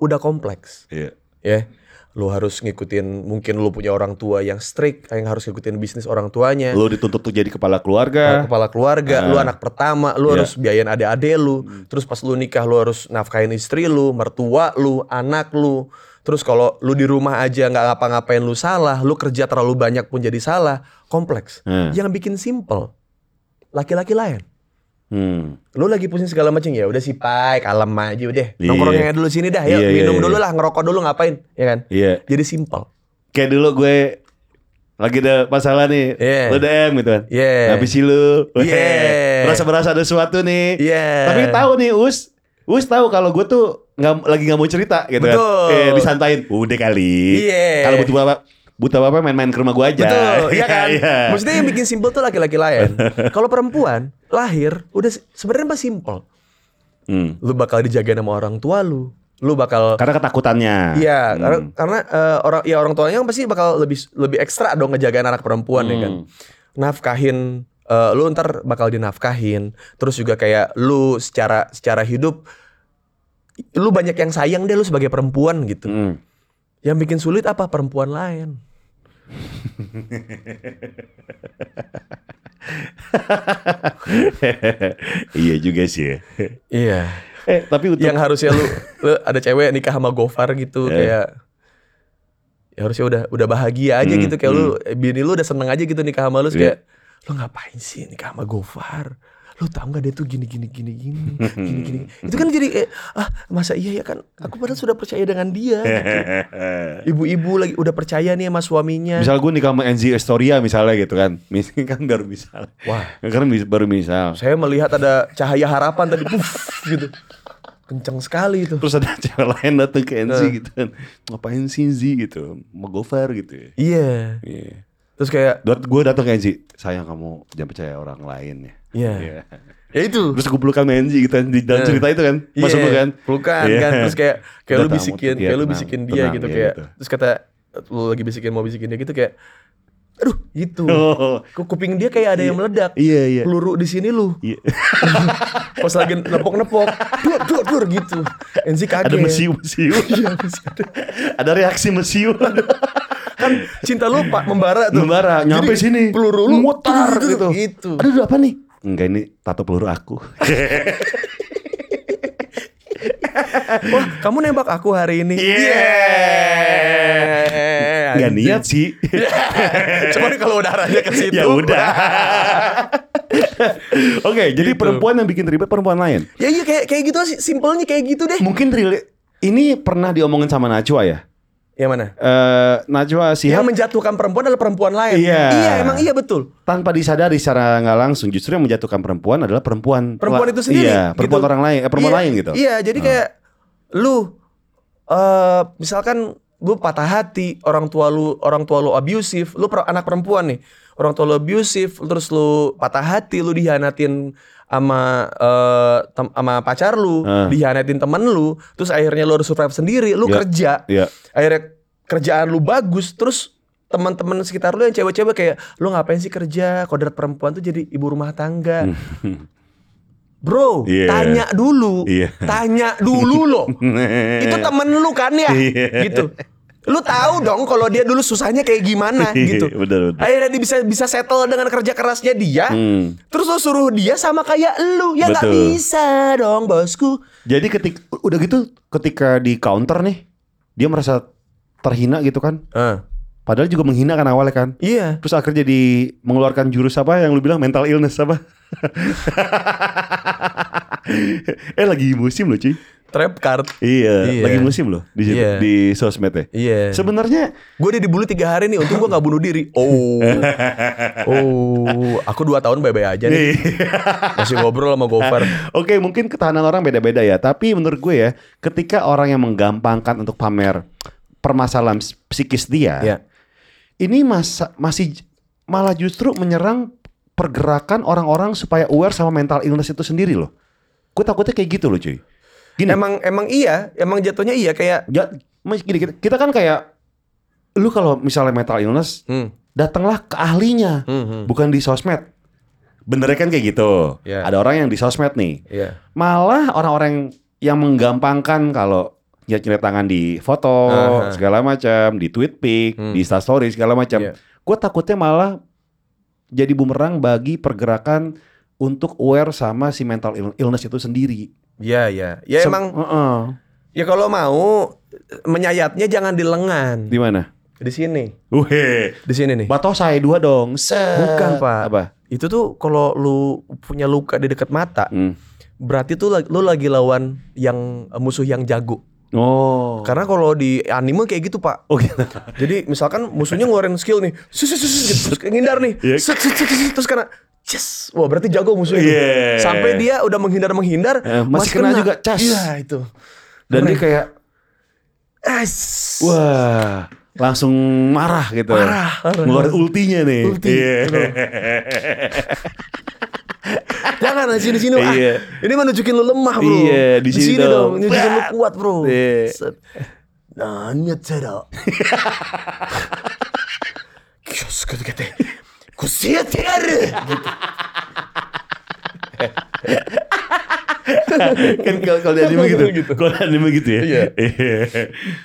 udah kompleks, Iya. ya. Lu harus ngikutin mungkin lu punya orang tua yang strict, yang harus ngikutin bisnis orang tuanya. Lu dituntut untuk jadi kepala keluarga. kepala keluarga, lu anak pertama, lu Iya. Hmm. harus biayain adik-adik lu. Terus pas lu nikah lu harus nafkahin istri lu, mertua lu, anak lu. Terus kalau lu di rumah aja nggak ngapa-ngapain lu salah, lu kerja terlalu banyak pun jadi salah, kompleks. Hmm. Yang bikin simple. Laki-laki lain. Hmm. Lu lagi pusing segala macam ya, udah sih pai, kalem aja udah. Iya. Nongkrongnya dulu sini dah, ya Iya, iya, minum iya. dulu lah, ngerokok dulu ngapain, ya kan? Iya. Jadi simple. kayak dulu gue lagi ada masalah nih, Iya. lu DM gitu kan. Iya. Habis lu. Iya. Berasa-berasa ada sesuatu nih. Iya. Tapi tahu nih Us, Us tahu kalau gue tuh nggak lagi nggak mau cerita gitu Betul. kan. Eh, disantain. Udah kali. Iya. Kalau butuh apa butuh apa main-main ke rumah gue aja. Betul, iya kan? Iya. Maksudnya yang bikin simpel tuh laki-laki lain. Kalau perempuan lahir udah se- sebenarnya mah simpel. Hmm. Lu bakal dijagain sama orang tua lu. Lu bakal Karena ketakutannya. Iya, Hmm. karena, karena, eh, orang ya orang tuanya kan pasti bakal lebih lebih ekstra dong ngejagain anak perempuan ya kan. Nafkahin eh, lu ntar bakal dinafkahin. Terus juga kayak lu secara secara hidup lu banyak yang sayang deh lu sebagai perempuan gitu. Hmm. Yang bikin sulit apa perempuan lain. iya juga sih. ya. Iya. eh tapi untuk yang harusnya lu, lu ada cewek nikah sama Gofar gitu Iya. kayak ya harusnya udah udah bahagia aja Hmm, gitu kayak lu bini lu udah seneng aja gitu nikah sama lu terus Iya. kayak lu ngapain sih nikah sama Gofar lu tau nggak dia tuh gini gini gini gini gini gini itu kan jadi kayak ah masa iya ya kan aku padahal sudah percaya dengan dia Iya. kan? ibu-ibu lagi udah percaya nih sama suaminya Misal gue nikah sama Enzi Astoria misalnya gitu kan. Misalnya kan baru misal. Wah. Kan mis- baru misal. saya melihat ada cahaya harapan tadi puff, gitu kenceng sekali itu Terus ada cewek lain datang ke Enzi gitu kan. Ngapain sih Enzi gitu. Mau gofar gitu ya. iya Iya. terus kayak Gue datang ke Enzi. Sayang kamu jangan percaya orang lain ya. Iya. ya itu Terus gue pelukan sama Enzi gitu kan. Di dalam Iya. cerita itu kan. Iya, Masuk gue kan. pelukan Iya. kan terus kayak kayak lu Udah tamu, bisikin iya, kayak lu tenang, bisikin dia tenang, gitu iya, kayak gitu. terus kata lu lagi bisikin mau bisikin dia gitu kayak aduh gitu Oh. Ke kuping dia kayak ada yang meledak Iya, iya. peluru di sini lu Iya. pas lagi nepok-nepok dur dur dur gitu Enzi kaget Ada mesiu-mesiu. Iya, mesiu. ada reaksi mesiu. kan cinta lu pak membara tuh Membara nyampe Jadi sini peluru lu mutar dur, dur, gitu. dur, gitu Aduh apa nih? Enggak ini tato peluru aku. wah kamu nembak aku hari ini Iya. Yeah. Enggak niat sih. Ya, cuman kalau udaranya ke situ ya udah. Oke, jadi Gitu. perempuan yang bikin ribet perempuan lain. Ya iya kayak kayak gitu sih, simpelnya kayak gitu deh. Mungkin rela- ini pernah diomongin sama Najwa ya. Yang mana? Eh Najwa Yang Sihab menjatuhkan perempuan adalah perempuan lain. Iya. Iya, emang iya betul. tanpa disadari secara nggak langsung justru yang menjatuhkan perempuan adalah perempuan. Perempuan La- itu sendiri. Iya, perempuan gitu. orang lain, eh, perempuan Iya, lain gitu. Iya, jadi kayak lu eh misalkan gue patah hati, orang tua lu orang tua lu abusive, lu per- anak perempuan nih. Orang tua lu abusive, terus lu patah hati, lu dihianatin sama eh, tem- sama pacar lu, Ah. dihianatin temen lu, terus akhirnya lu harus survive sendiri, lu Iya. kerja. Iya. akhirnya kerjaan lu bagus terus teman-teman sekitar lu yang cewek-cewek kayak lu ngapain sih kerja kodrat perempuan tuh jadi ibu rumah tangga Bro, Iya. tanya dulu. Iya. Tanya dulu loh. Itu temen lu kan ya? Iya. Gitu. Lu tahu dong kalau dia dulu susahnya kayak gimana Iya, gitu. bener, bener. Akhirnya dia bisa bisa settle dengan kerja kerasnya dia. Hmm. Terus lu suruh dia sama kayak lu. Ya nggak Betul. bisa dong, Bosku. Jadi ketik udah gitu ketika di counter nih dia merasa terhina gitu kan. Padahal juga menghina kan awalnya kan. Iya. Terus akhirnya jadi mengeluarkan jurus apa yang lu bilang mental illness apa? eh lagi musim loh cuy. Trap card. Iya, Iya. lagi musim loh di situ- Iya. di sosmed ya. Iya. Sebenarnya Gue udah dibully tiga hari nih, untung gue gak bunuh diri. Oh, oh, aku dua tahun bye-bye aja nih. Masih ngobrol sama Gofar. Oke, mungkin ketahanan orang beda-beda ya, tapi menurut gue ya, ketika orang yang menggampangkan untuk pamer permasalahan ps- psikis dia, Ya. ini masa, masih j- malah justru menyerang pergerakan orang-orang supaya aware sama mental illness itu sendiri loh. Gue takutnya kayak gitu loh, cuy. Gini, Emang emang iya, emang jatuhnya iya kayak ja- mas- Ya, gini, kita, kita kan kayak lu kalau misalnya mental illness, hmm, datanglah ke ahlinya, Hmm, hmm. bukan di sosmed. Benernya kan kayak gitu. Ya. Ada orang yang di sosmed nih. iya. malah orang-orang yang menggampangkan kalau nyeret-nyeret tangan di foto Aha. segala macam, di tweet pic, Hmm. di instastory segala macam. Iya. Gue takutnya malah jadi bumerang bagi pergerakan untuk aware sama si mental ill- illness itu sendiri. Iya, iya. Ya Se- emang Heeh. ya kalau mau menyayatnya jangan di lengan. di mana? Di sini. Uhe, Di sini nih. batosai dua dong. Set. Bukan, Pak. Apa? Itu tuh kalau lu punya luka di dekat mata, Hmm. berarti tuh la- lu lagi lawan yang musuh yang jago. Oh. Karena kalau di anime kayak gitu, Pak. Oh gitu. Jadi misalkan musuhnya ngeluarin skill nih, sus, sus, sus, sus, terus kayak ngindar nih, Iya. Sut, sut, sut, sut, terus kena, yes, wah berarti jago musuhnya. tuh. Iya. Sampai dia udah menghindar menghindar, Eh, masih kena juga, cas. Iya itu. Dan dia kayak As. Wah, langsung marah gitu. Marah, marah. Ngeluarin ultinya nih. Ulti, Iya. betul. Jangan di sini sini. Ah, Iya. Ini mah nunjukin lu lemah bro. Iya, di sini dong. Nunjukin lu Brat. kuat bro. Iya. Set. Nah, nyetera. Kios gitu gitu. Kusiete Gitu. kan kalau kalau di anime gitu. Gitu. Kalau di anime gitu ya. Iya. Iya.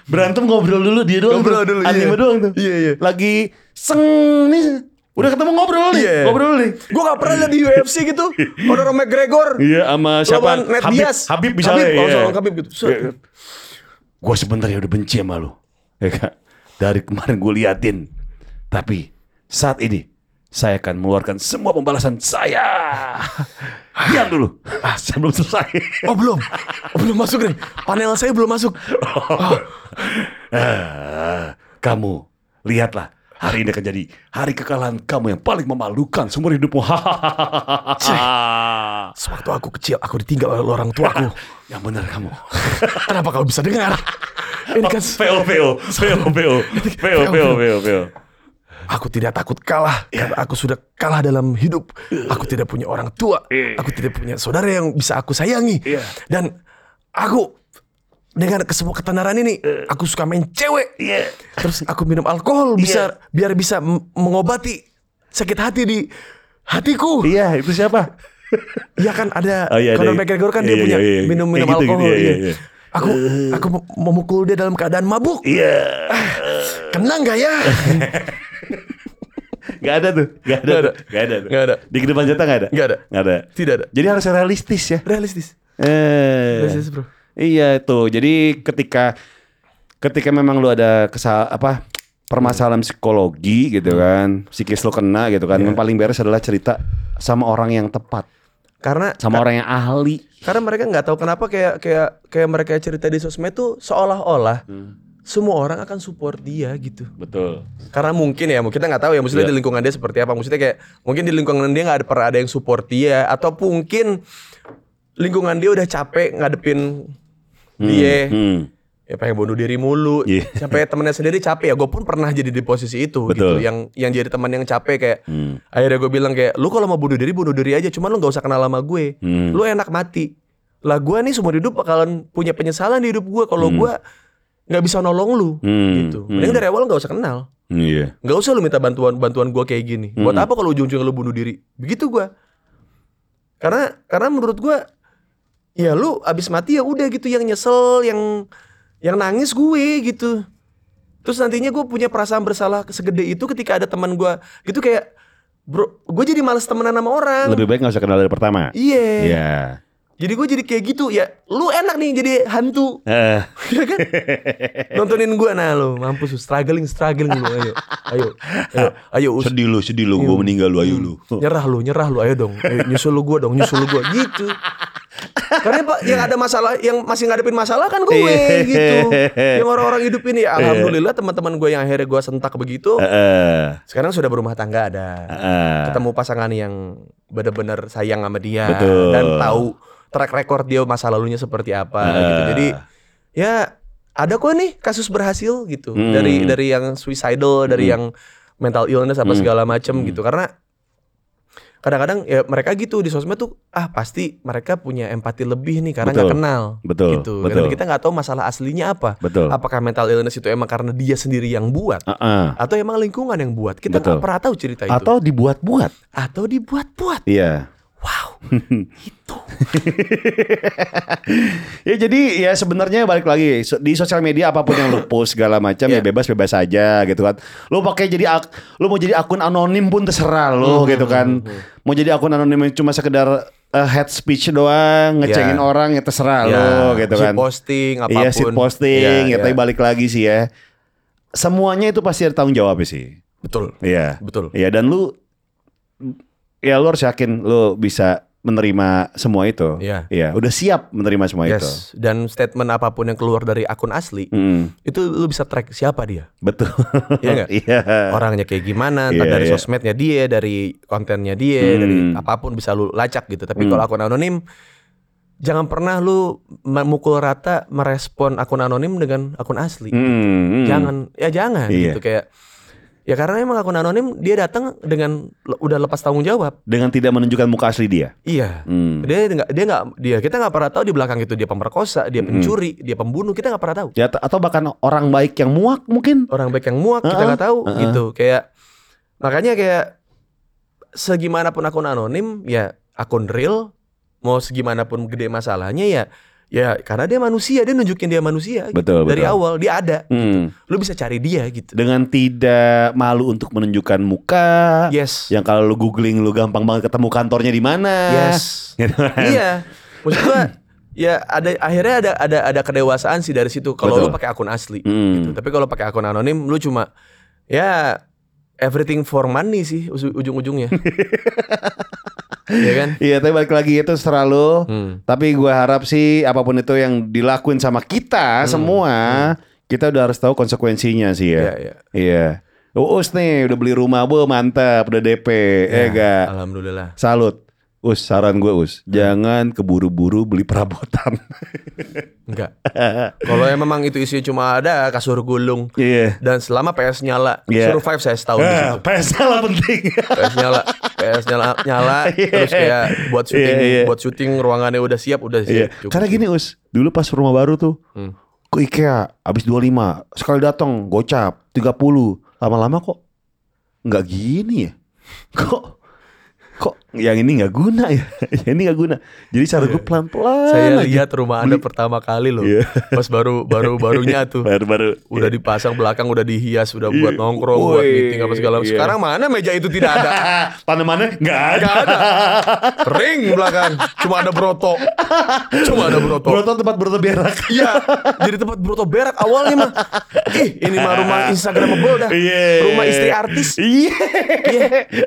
Berantem ngobrol dulu dia doang. Ngobrol tuh. dulu, Anime iya. doang tuh. Iya, iya. Lagi seng nih. Udah ketemu ngobrol nih. Iya. Ngobrol nih. Gue gak pernah liat di UFC gitu. Conor McGregor. Iya sama siapa? Lawan Nate Habib, Diaz. Habib misalnya. Habib, oh, iya. lawan Habib gitu. Set. Iya. Gua sebenarnya udah benci sama lu. Ya Kak. Dari kemarin gue liatin. Tapi saat ini saya akan mengeluarkan semua pembalasan saya. Diam dulu. Ah, saya belum selesai. Oh belum, oh, belum masuk nih. Panel saya belum masuk. Ah, kamu lihatlah hari ini akan jadi hari kekalahan kamu yang paling memalukan seumur hidupmu. Hahaha. Sewaktu aku kecil, aku ditinggal oleh orang tuaku. yang benar kamu. Kenapa kau bisa dengar? Ini kan PO PO PO PO PO PO PO PO. aku tidak takut kalah. Iya. Karena aku sudah kalah dalam hidup. Aku tidak punya orang tua. Iya. Aku tidak punya saudara yang bisa aku sayangi. Dan aku dengan kesemua ketenaran ini, aku suka main cewek. Iya. Terus aku minum alkohol bisa biar bisa m- mengobati sakit hati di hatiku. Iya, itu siapa? Iya kan ada Oh, iya, Conor ada- McGregor kan iya, dia iya, punya iya, iya. minum minum Kayak gitu, alkohol. gitu, iya, iya. iya, iya. Aku aku mem- memukul dia dalam keadaan mabuk. Iya. Kena nggak ya? Gak ada tuh, Nggak gak ada, ada. tuh. Nggak ada, tuh. Nggak ada. Di kehidupan nyata gak ada, Nggak ada. Nggak ada. Tidak ada. Jadi harus realistis ya. Realistis. Eh. Realistis bro. Iya tuh. Jadi ketika ketika memang lu ada kesal apa permasalahan psikologi gitu kan, psikis lu kena gitu kan. Yang paling beres adalah cerita sama orang yang tepat, Karena sama orang yang ahli. karena mereka nggak tahu kenapa kayak kayak kayak mereka cerita di sosmed tuh seolah-olah Hmm. semua orang akan support dia gitu. Betul. Karena mungkin ya, mungkin kita nggak tahu ya, maksudnya Iya. di lingkungan dia seperti apa. Maksudnya kayak mungkin di lingkungan dia nggak ada pernah ada yang support dia, atau mungkin lingkungan dia udah capek ngadepin dia. Hmm. Ya pengen bunuh diri mulu. Iya. Sampai temennya sendiri capek ya. Gue pun pernah jadi di posisi itu gitu. Betul. Yang yang jadi teman yang capek kayak. Hmm. Akhirnya gue bilang kayak, lu kalau mau bunuh diri bunuh diri aja. Cuman lu nggak usah kenal sama gue. Hmm. Lu enak mati. Lah gue nih seumur hidup bakalan punya penyesalan di hidup gue kalau gue nggak bisa nolong lu Hmm. gitu. Mending dari awal nggak usah kenal. Iya. Nggak usah lu minta bantuan bantuan gue kayak gini. Buat apa kalau ujung-ujungnya lu bunuh diri? Begitu gue. Karena karena menurut gua ya lu abis mati ya udah gitu yang nyesel, yang yang nangis gue gitu. Terus nantinya gue punya perasaan bersalah segede itu ketika ada teman gua gitu kayak bro, gue jadi males temenan sama orang. Lebih baik nggak usah kenal dari pertama. Iya. Iya. Jadi gue jadi kayak gitu ya. Lu enak nih jadi hantu. Eh, Iya kan? Nontonin gua nah lu, mampus lu struggling struggling lu ayo. Ayo. Ayo, ayo us. sedih lu, sedih lu, Iya. gue meninggal lu, Hmm. ayo lu. Nyerah lu, nyerah lu, ayo dong. Ayo, nyusul lu gua dong, nyusul lu gua gitu. Karena Pak, yang ada masalah, yang masih ngadepin masalah kan gue gitu. Yang orang-orang hidup ini, ya, alhamdulillah teman-teman gue yang akhirnya gua sentak begitu, Eh, sekarang sudah berumah tangga ada. eh, Ketemu pasangan yang bener-bener sayang sama dia Betul. dan tahu track record dia masa lalunya seperti apa Ah. gitu. Jadi ya ada kok nih kasus berhasil gitu Hmm. dari dari yang suicidal, dari Hmm. yang mental illness apa Hmm. segala macem Hmm. gitu. Karena kadang-kadang ya mereka gitu di sosmed tuh ah pasti mereka punya empati lebih nih karena nggak Betul. kenal betul, gitu. betul, Karena kita nggak tahu masalah aslinya apa. betul. Apakah mental illness itu emang karena dia sendiri yang buat Eh, eh. atau emang lingkungan yang buat? Kita nggak Betul. pernah tahu cerita itu. Atau dibuat-buat. atau dibuat-buat. Iya. Wow, itu. Ya jadi ya sebenarnya balik lagi so- di sosial media apapun yang lu post segala macam ya Iya. bebas bebas aja gitu kan. Lu pakai jadi ak lu mau jadi akun anonim pun terserah Hmm. lu gitu kan. Mau jadi akun anonim yang cuma sekedar eh, head speech doang, ngecengin Iya. orang ya terserah lu gitu Ya. kan. posting apapun. Iya shit Iya, posting ya, iya. tapi balik lagi sih ya. Semuanya itu pasti ada tanggung jawab sih. Betul. Iya. Betul. Iya dan lu ya lu harus yakin lu bisa menerima semua itu. Iya. udah siap menerima semua itu. Yes. Dan statement apapun yang keluar dari akun asli Mm, itu lu bisa track siapa dia. betul. Iya nggak? Iya. Orangnya kayak gimana, entah Iya, dari iya. sosmednya dia, dari kontennya dia, Hmm. dari apapun bisa lu lacak gitu. Tapi Hmm. kalau akun anonim jangan pernah lu memukul rata merespon akun anonim dengan akun asli. Mm, mm. jangan ya jangan Iya. gitu kayak ya karena emang akun anonim dia datang dengan le- udah lepas tanggung jawab dengan tidak menunjukkan muka asli dia. iya Mm. dia nggak dia nggak dia kita nggak pernah tahu di belakang itu dia pemerkosa dia Hmm. pencuri dia pembunuh kita nggak pernah tahu Ya, t- atau bahkan orang baik yang muak mungkin. orang baik yang muak kita Heeh, nggak tahu heeh. gitu kayak makanya kayak segimanapun akun anonim ya akun real mau segimanapun gede masalahnya ya ya karena dia manusia dia nunjukin dia manusia gitu. Betul, dari betul. awal dia ada Mm. lu bisa cari dia gitu Dengan tidak malu untuk menunjukkan muka. yes Yang kalau lu googling lu gampang banget ketemu kantornya di mana. Yes. Gitu kan? Iya. Maksud gua ya ada akhirnya ada ada ada kedewasaan sih dari situ kalau Betul. lu pakai akun asli Mm. gitu. Tapi kalau pakai akun anonim lu cuma ya everything for money sih usu- ujung-ujungnya. Iya kan? Iya, tapi balik lagi itu selalu. Hmm. Tapi gue harap sih apapun itu yang dilakuin sama kita Hmm. semua, kita udah harus tahu konsekuensinya sih ya. Iya, iya. Iya. Uus nih udah beli rumah, bu mantap, udah DP, Iya. eh gak. Alhamdulillah. Salut. Us, saran gue Us, jangan keburu-buru beli perabotan. Enggak. Kalau yang memang itu isinya cuma ada kasur gulung Iya. dan selama PS nyala, Iya. survive saya setahun di situ. Ah, PS lah penting. PS nyala, PS nyala, nyala, terus kayak buat syuting, Iya, iya. buat syuting ruangannya udah siap, udah Iya. siap. Cukup. Hmm. Karena gini Us, dulu pas rumah baru tuh ke IKEA habis 25, sekali datang gocap 30. Lama-lama kok nggak gini ya? Kok kok yang ini nggak guna ya? yang ini nggak guna. Jadi cara gue pelan-pelan Iya. saya aja. lihat rumah anda pertama kali loh, gitu. Iya. pas baru baru barunya tuh, baru-baru udah dipasang belakang, udah dihias, udah buat Iya. nongkrong, buat Woi, meeting apa segala. macam. iya. Sekarang mana meja itu tidak ada, tanamannya nggak ada. nggak ada, kering belakang, cuma ada broto, cuma ada broto. Broto tempat broto berak. Iya, jadi tempat broto berak awalnya mah. Ih, ini mah rumah instagramable dah. Iya. Rumah istri artis. Iya.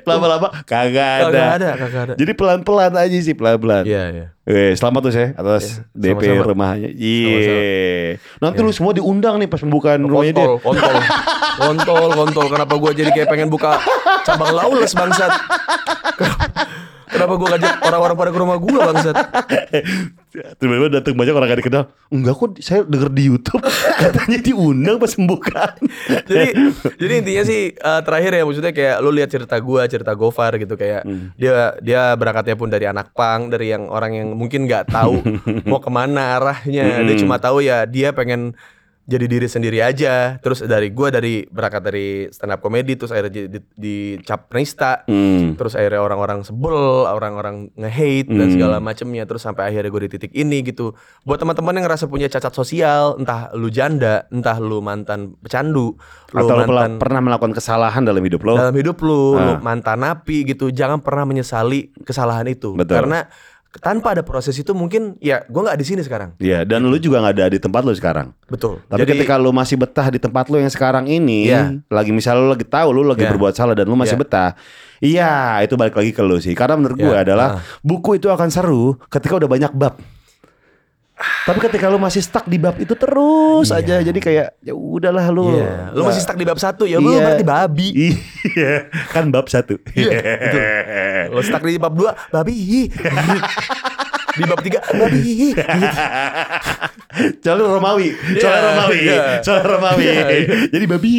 Lama-lama kagak ada. Kagak ada, kagak ada. Jadi pelan-pelan aja sih pelan-pelan. Iya, iya. Eh, selamat tuh saya atas Iya, DP sama-sama. rumahnya. Iya. Nanti lu semua diundang nih pas pembukaan rumahnya dia. kontol, kontol, kontol, kontol. Kenapa gua jadi kayak pengen buka cabang laules bangsat? Kenapa- Kenapa gua ngajak orang-orang pada ke rumah gua bangsat? Tiba-tiba datang banyak orang gak dikenal. Enggak kok, saya denger di YouTube katanya diundang pas pembukaan. Jadi, jadi intinya sih eh, terakhir ya maksudnya kayak lu lihat cerita gua, cerita Gofar gitu kayak dia dia berangkatnya pun dari anak pang, dari yang orang yang mungkin nggak tahu mau kemana arahnya. Dia cuma tahu ya dia pengen jadi diri sendiri aja. Terus dari gua dari berangkat dari stand up comedy terus akhirnya di, di, dicap penista. Hmm. Terus akhirnya orang-orang sebel, orang-orang nge-hate dan Hmm. segala macemnya. Terus sampai akhirnya gue di titik ini gitu. Buat teman-teman yang ngerasa punya cacat sosial, entah lu janda, entah lu mantan pecandu, lu Atau mantan Eh, lo pela- pernah melakukan kesalahan dalam hidup lo? dalam hidup lu, lu Ah. mantan napi gitu, jangan pernah menyesali kesalahan itu. Betul. Karena tanpa ada proses itu mungkin ya gue nggak di sini sekarang. Iya, dan lu juga nggak ada di tempat lu sekarang. Betul. Tapi ketika lu masih betah di tempat lu yang sekarang ini, Iya. lagi misalnya lu lagi tahu lu lagi Iya. berbuat salah dan lu masih Iya. betah, iya itu balik lagi ke lu sih. Karena menurut Iya, gua adalah ah. buku itu akan seru ketika udah banyak bab. Tapi ketika lu masih stuck di bab itu terus Iya. aja, jadi kayak ya udahlah lu. Iya. Lu masih stuck di bab satu ya, lu Iya. berarti babi. Iya, kan bab satu. Iya, betul. Lu stuck di bab dua, babi. di bab tiga, babi. Soalnya Romawi, soalnya Iya, Romawi, iya. soalnya Romawi. Iya, iya. Jadi babi.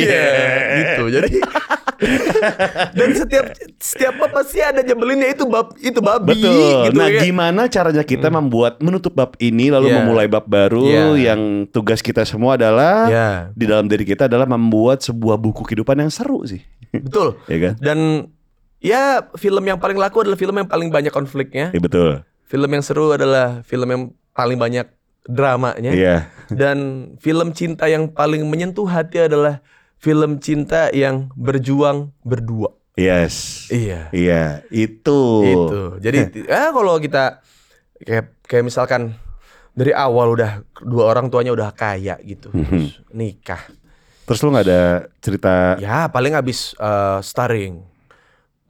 Iya, gitu. Jadi dan setiap setiap bab pasti ada nyebelinnya itu bab itu babi gitu Betul. nah, ya. Hmm. gimana caranya kita membuat menutup bab ini lalu Iya. memulai bab baru Iya. yang tugas kita semua adalah Iya. di dalam diri kita adalah membuat sebuah buku kehidupan yang seru sih. Betul. Iya kan? Dan ya film yang paling laku adalah film yang paling banyak konfliknya. Iya betul. Film yang seru adalah film yang paling banyak dramanya. Iya. Dan film cinta yang paling menyentuh hati adalah film cinta yang berjuang berdua. Yes. Iya. Iya, itu. Itu. Jadi eh kalau kita kayak kayak misalkan dari awal udah dua orang tuanya udah kaya gitu. Mhm. Terus nikah. Terus lu nggak ada cerita Ya paling habis eh, starring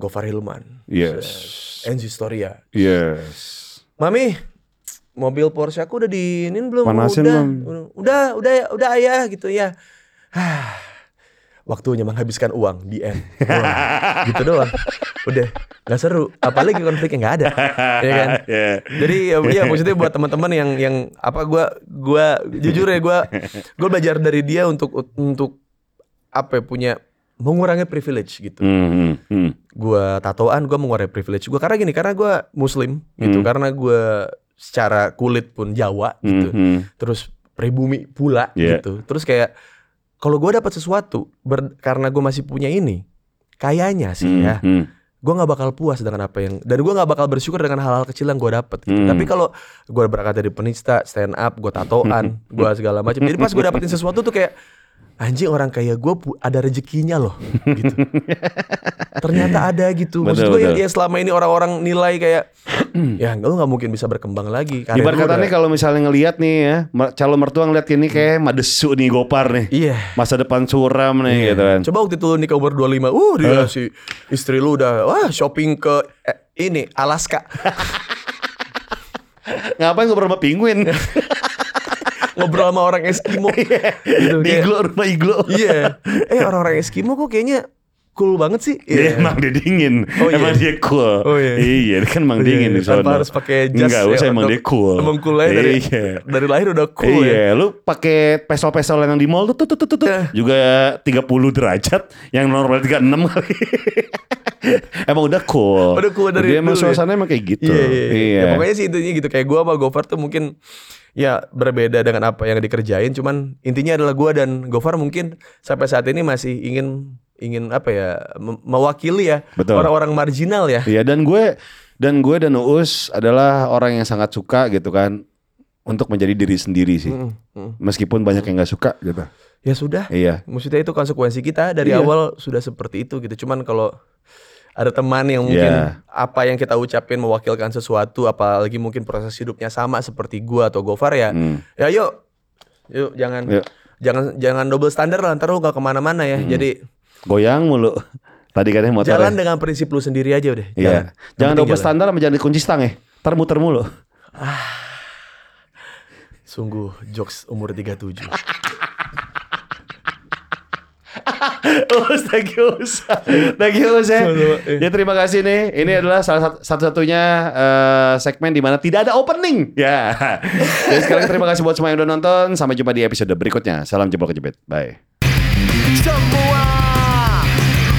Gofar Hilman. Yes. Enzi Storia. Yes. Mami, mobil Porsche aku udah diinin belum? Panasin udah, belum? udah, udah, ya- udah ayah gitu ya. Hah, Waktunya menghabiskan uang di end. Doang. gitu doang. Udah, nggak seru. Apalagi konfliknya nggak ada, ya kan? Iya. Jadi ya, ya maksudnya buat teman-teman yang yang apa gua gua jujur ya gua gua belajar dari dia untuk untuk apa ya, punya mengurangi privilege gitu Hmm, hmm, hmm. gua tatoan gua mengurangi privilege gua karena gini karena gua muslim gitu Hmm. karena gua secara kulit pun Jawa Hmm, gitu hmm. terus pribumi pula Iya. gitu terus kayak kalau gua dapat sesuatu ber- karena gua masih punya ini kayaknya sih Hmm, ya hmm. gua nggak bakal puas dengan apa yang dan gua nggak bakal bersyukur dengan hal-hal kecil yang gua dapat gitu. Hmm. tapi kalau gua berangkat dari penista stand up gua tatoan gua segala macam jadi pas gua dapetin sesuatu tuh kayak anjing orang kayak gua pu- ada rezekinya loh gitu ternyata ada gitu maksud Betul, gua ya, betul. ya selama ini orang-orang nilai kayak ya lu nggak mungkin bisa berkembang lagi karir Ibarat lu katanya udah- kalau misalnya ngelihat nih ya, mer- calon mertua ngelihat ini kayak Hmm. madesu nih gopar nih. Iya. Masa depan suram nih gitu kan. Coba waktu itu lu nikah umur 25 Uh dia si istri lu udah Wah shopping ke eh, ini Alaska Ngapain ngobrol sama penguin? Ngobrol sama orang Eskimo Iya. Gitu, Di kayak- iglo rumah iglo. Iya. Eh orang-orang Eskimo kok kayaknya cool banget sih. Iya. Dia Iya, emang dia dingin. Oh, iya. Emang dia cool. Oh, iya. Iya, dia kan emang Iya, dingin di sana. Tanpa harus pakai jas. Enggak ya, usah emang dia cool. Emang coolnya dari Iya. dari lahir udah cool ya. iya, lu pakai pesol-pesol yang di mall tuh, tuh, tuh, tuh, tuh. Iya. juga 30 derajat, yang normal 36 kali. emang udah cool. Udah cool dari Dia emang dulu ya. suasananya emang kayak gitu. Iya, iya, iya. Ya, pokoknya sih intinya gitu kayak gua sama Gofar tuh mungkin ya berbeda dengan apa yang dikerjain cuman intinya adalah gua dan Gofar mungkin sampai saat ini masih ingin ingin apa ya mem- mewakili ya Betul. orang-orang marginal ya. Iya dan gue dan gue dan Uus adalah orang yang sangat suka gitu kan untuk menjadi diri sendiri sih. Mm, mm. Meskipun banyak yang nggak suka gitu. Ya sudah. Iya. Maksudnya itu konsekuensi kita dari Iya. awal sudah seperti itu gitu. Cuman kalau ada teman yang mungkin Iya. apa yang kita ucapin mewakilkan sesuatu, apalagi mungkin proses hidupnya sama seperti gua atau Gofar ya. Hmm. Iya. Ya yuk, yuk jangan Yuk. jangan jangan double standar lah. Ntar lu gak kemana-mana ya. Jadi Goyang mulu. Tadi katanya motor. jalan Hmm. ya. dengan prinsip lu sendiri aja udah. Iya. Jalan. Yang Jangan penting double jalan. standar sama jangan dikunci stang ya. Ntar muter mulu. Sungguh jokes umur 37 Us, thank you Us. Thank you Us ya. Sama-sama, iya. Ya terima kasih nih. Ini adalah salah sat- satu-satunya eh, segmen di mana tidak ada opening. Ya. Jadi sekarang terima kasih buat semua yang udah nonton. Sampai jumpa di episode berikutnya. Salam jempol kejepit. Bye. semua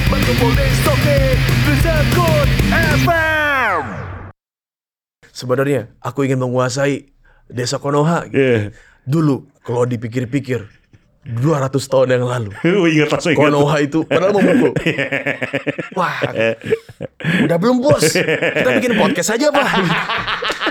berkumpul di Soke Disebut FM Iya. Sebenarnya aku ingin menguasai desa Konoha. gitu. Yeah. Dulu kalau dipikir-pikir 200 tahun yang lalu Gue ingat langsung ingat. Konoha itu padahal mau mukul. Wah, udah belum bos? Kita bikin podcast aja pak.